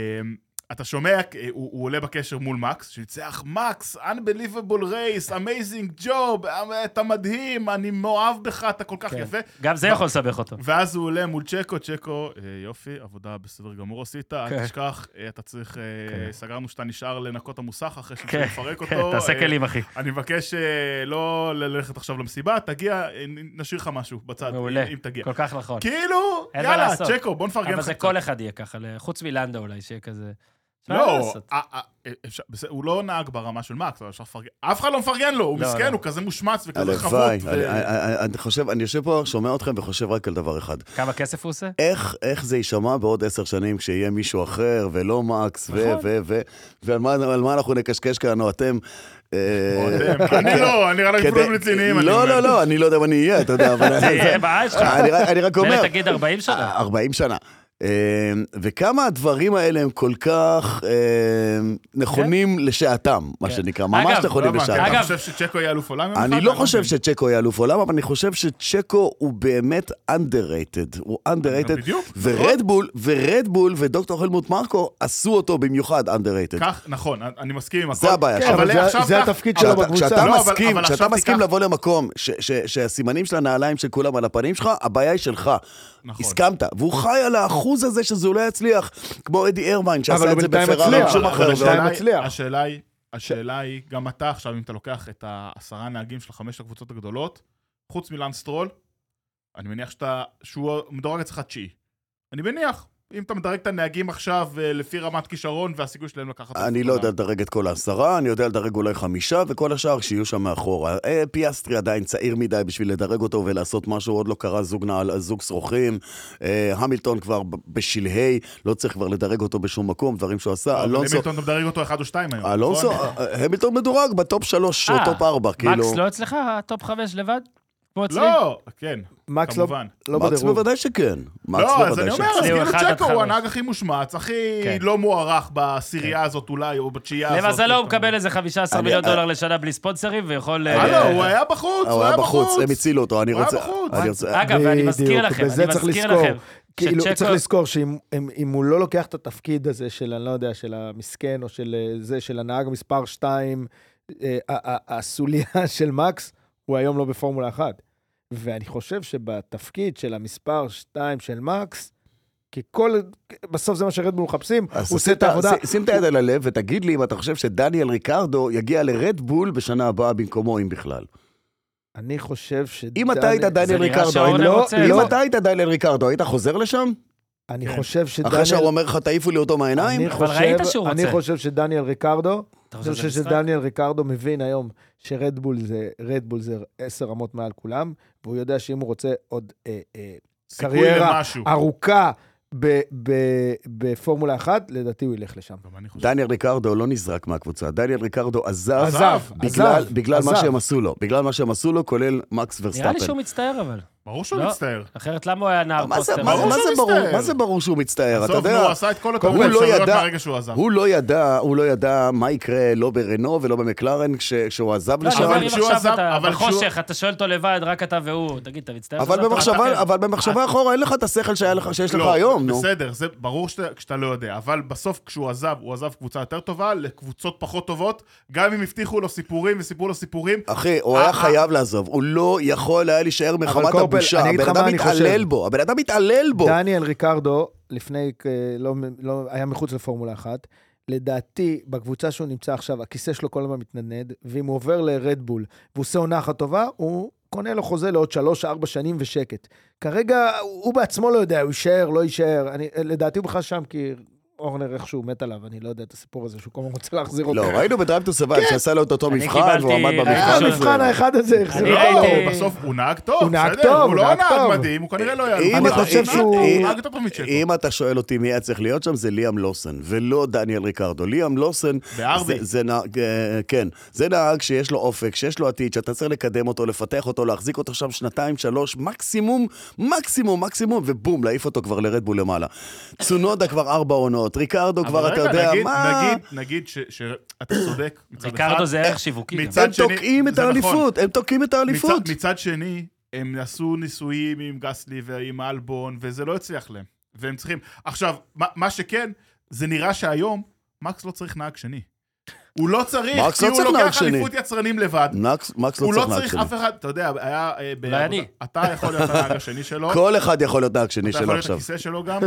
C: אתה שומע, אה, הוא הוא עולה בקשר מול מקס, שניצח מקס, Unbelievable race, amazing job, אה, אתה מדהים, אני מאוהב בך, אתה כל כך
B: כן.
C: יפה.
B: גם זה יכול לסבך אותו.
C: ואז הוא עולה מול צ'קו, צ'קו, אה, יופי, עבודה בסדר גמור עשית,
B: כן.
C: אל תשכח, אה, אתה צריך, אה, סגרנו שאתה נשאר לנקות את המוסך אחרי
B: כן,
C: שנפרק
B: כן,
C: אותו.
B: תעשה
C: אה,
B: כלים, אחי.
C: אני מבקש אה, לא ל- ללכת עכשיו למסיבה, תגיע, אה, נ- נשאיר לך משהו בצד,
B: מעולה.
C: אם אם תגיע.
B: כל כך נכון.
C: כאילו,
B: אין מה
C: יאללה,
B: לעשות.
C: צ'קו, בוא נפרגן
B: אבל
C: לך
B: זה
C: קצת.
B: כל אחד יהיה ככה, ל- חוץ מלנדו אולי, שיהיה כזה... מה
C: לא,
B: לעשות?
C: אה, אה, אפשר- בסדר, הוא לא נהג ברמה של מקס, אבל אפשר לפרגן. אף אחד לא מפרגן לו, הוא
B: לא,
C: מסכן,
B: לא.
C: הוא כזה מושמץ וכזה חבוט. אה,
D: הלוואי.
C: ו-
D: אני- אני- אני חושב, אני יושב פה, שומע אתכם וחושב רק על דבר אחד.
B: כמה כסף הוא עושה?
D: איך, איך זה יישמע בעוד עשר שנים כשיהיה מישהו אחר, ולא מקס, ו...
C: נכון.
D: ו... ו... ועל מה, על מה אנחנו נקשקש כאן, או אתם... אה,
C: אתם, אני לא, אני נראה לי כולם רציניים. אני
D: לא,
C: אומר.
D: לא, לא, אני לא יודע אם אני אהיה, אתה יודע, אבל...
B: זה יהיה בעיה שלך.
D: אה, אני רק- אני רק אומר...
B: מילא תגיד 40 שנה.
D: 40 שנה. אה, וכמה הדברים האלה הם כל כך אה, נכונים לשעתם, מה
B: כן.
D: שנקרא, ממש
B: אגב,
D: נכונים
C: למה,
D: לשעתם.
C: אתה
B: אגב-
C: חושב שצ'קו יהיה אלוף עולם? יום אחד?
D: אני לא חושב
C: מבין.
D: שצ'קו יהיה אלוף עולם, אבל אני חושב שצ'קו הוא באמת underrated. הוא underrated.
C: בדיוק,
D: ורדבול, ורדבול ודוקטור הלמוט מרקו עשו אותו במיוחד underrated.
C: כך, נכון, אני מסכים עם הכל.
D: זה הבעיה
C: כן,
D: שלו.
C: אבל
A: זה-
C: עכשיו
A: זה
C: כך-
A: התפקיד שלו
D: כשאתה,
A: בקבוצה.
D: כשאתה
C: לא, אבל-
D: מסכים,
C: אבל
D: כשאתה
C: עכשיו
D: מסכים
C: תיקח-
D: לבוא למקום ש, ש, שהסימנים של הנעליים של כולם על הפנים שלך, הבעיה היא שלך.
C: נכון.
D: הסכמת, והוא חי על האחוז הזה שזה אולי יצליח, כמו אדי ארמיין
A: אבל
D: שעשה
A: הוא
D: את זה
A: בינתיים
D: בפרארי,
A: מצליח.
D: שום
A: אבל
D: אחר.
A: בינתיים
D: לא.
C: השאלה היא-
A: מצליח.
C: השאלה היא, השאלה היא, גם אתה עכשיו, אם אתה לוקח את העשרה נהגים של חמש הקבוצות הגדולות, חוץ מלנסטרול, אני מניח שאתה, שהוא מדורג אצלך תשיעי. אני מניח, אם אתה מדרג את הנהגים עכשיו אה, לפי רמת כישרון והסיכוי שלהם לקחת...
D: אני לא יודע לדרג את כל העשרה, אני יודע לדרג אולי חמישה, וכל השאר שיהיו שם מאחורה. אה, פיאסטרי עדיין צעיר מדי בשביל לדרג אותו ולעשות משהו, עוד לא קרה זוג נעל, זוג שרוכים. אה, המילטון כבר ב- בשלהי, לא צריך כבר לדרג אותו בשום מקום, דברים שהוא עשה.
C: אלונסו...
D: אלונסו,
C: למילטון אתה מדרג אותו אחד או שתיים היום.
D: אלונסו,
C: אה, נכון?
D: אה, המילטון מדורג בטופ שלוש או
B: אה,
D: טופ ארבע, כאילו.
B: מקס לא אצלך? טופ 5 לבד? כמו אצלי?
D: אה,
C: לא, כן,
A: מקס לא-
C: כמובן.
A: לא
D: מקס
A: בדירוג.
D: בוודאי שכן. מקס
C: לא, אז
D: בוודאי
C: אני אומר,
D: שכן.
C: אז
B: אצלי הוא
C: כאילו
B: אחד עד
C: צ'קו הוא
B: חמש.
C: הנהג הכי מושמץ, הכי
B: כן.
C: לא מוערך בעשירייה הזאת אולי, או בתשיעייה הזאת.
B: למזלו הוא מקבל איזה 15
D: אני-
B: מיליון
D: אה,
B: דולר לשנה בלי ספונסרים, ויכול... אה,
C: הלו, לא, הוא היה בחוץ,
D: הוא היה בחוץ, הם הצילו אותו, אני
C: הוא היה
D: רוצה...
C: בחוץ.
D: אני רוצה-
B: אגב, ואני מזכיר
A: בדיוק,
B: לכם,
A: בזה
B: אני
A: צריך
B: מזכיר
A: לזכור.
B: לכם,
A: כאילו,
B: שצ'קו-
A: צריך לזכור שאם אם- אם הוא לא לוקח את התפקיד הזה של, אני לא יודע, של המסכן או של אה, זה, של הנהג מספר אה, 2, הסוליה של מקס, הוא היום לא בפורמולה 1. ואני חושב שבתפקיד של המספר 2 של מקס, כי כל, בסוף זה מה שרדבול מחפשים, הוא
D: אז
A: עושה
D: שים
A: את העבודה.
D: שים- שים את היד על הלב ותגיד לי אם אתה חושב שדניאל ריקרדו יגיע לרדבול בשנה הבאה במקומו, אם בכלל.
A: אני חושב ש...
D: אם אתה היית
B: זה
D: דניאל
B: נראה
D: ריקרדו,
B: שהעונה
D: אני לא-
B: רוצה,
D: אם
B: לא.
D: אתה היית דניאל ריקרדו, היית חוזר לשם?
A: אני
C: כן.
A: חושב שדניאל...
D: אחרי שהוא אומר לך, תעיפו לי אותו מהעיניים?
A: אני
B: אבל ראית
A: חושב-
B: שהוא
A: אני
B: רוצה.
A: חושב שדניאל ריקרדו,
B: אתה
A: אני חושב
B: משחק?
A: שדניאל ריקרדו מבין היום שרדבול זה, רדבול זה עשר רמות מעל כולם, והוא יודע שאם הוא רוצה עוד אה, אה,
C: סיכוי
A: קריירה
C: למשהו.
A: ארוכה ב- ב- בפורמולה אחת, לדעתי הוא ילך לשם.
C: גם אני חושב.
D: דניאל ריקרדו לא נזרק מהקבוצה, דניאל ריקרדו עזב
C: עזב,
D: בגלל-
A: עזב,
D: בגלל מה
A: עזב.
D: שהם עשו לו, בגלל מה שהם עשו לו, כולל מקס
B: נראה לי
D: ורסטאפן.
B: שהוא מצטער אבל.
C: ברור שהוא
B: לא.
C: מצטער.
B: אחרת למה הוא היה נער
D: מה זה-
B: פוסטר?
D: מה זה- מה
C: ברור שהוא
D: זה ברור-
C: מצטער.
D: מה זה ברור שהוא מצטער? אתה
C: בסוף,
D: יודע...
C: נו, הוא עשה את כל
D: הוא
C: הטעויות
D: לא
C: האפשריות
D: ידע-
C: מהרגע שהוא עזב.
D: הוא לא ידע, הוא לא ידע מה יקרה לא ברנו ולא במקלרן כש- כשהוא עזב
B: לא, אני אומר,
D: לשם.
B: אם
C: כשהוא
B: עכשיו
C: עזב-
B: אתה
C: אבל
B: בחושך, אתה שואל אותו לבד, רק אתה והוא, תגיד, אתה מצטער?
D: אבל
B: שזה אתה- כן.
D: במחשבה,
A: כן.
B: אתה-
D: אבל
A: אה.
D: במחשבה אחורה אין לך את השכל שהיה לך- שיש לך
C: לא,
D: היום, נו.
C: בסדר, זה ברור שאתה- כשאתה לא יודע, אבל בסוף כשהוא עזב, הוא עזב קבוצה יותר טובה לקבוצות פחות טובות, גם אם הבטיחו לו סיפורים וסיפרו לו סיפורים.
D: אחי, הוא היה
C: אה,
D: חייב לעזוב, הוא לא יכול היה להישאר מחמת
A: קורפל,
D: הבושה.
A: אני אגיד
D: הבן
A: לך מה
D: אדם
A: אני חושב.
D: מתעלל בו, הבן אדם מתעלל בו.
A: דניאל ריקרדו, לפני, כ- לא, לא, היה מחוץ לפורמולה אחת. לדעתי, בקבוצה שהוא נמצא עכשיו, הכיסא שלו כל הזמן מתנדנד, ואם הוא עובר לרדבול והוא עושה עונה אחת טובה, הוא קונה לו חוזה לעוד שלוש-ארבע שנים ושקט. כרגע, הוא בעצמו לא יודע, הוא יישאר, לא יישאר. אני, לדעתי הוא בכלל שם כי אורנר איכשהו מת עליו, אני לא יודע את הסיפור הזה, שהוא כל הזמן רוצה להחזיר אותו.
D: לא, ראינו ב-Drive to
A: כן.
D: Survive שעשה לו את אותו
B: אני
D: מבחן, והוא
B: קיבלתי-
D: עמד
A: היה
B: המבחן
D: במבחן.
A: המבחן
D: הזה.
A: האחד הזה, איך זה
B: אני
A: לא...
B: ראיתי-
C: לא, בסוף הוא נהג טוב,
A: הוא נהג
C: בסדר,
A: טוב,
C: הוא
A: הוא
C: לא
A: נהג טוב.
C: נהג מדהים, הוא כנראה לא היה...
D: אם
A: אני
C: הוא
D: אתה
A: חושב
D: חושב
C: נהג טוב,
D: שהוא...
A: אם-
C: הוא נהג יותר טוב מצ'קו.
D: אם אתה שואל אותי מי היה צריך להיות שם, זה ליאם לוסן, ולא דניאל ריקרדו. ליאם לוסן...
C: בארבי.
D: זה- זה נהג, אה, כן. זה נהג שיש לו אופק, שיש לו עתיד, שאתה צריך לקדם אותו, לפתח אותו, להחזיק אותו שם שנתיים, שלוש, מקסימום, מקסימום, מקסימום, ובום, להעיף אותו כבר לרדבול למעלה. צונודה כבר ארבע עונות, ריקרדו
C: אבל
D: כבר, אתה
C: רגע,
D: יודע
C: נגיד-
D: מה...
C: נגיד, נגיד ש- שאתה צודק מצד אחד.
B: ריקרדו זה ערך שיווקי. גם.
C: מצד
D: הם
C: שני-
D: תוקעים את
C: זה נכון.
D: האליפות, הם תוקעים את האליפות.
C: מצד- מצד שני, הם עשו ניסויים עם גסלי ועם אלבון, וזה לא הצליח להם. והם צריכים... עכשיו, מה- מה שכן, זה נראה שהיום, מקס לא צריך נהג שני. הוא לא צריך,
D: מקס
C: כי
D: לא
C: הוא
D: צריך נהג
C: לוקח
D: שני.
C: אליפות יצרנים לבד.
D: מקס- מקס לא
C: הוא
D: צריך
C: לא
D: נהג
C: צריך
D: שני.
C: אף אחד, אתה יודע, היה... אה, ב-
B: אולי אני.
C: אתה יכול להיות הנהג השני שלו.
D: כל אחד יכול להיות נהג שני
C: אתה
D: שלו
C: לא יכול להיות
D: עכשיו.
C: הכיסא שלו גם.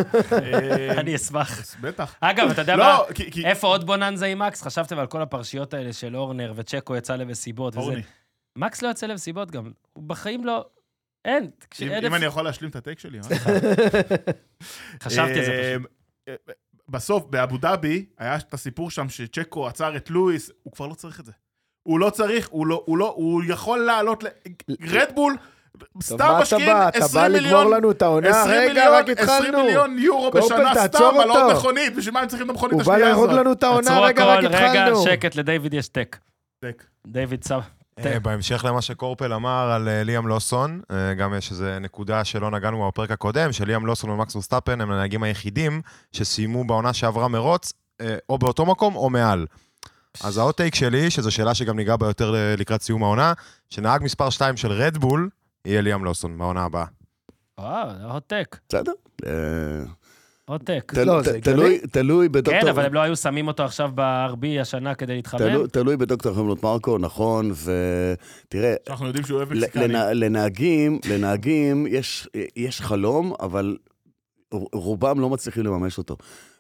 C: אה,
B: אני אשמח.
C: בטח.
B: אגב, אתה יודע מה?
C: לא, כי- כי...
B: איפה עוד בוננזה עם מקס? חשבתם על כל הפרשיות האלה של אורנר וצ'קו יצא למסיבות וזה.
C: אורני,
B: מקס לא יוצא למסיבות גם. הוא בחיים לא... אין.
C: אם-
B: כשאין
C: אם
B: אפ-
C: אני יכול להשלים את הטייק שלי, אה?
B: חשבתי על זה פשוט.
C: אה, אה, בסוף, באבו דאבי, היה את הסיפור שם שצ'קו עצר את לואיס, הוא כבר לא צריך את זה. הוא לא צריך, הוא לא, הוא לא, הוא יכול לעלות ל... רדבול,
A: טוב,
C: סתם
A: מה אתה
C: משקיעים
A: בא? אתה בא
C: 20
A: לגמור
C: מיליון,
A: לנו את העונה?
C: 20
A: רגע,
C: מיליון,
A: רק
C: 20
A: התחלנו.
C: מיליון יורו
A: קורפל,
C: בשנה
A: תעצור
C: סתם על עוד
A: אותו.
C: מכונית, בשביל מה הם צריכים את המכונית
A: הוא בא
C: השנייה הזאת?
A: להרוג לנו את העונה,
B: עצרו
A: רגע, רק
B: הכל, רגע,
A: התחלנו.
B: שקט, לדיוויד יש טק.
C: צודק.
B: דיוויד שם.
E: אה, בהמשך למה שקורפל אמר על אה, ליאם לוסון, אה, גם יש איזו נקודה שלא נגענו בה בפרק הקודם, שליאם לוסון ומקס וסטאפן הם הנהגים היחידים שסיימו בעונה שעברה מרוץ, אה, או באותו מקום או מעל. אז האוטטייק שלי, שזו שאלה שגם ניגע בה יותר ל- לקראת סיום העונה, שנהג מספר 2 של רדבול יהיה ליאם לוסון בעונה הבאה.
B: וואו, עוד טק,
D: בסדר. אה,
B: עוד טק.
D: תל-
A: לא, זה
D: ת-
A: הגיוני.
D: תלוי- תלוי בדוקטור...
B: כן, אבל הם לא היו שמים אותו עכשיו ב-RB השנה כדי להתחמם. אה,
D: תלו- תלוי בדוקטור חמלות מרקו, נכון, ותראה,
C: שאנחנו יודעים שהוא אוהב מקסיקנים.
D: לנהגים, לנהגים יש, יש חלום, אבל רובם לא מצליחים לממש אותו.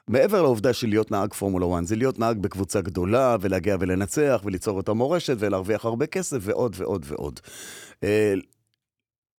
D: מעבר לעובדה של להיות נהג פורמולה 1, זה להיות נהג בקבוצה גדולה, ולהגיע ולנצח, וליצור את המורשת, ולהרוויח הרבה כסף, ועוד ועוד ועוד. אה,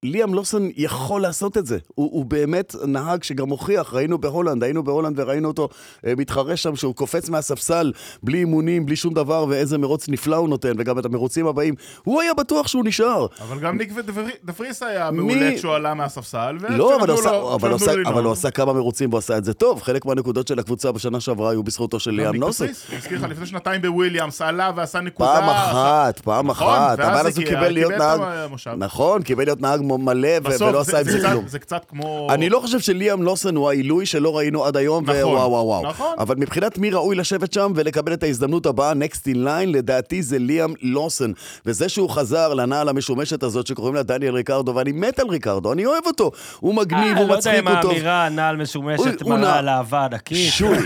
D: ליאם לוסון יכול לעשות את זה. הוא, הוא באמת נהג שגם הוכיח, ראינו בהולנד, היינו בהולנד וראינו אותו אה, מתחרה שם, שהוא קופץ מהספסל, בלי אימונים, בלי שום דבר, ואיזה מרוץ נפלא הוא נותן, וגם את המרוצים הבאים. הוא היה בטוח שהוא נשאר.
C: אבל גם ניק ודפרי- דפריס היה
D: מי-
C: מעולה כשהוא עלה מהספסל,
D: לא, אבל
C: וכשנתנו
D: הוא עשה-
C: אה, לו-
D: אבל הוא
C: כשנתנו לו
D: עשה- אבל הוא
C: לנאום,
D: עשה כמה מרוצים והוא עשה את זה טוב. חלק מהנקודות של הקבוצה בשנה שעברה היו בזכותו של
C: גם
D: ליאם
C: לא, ניק
D: נוסק.
C: דפריס, אני מזכיר לך, לפני שנתיים בוויליאמס עלה ועשה נקודה.
D: פעם אחת, פעם
C: נכון,
D: אחת.
C: ואז
D: אבל אז הוא
C: הגיע,
D: קיבל להיות
C: את
D: נהג...
C: המושב.
D: נכון, קיבל להיות נהג מ- מלא ו-
C: בסוף
D: ולא
C: זה-
D: עשה עם
C: זה
D: זה
C: קצת-
D: כלום.
C: זה קצת כמו...
D: אני לא חושב שליאם לוסן הוא העילוי שלא ראינו עד היום,
C: נכון,
D: ווואו וואו וואו.
C: נכון.
D: אבל מבחינת מי ראוי לשבת שם ולקבל את ההזדמנות הבאה, נקסט אין ליין, לדעתי זה ליאם לוסן. וזה שהוא חזר לנעל המשומשת הזאת שקוראים לה דניאל ריקרדו, ואני מת על ריקרדו, אני אוהב אותו. הוא מגניב, הוא
B: לא יודע
D: מצחיק,
B: אם
D: הוא טוב.
B: האמירה הנעל משומשת
D: הוא- הוא נע-
B: מראה על אהבה ענקית.
D: שוי,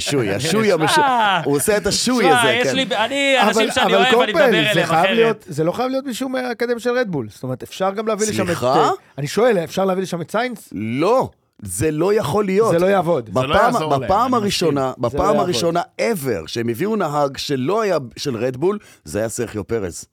D: שוי, השוי המשוי.
B: אה,
D: הוא עושה את השוי
B: שמע,
D: הזה,
B: יש
D: כן.
B: לי- אני, אנשים
A: אבל-
B: שאני
A: אבל
B: אוהב, אני
A: קורפל,
B: מדבר
A: זה
B: אליהם
A: חייב
B: אחרת.
A: להיות- זה לא חייב להיות מישהו מהאקדמיה של רדבול. זאת אומרת, אפשר גם להביא לשם את...
D: סליחה?
A: אני שואל, אפשר להביא לשם את סיינס?
D: לא, זה לא יכול להיות.
A: זה לא יעבוד.
C: לא
D: בפעם,
C: יעזור להם,
D: בפעם
C: אני
D: הראשונה,
A: זה לא
D: בפעם
A: יעבוד.
D: הראשונה ever שהם הביאו נהג שלא היה של רדבול, זה היה סרחיו פרז.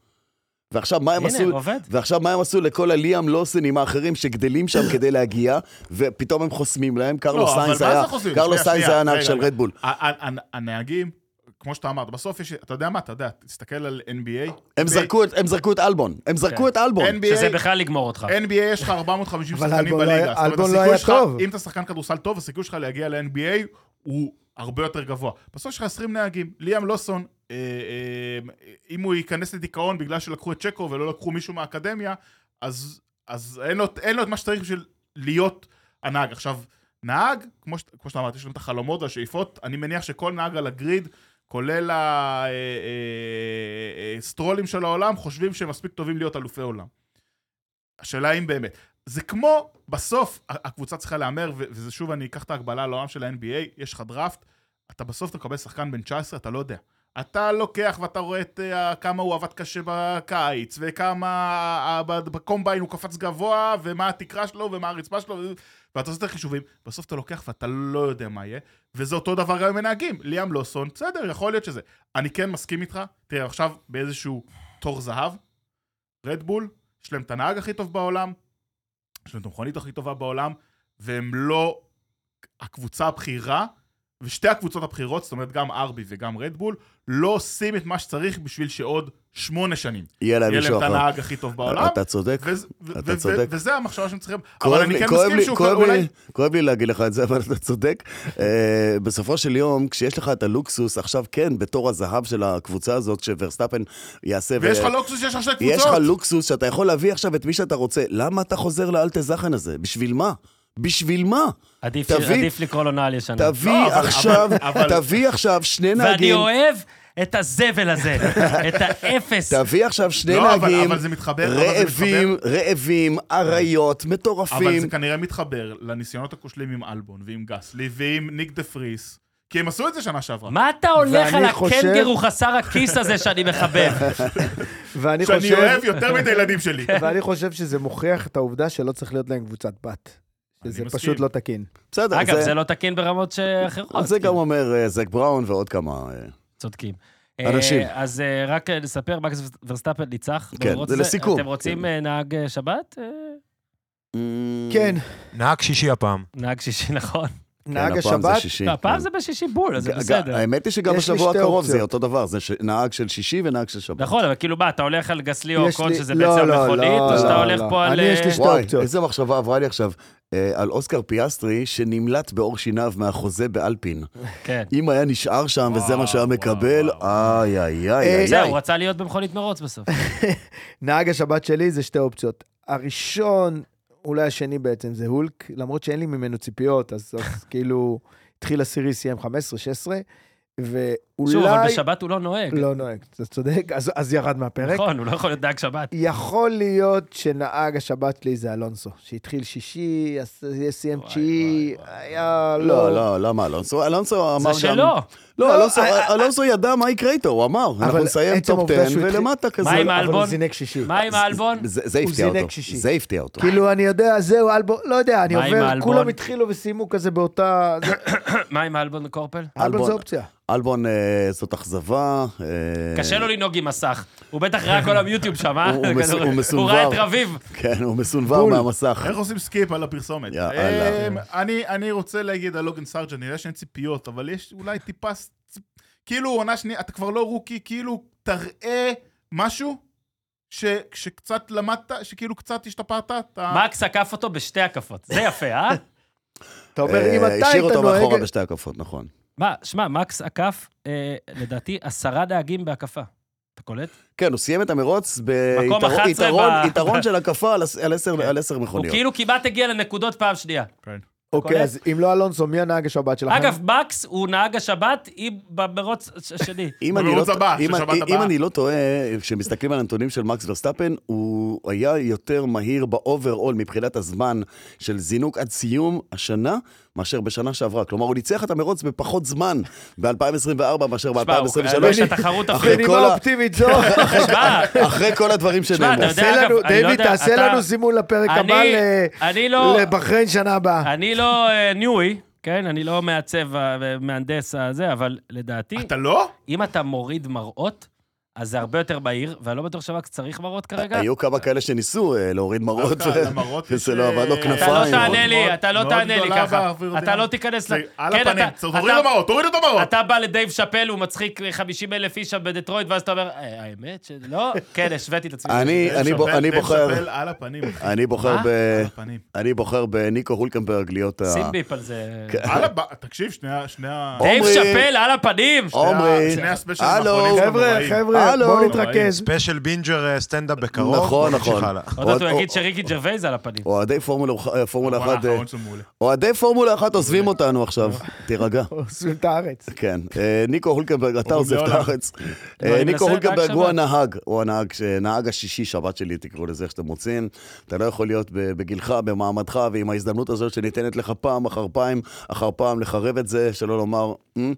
D: ועכשיו מה הם
B: הנה,
D: עשו?
B: עובד.
D: ועכשיו מה הם עשו לכל הליאם לוסנים האחרים שגדלים שם כדי להגיע, ופתאום הם חוסמים להם, קרלו
C: לא, אבל
D: סיינס
C: מה זה
D: היה,
C: חוזרים?
D: קרלו
C: שנייה,
D: סיינס
C: שנייה,
D: היה נהג
C: רגע,
D: של
C: רגע.
D: רדבול.
C: ה- ה- ה- הנהגים, כמו שאתה אמרת, בסוף יש... אתה יודע מה, אתה יודע, תסתכל על NBA.
D: הם
C: NBA
D: זרקו את- הם זרקו את אלבון, הם
C: כן.
D: זרקו את אלבון.
C: NBA
B: שזה בכלל לגמור אותך.
D: אה.
C: NBA יש לך 450
A: אבל
C: שחקנים
A: אלבון לא היה-
C: בליגה. זאת אומרת,
A: אלבון לא
C: הסיכוי
A: היה
C: שלך-
A: טוב.
C: אם אתה שחקן כדורסל טוב, הסיכוי שלך להגיע ל-NBA הוא הרבה יותר גבוה. בסוף יש לך 20 נהגים. ליאם לוסון, אה, אה, אם הוא ייכנס לדיכאון בגלל שלקחו את צ'קו ולא לקחו מישהו מהאקדמיה, אז אז אין לו- אין לו את מה שצריך בשביל להיות הנהג. עכשיו, נהג, כמו ש- כמו שאתה אמרת, יש לנו את החלומות והשאיפות, אני מניח שכל נהג על הגריד... כולל אה, הסטרולים אה, של העולם, חושבים שהם מספיק טובים להיות אלופי עולם. השאלה אם באמת. זה כמו, בסוף, ה- הקבוצה צריכה להמר, ו- וזה שוב, אני אקח את ההגבלה לעולם של ה-NBA, יש לך דראפט, אתה בסוף אתה מקבל שחקן בן 19, אתה לא יודע. אתה לוקח ואתה רואה את, אה, כמה הוא עבד קשה בקיץ, וכמה אה, ב- בקומביין הוא קפץ גבוה, ומה התקרה שלו, ומה הרצפה שלו, ו- ואתה עושה את החישובים. בסוף אתה לוקח ואתה לא יודע מה יהיה, וזה אותו דבר גם עם מנהגים. ליאם לוסון, בסדר, יכול להיות שזה. אני כן מסכים איתך, תראה, עכשיו באיזשהו תור זהב, רדבול, יש להם את הנהג הכי טוב בעולם, יש להם את המכונית הכי טובה בעולם, והם לא הקבוצה הבכירה ושתי הקבוצות הבכירות, זאת אומרת גם ארבי וגם רדבול, לא עושים את מה שצריך בשביל שעוד שמונה שנים.
D: יהיה להם
C: יהיה להם
D: מישהו
C: את
D: אחר.
C: הנהג הכי טוב בעולם.
D: אתה צודק.
C: וזה- ו-
D: אתה
C: ו- ו-
D: צודק.
C: וזה המחשבה שהם צריכים, אבל
D: כואב
C: אני
D: לי-
C: כן
D: כואב
C: מסכים
D: לי-
C: שהוא
D: כואב
C: אולי...
D: לי- כואב לי להגיד לך את זה, אבל אתה צודק. אה, בסופו של יום, כשיש לך את הלוקסוס, עכשיו כן, בתור הזהב של הקבוצה הזאת, שוורסטפן יעשה... ו-
C: ויש לך לוקסוס שיש לך שתי
D: יש לך
C: קבוצות.
D: לוקסוס שאתה יכול להביא עכשיו את מי שאתה רוצה. למה אתה חוזר לאלטה זכן הזה? בשביל מה? בשביל מה?
B: עדיף
D: תביא-
B: עדיף לקרוא לו נעל ישנה.
D: תביא
C: לא, אבל-
D: עכשיו,
C: אבל- אבל-
D: תביא עכשיו שני
B: ואני
D: נהגים,
B: אוהב את הזבל הזה, את האפס.
D: תביא עכשיו שני
C: לא, אבל-
D: נהגים,
C: אבל זה מתחבר, אבל זה
D: רעבים, רעבים, אריות,
C: אבל זה
D: מטורפים.
C: כנראה מתחבר לניסיונות הכושלים עם אלבון ועם גסלי ועם ניק דה פריס, כי הם עשו את זה שנה שעברה.
B: מה אתה הולך על
A: ואני חושב-
B: הקנגרו חסר הכיס הזה שאני מחבב?
A: ואני
C: שאני
A: חושב,
C: אוהב יותר מאת הילדים שלי.
A: ואני חושב שזה מוכיח את העובדה שלא צריך להיות להם קבוצת בת. שזה
C: מסכים.
A: פשוט לא תקין.
D: בסדר,
B: אגב,
D: זה-
B: זה לא תקין ברמות
D: על
B: אחרות. כן,
D: זה גם אומר אה, זק בראון ועוד כמה... אה,
B: Mm. צודקים. אה,
D: אנשים.
B: אז אה, רק אה, לספר, מקס ורסטאפל ניצח.
D: כן,
B: למרות
D: זה לסיכום.
B: אתם רוצים
D: כן.
B: אה, נהג אה, שבת? אה,
A: כן,
E: נהג שישי הפעם.
B: נהג שישי, נכון.
A: נהג
D: כן, הפעם זה
A: השבת,
D: שישי.
B: לא, הפעם זה בשישי בול, אז זה
D: ג- ג-
B: בסדר.
D: האמת היא שגם
A: יש לי
D: בשבוע
A: שתי
D: הקרוב זה
A: אופציות.
D: אותו דבר, זה ש- נהג של שישי ונהג של שבת.
B: נכון, אבל כאילו מה, אתה הולך על גסלי או
A: יש
B: קול,
A: לי-
B: שזה
A: לא,
B: בעצם
A: לא,
B: מכונית,
A: לא,
B: או שאתה
D: לא,
B: הולך
A: לא.
B: פה על...
A: אני, יש לי
B: אה,
A: שתי
D: וואי,
A: האופציות.
D: איזה מחשבה עברה לי עכשיו אה, על אוסקר פיאסטרי, שנמלט בעור שיניו מהחוזה באלפין.
B: כן.
D: אם היה נשאר שם וזה מה שהיה
C: וואו,
D: מקבל,
C: וואו,
D: איי, איי, איי,
A: אה,
D: איי.
B: זהו, הוא רצה להיות במכונית מרוץ בסוף.
A: נהג השבת שלי זה שתי אופציות. הראשון, אולי השני בעצם, זה הולק, למרות שאין לי ממנו ציפיות, אז אז כאילו, התחיל עשירי, סיים 15-16, ואולי...
B: שוב, אבל בשבת הוא לא נוהג.
A: לא נוהג, אתה צודק, אז- אז ירד מהפרק.
B: נכון, הוא לא יכול להיות נהג שבת.
A: יכול להיות שנהג השבת שלי זה אלונסו, שהתחיל שישי, אז סיים
B: וואי,
A: תשיעי,
B: וואי, וואי.
A: היה
D: לא, לא, למה אלונסו? אלונסו אמר
B: זה
D: גם...
B: שלו.
A: לא,
D: לא, אלונסו-
A: אה, אה,
D: אלונסו ידע מה יקרה איתו, הוא אמר. אנחנו נסיים
A: עצם
D: טופ
A: העובדה
D: 10
A: שהוא התחיל-
D: ולמטה כזה.
B: מה עם
A: אבל הוא
B: האלבון?
A: זינק שישי.
B: מה עם האלבון?
D: לא. זה זה
A: הוא
D: הפתיע
A: זינק
D: אותו.
A: שישי.
D: זה הפתיע אותו.
A: כאילו, אני יודע, זהו, אלבון, לא יודע, אני
B: מה עם
A: עובר,
B: האלבון?
A: כולם התחילו וסיימו כזה באותה... זה-
B: מה עם האלבון וקורפל?
A: אלבון
D: אלבון.
A: זה אופציה.
D: אלבון אה, זאת אכזבה. אה,
B: קשה לו לנהוג עם מסך. הוא בטח ראה כל המיוטיוב שם, אה?
D: הוא- הוא מס- הוא
B: הוא ראה את
D: מסונבר.
B: רביב.
D: כן, הוא מסונבר
A: בול.
D: מהמסך.
C: איך עושים סקיפ על הפרסומת?
D: יא אללה.
C: אמ, אני- אני רוצה להגיד על לוגן סרג'ן, אני יודע שאין ציפיות, אבל יש אולי טיפה... ס- צ- כאילו, עונה שנייה, אתה כבר לא רוקי, כאילו, תראה משהו ש- שקצת למדת, שכאילו קצת השתפרת. אתה-
B: מקס עקף אותו בשתי הקפות. זה יפה, אה?
A: אתה אומר,
D: אה,
A: אם אתה היית
D: השאיר אותו מאחורה
A: נוהג...
D: בשתי הקפות, נכון.
B: מה, שמע, מקס עקף, אה, לדעתי, עשרה נהגים בהקפה. אתה קולט?
D: כן, הוא סיים את המרוץ
B: מקום
D: ביתרון
B: 11
D: יתרון,
B: ב-
D: יתרון של הקפה על, עש- על, עשר,
B: כן.
D: על עשר
B: הוא
D: מכוניות.
B: כאילו כמעט הגיע לנקודות פעם שנייה.
A: אוקיי, אז אם לא אלונסו, מי הנהג השבת שלכם?
B: אגב, מקס הוא נהג השבת עם- במרוץ הש- השני.
D: אם אני, לא,
C: במרוץ הבא, של
D: אם,
C: שבת
D: אם, אם
C: הבאה.
D: אני לא טועה, כשמסתכלים על הנתונים של מקס ורסטאפן, הוא היה יותר מהיר באוברול מבחינת הזמן של זינוק עד סיום השנה, מאשר בשנה שעברה. כלומר, הוא ניצח את המרוץ בפחות זמן ב-2024 מאשר
B: תשמע, הוא- יש
D: ב-2023.
B: התחרות
D: אחרי
B: אפילו.
A: בנימה
D: כל ה-
A: אופטימית זו,
B: תשמע,
D: אחרי כל הדברים
B: תשמע, אתה
A: תעשה
B: יודע, אגב,
D: שנאמרו.
A: לנו,
B: אני לא
A: דיוויד,
B: יודע,
A: תעשה
B: אתה-
A: לנו זימון לפרק
B: אני-
A: הבא
D: אה,
A: ל-
B: אני לא...
A: לבחריין שנה הבאה.
B: אני לא אה, ניווי, כן? אני לא מעצב ה- ומהנדס הזה, אבל לדעתי,
C: אתה לא?
B: אם אתה מוריד מראות, אז זה הרבה יותר מהיר, ואני לא בטוח שמקס צריך מראות כרגע.
D: היו כמה כאלה שניסו אה,
C: לא,
D: להוריד מראות,
C: דווקא למראות
D: וזה
C: יש,
D: לא עבד לו
C: אה,
B: אתה לא
D: כנפיים. אבל-
B: תענה לי,
C: מאוד-
B: אתה לא
C: מאוד
B: תענה לי
C: גדולה
B: ככה.
C: באוויר
B: אתה
C: דינמי.
B: לא תיכנס ל...
C: זה על
B: כן,
C: הפנים,
B: אתה-
C: צריך- תוריד לו
B: אתה-
C: מראות, תוריד אותו מראות.
B: אתה בא לדייב שאפל, הוא מצחיק 50 אלף איש שם בדטרויט, ואז אתה אומר, "אה, האמת שלא? כן, השוויתי את עצמי.
D: אני-
C: דייב
D: אני בו-
C: שאפל-
D: אני
C: דייב
D: בוחר-
C: שאפל על הפנים, אחי,
D: אני בוחר
B: מה?
D: ב...
C: על הפנים.
D: אני בוחר בניקו הולקנברג להיות ה...
B: שים ביפ על זה.
C: על הבא, תקשיב, שני ה... שני ה...
B: דייב
D: כן. עומרי-
B: שאפל, על הפנים!
D: עומרי,
C: שני הספיישלים
D: הלו,
C: האחרונים שלו
A: חבר'ה,
C: נוראים.
A: חבר'ה,
D: הלו.
A: בואו נתרכז.
E: ספיישל בינג'ר אה, סטנדאפ בקרוב.
D: נכון,
E: בוא נמשיך
D: נכון.
E: הלאה.
B: עוד מעט הוא
D: אוהד-
B: יגיד שריקי ג'רווייז על הפנים.
D: אוהדי פורמולה אה, פורמולה
C: וואלה,
D: אחת, אה,
C: האחרון שלו מעולה.
D: אוהדי פורמולה אחת עוזבים אותנו עכשיו, תירגע.
A: עוזבים את הארץ.
D: כן, אה, ניקו הולקנברג, אתה
C: הוא
D: עוזב את
C: מעולם.
D: הארץ.
B: אני
D: אה,
B: מנסה
D: ניקו
B: את
D: הולקנברג
B: נהג
D: הוא
B: שבת.
D: הנהג, הוא הנהג, ש- נהג השישי שבת שלי, תקראו לזה איך שאתם רוצים. אתה לא יכול להיות ב- בגילך, במעמדך, ועם ההזדמנות הזאת שניתנת לך פעם אחר פעם, אחר פעם לחרב את זה, שלא לומר, "מ,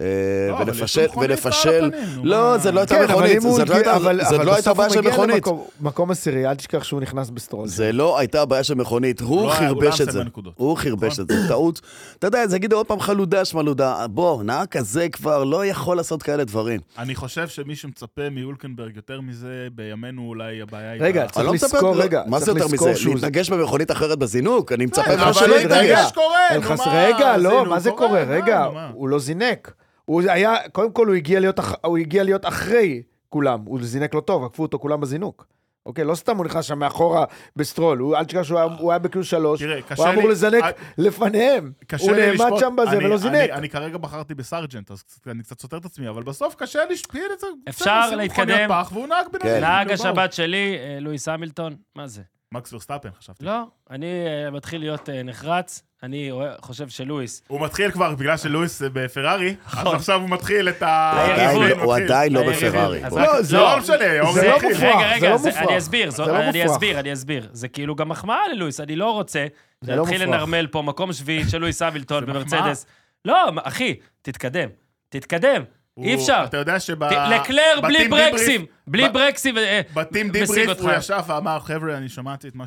D: אה,
C: לא, אבל יש
D: ולפשל,
C: מכונית על
D: ולפשל.
C: הפנים, נו,
D: לא,
C: מה?
D: זה לא הייתה
A: כן, אבל
D: מכונית,
A: אם הוא...
D: זאת לא הייתה-
A: אבל-
D: זאת
A: אבל
D: לא הייתה
A: בסוף
D: בעיה
A: הוא
D: של
A: מגיע
D: מכונית.
A: למקום- מקום עשירי, אל תשכח שהוא נכנס בסטרול.
B: אוקיי.
D: זה לא הייתה הבעיה של מכונית, הוא
C: לא היה- הוא לא
D: חרבש
C: היה
D: את זה.
C: מסמן נקודות.
D: הוא חרבש את זה,
B: נכון.
D: טעות. אתה יודע, אז יגידו עוד פעם חלודה שמלודה. בוא, נהג כזה כבר לא יכול לעשות כאלה דברים.
C: אני חושב שמי שמצפה מאולקנברג יותר מזה, בימינו אולי הבעיה היא...
A: רגע,
C: ב-
A: צריך
D: אני לא מצפה-
A: לזכור,
D: לא-
A: רגע,
D: מה
A: צריך
D: זה יותר
A: לזכור
D: מזה?
A: שהוא-
D: להתנגש במכונית אחרת בזינוק? אני מצפה
C: כן,
D: ממך
C: אבל
D: שלא
C: לא
D: יתנגש.
C: התרגש, קורה,
A: אין
C: נו
A: חס-
C: מה,
A: רגע,
C: אז
A: לא,
C: הנה,
A: מה
C: הוא
A: זה
C: קורה,
A: קורה?
C: מה,
A: רגע,
C: נו, מה?
A: הוא לא זינק. הוא היה, קודם כל הוא הגיע להיות אח- הוא הגיע להיות אחרי כולם, הוא זינק לא טוב, עקפו אותו כולם בזינוק. אוקיי, לא סתם הוא נכנס שם מאחורה בסטרול, הוא- אל תשכח שהוא היה- הוא היה בקיוס שלוש,
C: תראה,
A: הוא
C: קשה
A: היה אמור
C: לי-
A: לזנק
C: אה,
A: לפניהם,
C: קשה
A: הוא
C: לי
A: נעמד
C: לשפוט.
A: שם בזה
C: אני-
A: ולא
C: אני-
A: זינק.
C: אני כרגע בחרתי בסרג'נט, אז קצת- אני קצת סותר את עצמי, אבל בסוף קשה לשפיל את זה.
B: אפשר
C: בסדר, עשינו
B: להתקדם.
C: מכוניות פח, והוא נהג בינתיים.
B: נהג השבת שלי, אה, לואיס המילטון, מה זה?
C: מקס ורסטאפן, חשבתי.
B: לא, אני אה, מתחיל להיות אה, נחרץ, אני רואה- חושב שלואיס.
C: הוא מתחיל כבר, בגלל שלואיס אה, בפרארי, אז
B: נכון.
C: עכשיו הוא מתחיל את ה...
D: הוא עדיין
C: היריבות,
D: לא- הוא
B: כן.
C: מתחיל.
D: עדיין לא
B: היריבים.
D: בפרארי.
B: אז
D: בוא.
B: רק-
A: לא, זה
C: לא משנה, אורן.
A: זה לא
C: אחי.
A: מופרך,
B: אוקיי. רגע, רגע,
A: זה לא
B: זה-
A: מופרך.
B: אני אסביר, זו-
A: זה לא
B: אני
A: מופרך.
B: אסביר, אני אסביר. זה כאילו גם מחמאה ללואיס, אני לא רוצה
A: זה לא
B: להתחיל
A: מופרך.
B: לנרמל פה מקום שביעי של לואיס אבילטון
C: זה מחמאה.
B: במרצדס. לא, מה- אחי, תתקדם, תתקדם,
C: הוא-
B: אי אפשר.
C: אתה יודע שב...
B: ת- לקלר בלי
C: בטים
B: ברקסים,
C: דיבריף-
B: בלי
C: ב-
B: ברקסים. אה,
C: בטים
B: משיג
C: דיבריף
B: אותך.
C: הוא ישב ואמר, חבר'ה, אני שמעתי את מה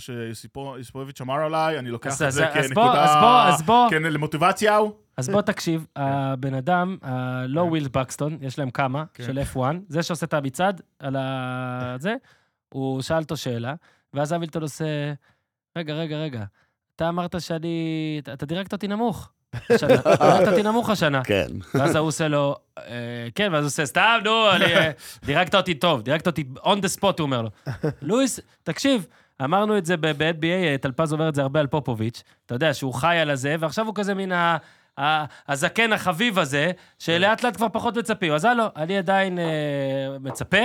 C: שיוסיפוביץ' אמר עליי, אני לוקח
B: אז-
C: את
B: אז-
C: זה
B: אז בוא- אז בוא-
C: כנקודה...
B: אז בוא.
C: כן, למוטיבציה הוא.
B: אז בוא תקשיב, הבן אדם, הלא וויל בקסטון, יש להם כמה, של F1, זה שעושה את המצעד על ה... זה, הוא שאל אותו שאלה, ואז אבילטון עושה, רגע, רגע, רגע, אתה אמרת שאני... אתה- אתה דירקת אותי נמוך. השנה. דירקת אותי נמוך השנה.
D: כן.
B: ואז ההוא עושה לו, "אה, כן, ואז הוא עושה, סתם, נו, אני, אה, דירקת אותי טוב, דירקת אותי on the spot, הוא אומר לו. לואיס, תקשיב, אמרנו את זה ב- ב-NBA, אה, טלפז אומר את זה הרבה על פופוביץ', אתה יודע, שהוא חי על הזה, ועכשיו הוא כזה מן ה... ה- הזקן החביב הזה, שלאט לאט כבר פחות מצפים. אז הלו, אני עדיין אה, מצפה,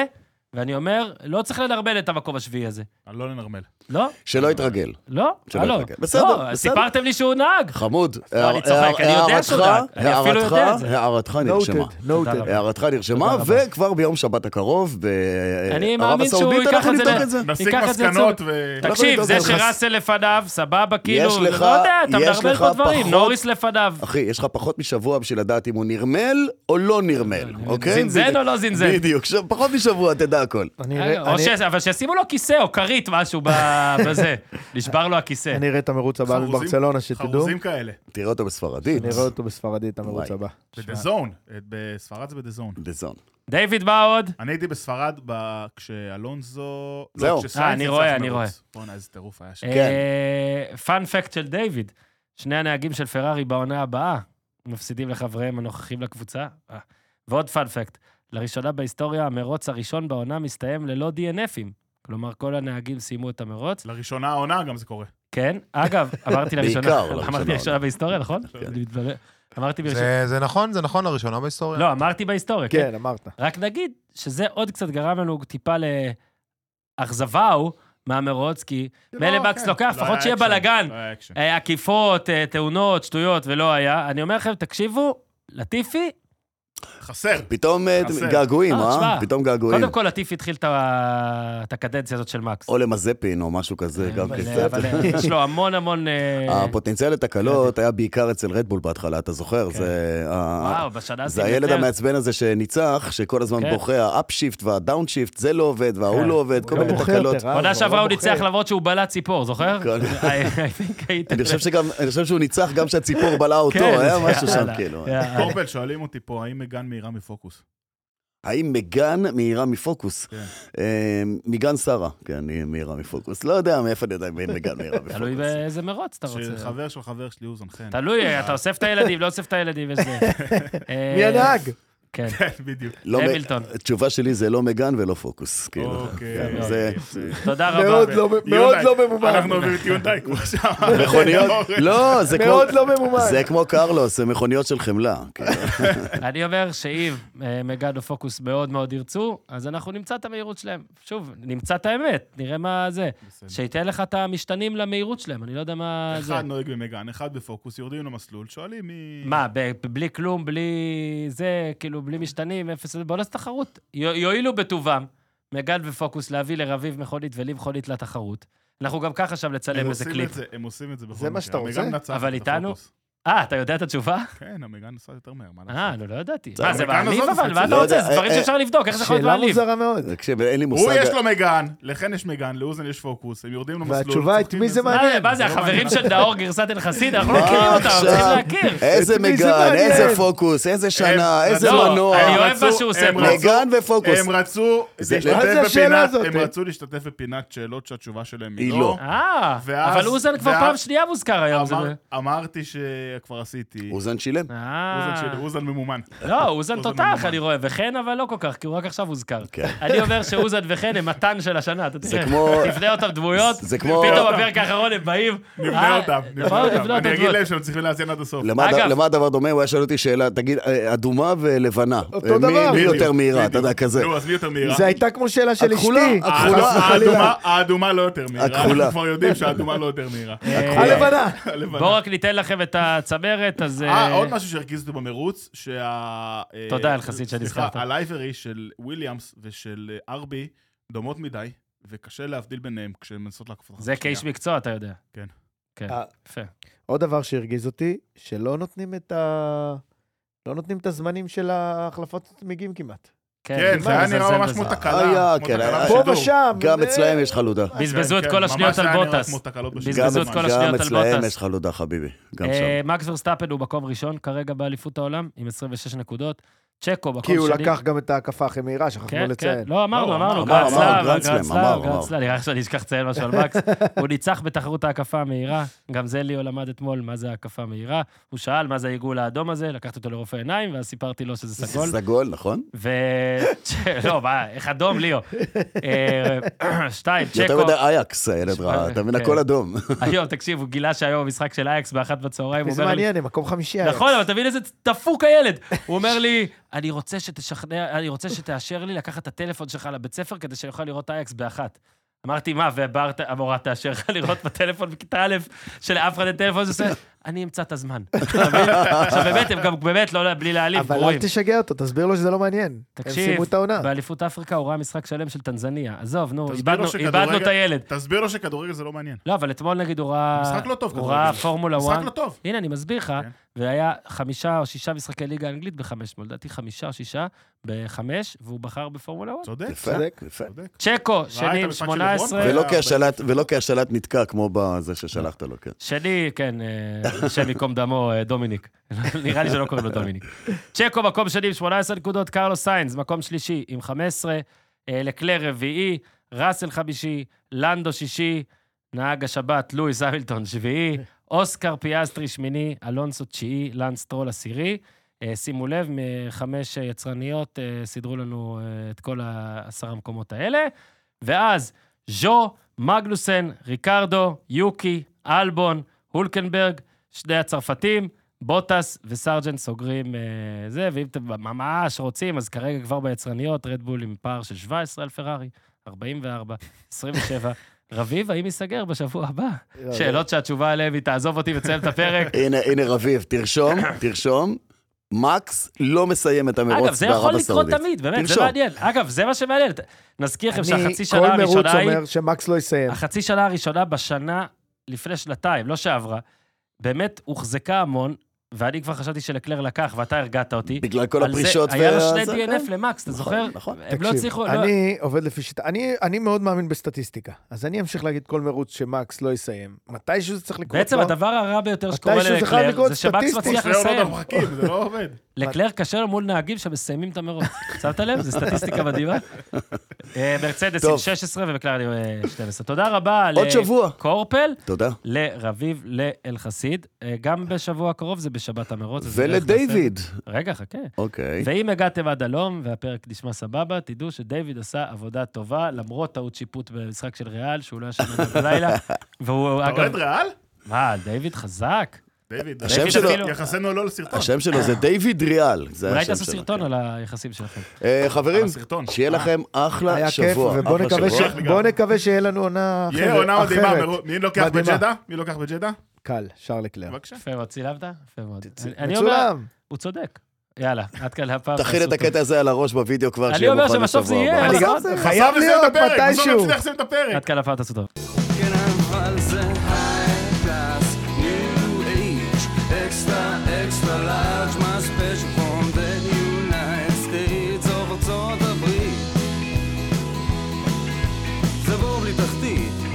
B: ואני אומר, לא צריך לנרמל את המקום השביעי הזה.
C: אני לא לנרמל.
B: לא,
D: שלא יתרגל.
B: לא,
D: שלא
B: הלו.
D: יתרגל. בסדר,
B: לא,
D: בסדר.
B: סיפרתם לי שהוא נהג.
D: חמוד.
B: לא, אני צוחק,
D: הער-
B: אני יודע שהוא
D: הערתך-
B: דג. אני אפילו יודע את
D: הערתך-
B: זה.
D: הערתך נרשמה.
A: נוטד, נוטד.
B: רבה.
D: הערתך נרשמה,
B: תודה רבה.
D: וכבר ביום שבת הקרוב, אה,
B: אני
D: בערב
B: מאמין שהוא
D: הסעודית,
B: ייקח
D: אנחנו
B: את זה
D: נבדוק
B: ל-
D: את זה.
C: נסיק
B: ניקח את זה
C: מסקנות
B: לצורך-
C: ו...
D: אנחנו
B: תקשיב,
D: נבדוק
B: זה
D: על חס-
B: שראסל לפניו, סבבה, כאילו,
D: יש לך-
B: לא יודע, אתה
D: יש
B: מרמל
D: לך
B: פה דברים,
D: פחות-
B: נוריס לפניו.
D: אחי, יש לך פחות משבוע בשביל לדעת אם הוא נרמל או לא נרמל, אוקיי?
B: זינזן או לא זינזן?
D: בדיוק, ש- פחות משבוע, תדע הכל.
A: אני
B: רגע,
A: אראה-
B: או
A: אני-
B: ש- אבל שישימו לו כיסא או כרית, משהו ב- בזה. נשבר לו הכיסא.
A: אני אראה את המרוץ הבא
C: חרוזים-
A: בברצלונה, שתדעו.
C: חרוזים כאלה.
D: תראה אותו בספרדית.
A: נראה אותו בספרדית, המרוץ
D: וואי.
A: הבא.
C: בדה זון. בספרד זה בדה זון.
D: דזון.
B: דיוויד, מה עוד?
C: אני הייתי בספרד ב- כשאלונזו... לא,
D: זהו.
C: כשסיינס
B: אה, אני
C: יצא
B: רואה, אה. אני
C: מהמרוץ. בואנה, איזה טירוף היה
D: כן.
C: שם.
B: פאנפקט של דיוויד, שני הנהגים של פרארי בעונה הבאה מפסידים לחבריהם הנוכחים לקבוצה. אה. ועוד פאנפקט, לראשונה בהיסטוריה המרוץ הראשון בעונה מסתיים ללא DNFים. כלומר, כל הנהגים סיימו את המרוץ.
C: לראשונה העונה גם זה קורה.
B: כן, אגב, אמרתי לראשונה,
D: בעיקר לא לראשונה. כן.
B: אמרתי לראשונה בהיסטוריה, נכון? אני מתברר. אמרתי בראשונה,
E: זה, זה נכון, זה נכון לראשונה בהיסטוריה.
B: לא, אמרתי בהיסטוריה, כן.
A: כן, אמרת.
B: רק נגיד שזה עוד קצת גרם לנו טיפה לאכזבה ההוא מהמרוץ, כי מילא מקס לוקח,
C: לא היה
B: לפחות שיהיה
C: אקשן,
B: בלאגן.
C: לא היה אקשן.
B: אה, עקיפות, אה, תאונות, שטויות, ולא היה. אני אומר לכם, תקשיבו, לטיפי,
C: חסר.
D: פתאום אה,
C: חסר.
D: געגועים,
B: אה,
D: אה?
B: תשמע.
D: פתאום געגועים.
B: קודם כל לטיפי התחיל את ה- את הקדנציה הזאת של מקס.
D: או למזפין או משהו כזה, גם
B: אבל,
D: כן.
B: אה, אבל, אה, יש לו המון המון... אה, כן.
D: הפוטנציאל לתקלות היה בעיקר אצל רדבול בהתחלה, אתה זוכר? זה ה-
B: וואו, בשנה
D: זה
B: הזאת
D: הילד
B: יותר.
D: המעצבן הזה שניצח, שכל הזמן
B: כן.
D: בוכה, האפשיפט והדאונשיפט, זה לא עובד וההוא
B: כן.
D: לא עובד, כל
A: לא
D: מיני
A: בוחר
D: תקלות.
A: יותר, אה?
B: עונה
A: אבל
B: שעברה
A: לא
B: הוא
A: בוחר.
B: ניצח למרות שהוא בלע ציפור, זוכר?
D: כן.
B: I- I think הייתם-
D: אני חושב שגם, אני חושב שהוא ניצח גם כשהציפור בלעה אותו,
B: כן,
D: היה
B: זה-
D: משהו שם
B: יאללה,
D: כאילו.
B: יאללה.
C: קורפל, שואלים אותי פה, האם מגן מהירה מפוקוס?
D: האם מגן מהירה מפוקוס?
C: כן.
D: אה, מגן שרה, כן, היא מהירה מפוקוס. לא יודע מאיפה נדע אם אין מגן מהירה מפוקוס.
B: תלוי באיזה מרוץ אתה רוצה.
C: שחבר של חבר שלי הוא זנחן.
B: תלוי, אתה לא- אוסף את הילדים, לא אוסף את הילדים, יש זה. אה,
A: מי הנהג?
B: כן.
C: כן, בדיוק.
D: לא מ-
B: המילטון.
D: התשובה שלי זה לא מגן ולא פוקוס.
B: אה,
D: כאילו.
C: אוקיי.
D: כן, זה-
B: תודה
A: מאוד
B: רבה.
A: לא- מאוד
C: יונדאי.
A: לא ממומן.
C: אה, אנחנו עוברים את יונדאי כמו שם.
D: מכוניות, לא, זה כמו...
A: מאוד לא ממומן.
D: זה כמו קרלוס, זה מכוניות של חמלה. כאילו.
B: אני אומר שאם אה, מגד או פוקוס מאוד מאוד ירצו, אז אנחנו נמצא את המהירות שלהם. שוב, נמצא את האמת, נראה מה זה. שייתן לך את המשתנים למהירות שלהם, אני לא יודע מה זה.
C: אחד נוהג במגן, אחד בפוקוס, יורדים למסלול, שואלים מי...
B: מה, ב- בלי כלום, בלי זה, כאילו, בלי משתנים, אפס, בוא נעשה תחרות. יו- יואילו בטובם, מגן ופוקוס, להביא לרביב מכונית ולי מכונית לתחרות. אנחנו גם ככה שם
C: הם
B: לצלם איזה
C: עושים את
B: קליפ.
C: זה, הם עושים את זה בכל
A: זה מה שאתה רוצה?
C: המגן מנצח
B: אבל
C: את
B: איתנו?
C: הפוקוס.
B: אה, אתה יודע את התשובה?
C: כן, המגן נסע יותר מהר, מה
B: אה,
C: לעשות?
B: לא, לא ידעתי.
C: זה
B: מה, זה
C: המכאן
B: מעליב
C: הזאת,
B: אבל? מה אתה
D: לא
B: רוצה?
D: יודע,
B: זה דברים
D: אה,
B: שאפשר לבדוק, איך זה יכול להיות
A: שאלה
B: מעליב?
A: מוזרה מאוד.
D: תקשיב, אין לי מושג.
C: הוא יש לו מגן, לכן יש מגן, לאוזן יש פוקוס, הם יורדים למסלול.
A: והתשובה, את
C: צוחקים
A: מי זה
C: וזה.
A: מעניין?
B: מה זה- מה זה,
C: לא אה,
B: החברים
C: מעניין.
B: של נאור גרסת אל-חסיד? אנחנו לא
D: מה
B: מכירים אותם,
D: עכשיו?
B: צריכים להכיר.
D: איזה
A: את מי זה
D: מגן,
A: מעניין?
D: איזה פוקוס, איזה שנה,
C: הם-
D: איזה
B: לא,
D: מנוע.
B: אני אוהב
C: רצו-
B: מה שהוא עושה
C: הם
B: פה.
C: רצו-
D: מגן ופוקוס.
C: הם רצו
D: זה-
C: להשתתף
A: מה זה השאלה
C: בפינת-
A: הזאת?
C: הם רצו להשתתף בפינת שאלות שהתשובה שלהם
D: היא
C: היא
D: לא.
C: לא.
B: אה,
C: ואז-
B: אבל אוזן כבר
C: ואז-
B: פעם שנייה מוזכר היום. אה, זה-
C: אמר- אמרתי שכבר עשיתי.
D: אוזן שילם.
B: אה.
C: אוזן שלי, אוזן ממומן.
B: לא, אוזן
C: אוזן
B: תותח,
C: ממומן.
B: אני רואה, וחן אבל לא כל כך, כי הוא רק עכשיו הוזכר.
D: כן.
B: אני אומר שאוזן וחן הם מתן של השנה, אתה תראה.
D: כמו-
B: תבנה אותם דמויות,
D: זה כמו-
B: פתאום בפרק האחרון הם באים.
C: נבנה
B: אה,
C: אותם, נבנה
B: בואו נבנה
C: אותם.
B: אותם
C: אני אגיד
B: דמויות.
C: להם שהם צריכים להאזין עד הסוף.
D: למה
B: אגב-
D: הד- למה הדבר דומה? הוא היה שואל אותי שאלה, תגיד, אה, אדומה ולבנה.
A: אותו
D: אה, מי-
A: דבר.
D: מי
C: בדיוק,
D: יותר מהירה, אתה יודע,
C: בדיוק.
D: כזה.
C: נו, אז מי יותר מהירה?
A: זה הייתה כמו שאלה של
D: הכחולה,
A: אשתי.
D: הכחולה,
C: האדומה-
D: חלילה.
C: האדומה לא יותר מהירה.
D: הכחולה.
C: אנחנו כבר יודעים שהאדומה לא יותר מהירה.
B: אה,
A: הלבנה.
C: הלבנה.
B: בואו רק ניתן לכם את הצמרת, אז...
C: אה, עוד משהו שהרגיז אותי במרוץ, שה... אה,
B: תודה, אלחסיד, שנזכרת.
C: סליחה, הלייברי של וויליאמס ושל אה, ארבי דומות מדי, וקשה להבדיל ביניהם כשהן מנסות לעקוף אותך.
B: זה כאיש מקצוע, אתה יודע.
C: כן.
B: כן,
A: אה,
B: יפה.
A: עוד דבר שהרגיז אותי, שלא נותנים את ה... לא נותנים את הזמנים של ההחלפות צמיגים כמעט.
C: כן, זה היה
B: מזלזל
C: נראה ממש
B: בזה.
C: כמו
D: היה,
C: תקלה. כמו
D: כן,
C: תקלה
D: היה.
A: פה
C: בשידור.
A: ושם.
D: גם
A: אה,
D: אצלהם יש חלודה.
B: בזבזו
C: כן,
B: את
C: כן,
B: כל השניות
C: ממש
B: על
C: היה נראה
B: בוטס.
C: כמו תקלות בשידור.
B: בזבזו את כל השניות
D: גם
B: על
D: אצלהם
B: בוטס.
D: יש חלודה, חביבי. גם
B: אה,
D: שם.
B: מקס ורסטאפן הוא מקום ראשון כרגע באליפות העולם, עם 26 נקודות. צ'קו מקום
A: כי
B: שני.
A: הוא לקח גם את ההקפה הכי מהירה, שכחנו
B: כן, כן.
A: לציין.
B: לא, אמרנו,
C: לא,
B: אמרנו,
C: אמרנו,
B: גרנד
D: אמרנו,
B: סלאם, גרנד
D: גרנד סלאם,
B: סלאם,
D: אמרנו,
B: גרנד
D: אמרנו.
B: סלאם. נראה לי שאני אשכח לציין משהו על מקס. הוא ניצח בתחרות ההקפה המהירה. גם זה ליאו למד אתמול מה זה ההקפה המהירה. הוא שאל מה זה העיגול האדום הזה, לקחתי אותו לרופא עיניים, ואז סיפרתי לו שזה סגול.
D: סגול, נכון?
B: ו... לא, מה, איך אדום, ליאו. אה, שתיים,
D: יותר
B: צ'קו.
D: מדי אייקס, הילד ראה, אתה מבין?
B: כן.
D: הכל אדום.
B: היום, תקשיב, הוא גילה שהיום המשחק של אייקס באחת בצהריים, הוא
A: זה
B: אומר לי...
A: מעניין, הם מקום חמישי. היה.
B: נכון, אבל תבין איזה דפוק הילד. הוא אומר לי, אני רוצה שתשכנע, אני רוצה שתאשר לי לקחת את הטלפון שלך לבית ספר כדי שאני אוכל לראות אייקס באחת. אמרתי, מה, והמורה תאשר לך לראות בטלפון בכיתה א', שלאף אחד אין טלפון, זה עושה, אני אמצא את הזמן. אתה מבין? עכשיו, באמת, הם גם באמת, לא, בלי להעליב,
A: אבל אל
B: גרועים.
A: תשגע אותו, תסביר לו שזה לא מעניין. הם
B: תקשיב,
A: סיימו את העונה.
B: באליפות אפריקה הוא ראה משחק שלם של טנזניה. עזוב, נו,
C: תסביר
B: איבדנו-
C: לו שכדורגל-
B: איבדנו את הילד.
C: תסביר לו שכדורגל זה לא מעניין.
B: לא, אבל אתמול נגיד הוא ראה...
C: משחק לא טוב,
B: הוא
C: כדורגל.
B: ראה פורמולה 1.
C: משחק לא טוב.
B: הנה, אני מסביר לך,
C: כן.
B: והיה חמישה או שישה משחקי ליגה אנגלית בחמש, אתמול, לדעתי חמישה או שישה בחמש, והוא בחר בפורמולה 1.
C: צודק,
D: יפה,
A: צודק.
D: יפה.
C: צודק.
B: צ'קו,
C: את המשחק
B: שני עם
C: של
B: 18.
C: לברון?
D: ולא כהשאלת- ולא כהשאלת נתקע, כמו בזה ששלחת לו, כן.
B: שני, כן, אה, השם ייקום דמו, אה, דומיניק. נראה לי שלא קוראים לו דומיניק. צ'קו, מקום שני עם 18 נקודות, קרלוס סיינס, מקום שלישי עם 15, אה, לקלר רביעי, ראסל חמישי, לנדו שישי, נהג השבת לואיס המילטון שביעי, אוסקר פיאסטרי שמיני, אלונסו תשיעי, לנס טרול עשירי. אה, שימו לב, מחמש אה, יצרניות אה, סידרו לנו אה, את כל העשרה המקומות האלה. ואז ז'ו, מגנוסן, ריקרדו, יוקי, אלבון, הולקנברג, שני הצרפתים, בוטס וסרג'נט סוגרים אה, זה, ואם אתם ממש רוצים, אז כרגע כבר ביצרניות, רדבול עם פער של 17 על פרארי, 44, 27. רביב, האם ייסגר בשבוע הבא?
A: לא,
B: שאלות שהתשובה עליהן היא תעזוב אותי ותסיים את הפרק.
D: הנה, הנה רביב, תרשום, תרשום. מקס לא מסיים את
B: אגב,
D: המרוץ
B: זה יכול
D: בערב
B: לקרות
D: הסעודית.
B: תמיד, באמת, זה
D: תרשום.
B: מעניין. אגב, זה מה שמעניין. נזכיר לכם
A: אני, כל
B: שהחצי שנה
A: מרוץ
B: הראשונה היא...
A: אומר שמקס לא יסיים.
D: כן.
B: החצי שנה הראשונה בשנה לפני שנתיים, לא שעברה, באמת הוחזקה המון, ואני כבר חשבתי שלקלר לקח, ואתה הרגעת אותי.
D: בגלל כל
B: על זה
D: הפרישות
B: היה לו
D: וה-
B: שני
D: זה,
B: DNF למקס, אתה
D: נכון,
B: זוכר?
D: נכון.
B: הם לא הצליחו... לא-
A: אני עובד לפי שיטה, אני, אני מאוד מאמין בסטטיסטיקה, אז אני אמשיך להגיד כל מרוץ שמקס לא יסיים. מתישהו זה צריך לקרות לא?
B: בעצם
A: לו.
B: הדבר הרע ביותר
A: מתישהו
B: שקורה
A: זה חייב
B: ללקלר,
A: לקרות
B: זה שמקס
A: סטטיסטית.
B: מצליח
C: שתי עונות
B: לסיים.
C: המחקים, זה לא עובד.
B: לקלר קשה לו מול נהגים שמסיימים את המרוץ. שמת לב? זו סטטיסטיקה מדהימה. אה, מרצדס עם
D: טוב.
B: 16 ומקלר עם אה, 12. תודה רבה
D: עוד שבוע.
B: לקורפל,
D: תודה.
B: לרביב, לאלחסיד. אה, גם בשבוע הקרוב זה בשבת המרוץ. אז נראה איך נעשה את זה.
D: ולדיוויד.
B: רגע, חכה.
D: אוקיי.
B: ואם הגעתם עד הלום והפרק נשמע סבבה, תדעו שדיוויד עשה עבודה טובה, למרות טעות שיפוט במשחק של ריאל, שהוא לא ישן עליו בלילה. והוא,
C: אתה
B: אגב...
C: אוהד ריאל?
B: מה, דיוויד חזק?
C: דיוויד,
D: השם
C: דיוויד
D: שלו-
C: אפילו- יחסנו לא לסרטון.
D: השם שלו זה דיוויד ריאל. זה
B: אולי
D: השם
B: תעשו
D: שלו,
B: סרטון אה.
D: כן.
B: על היחסים שלכם.
D: אה, חברים,
C: על הסרטון.
D: שיהיה לכם אחלה
A: היה כיף,
D: שבוע.
A: ובוא
D: אחלה
A: נקווה, ש...
D: שבוע.
C: שכח לגמרי.
A: בוא נקווה שיהיה לנו עונה אחרת.
C: יהיה עונה מדהימה,
A: אחרת.
C: מרו- מי לוקח
A: מדהימה.
C: בג'דה? מי לוקח בג'דה?
A: קל, שרל קלר.
C: בבקשה.
B: יפה מאוד, צילמת? יפה מאוד. אני- אני אומר,
A: מצולם.
B: הוא צודק. יאללה, עד כאן הפעם.
D: תכין את
B: תעשו טוב.
D: הקטע הזה על הראש בווידאו כבר,
B: אני
D: שיהיה
B: אומר
D: מוכן לשבוע
B: שבסוף
D: הבא.
B: זה יהיה,
A: אני גם
B: בסדר.
A: חייב
C: בסוף נסיים
A: להיות
C: את הפרק, בסוף
A: מתישהו.
C: נצליח לסיים את הפרק.
B: עד כאן הפעם תעשו טוב.
F: Can I find the high class new age extra התחתית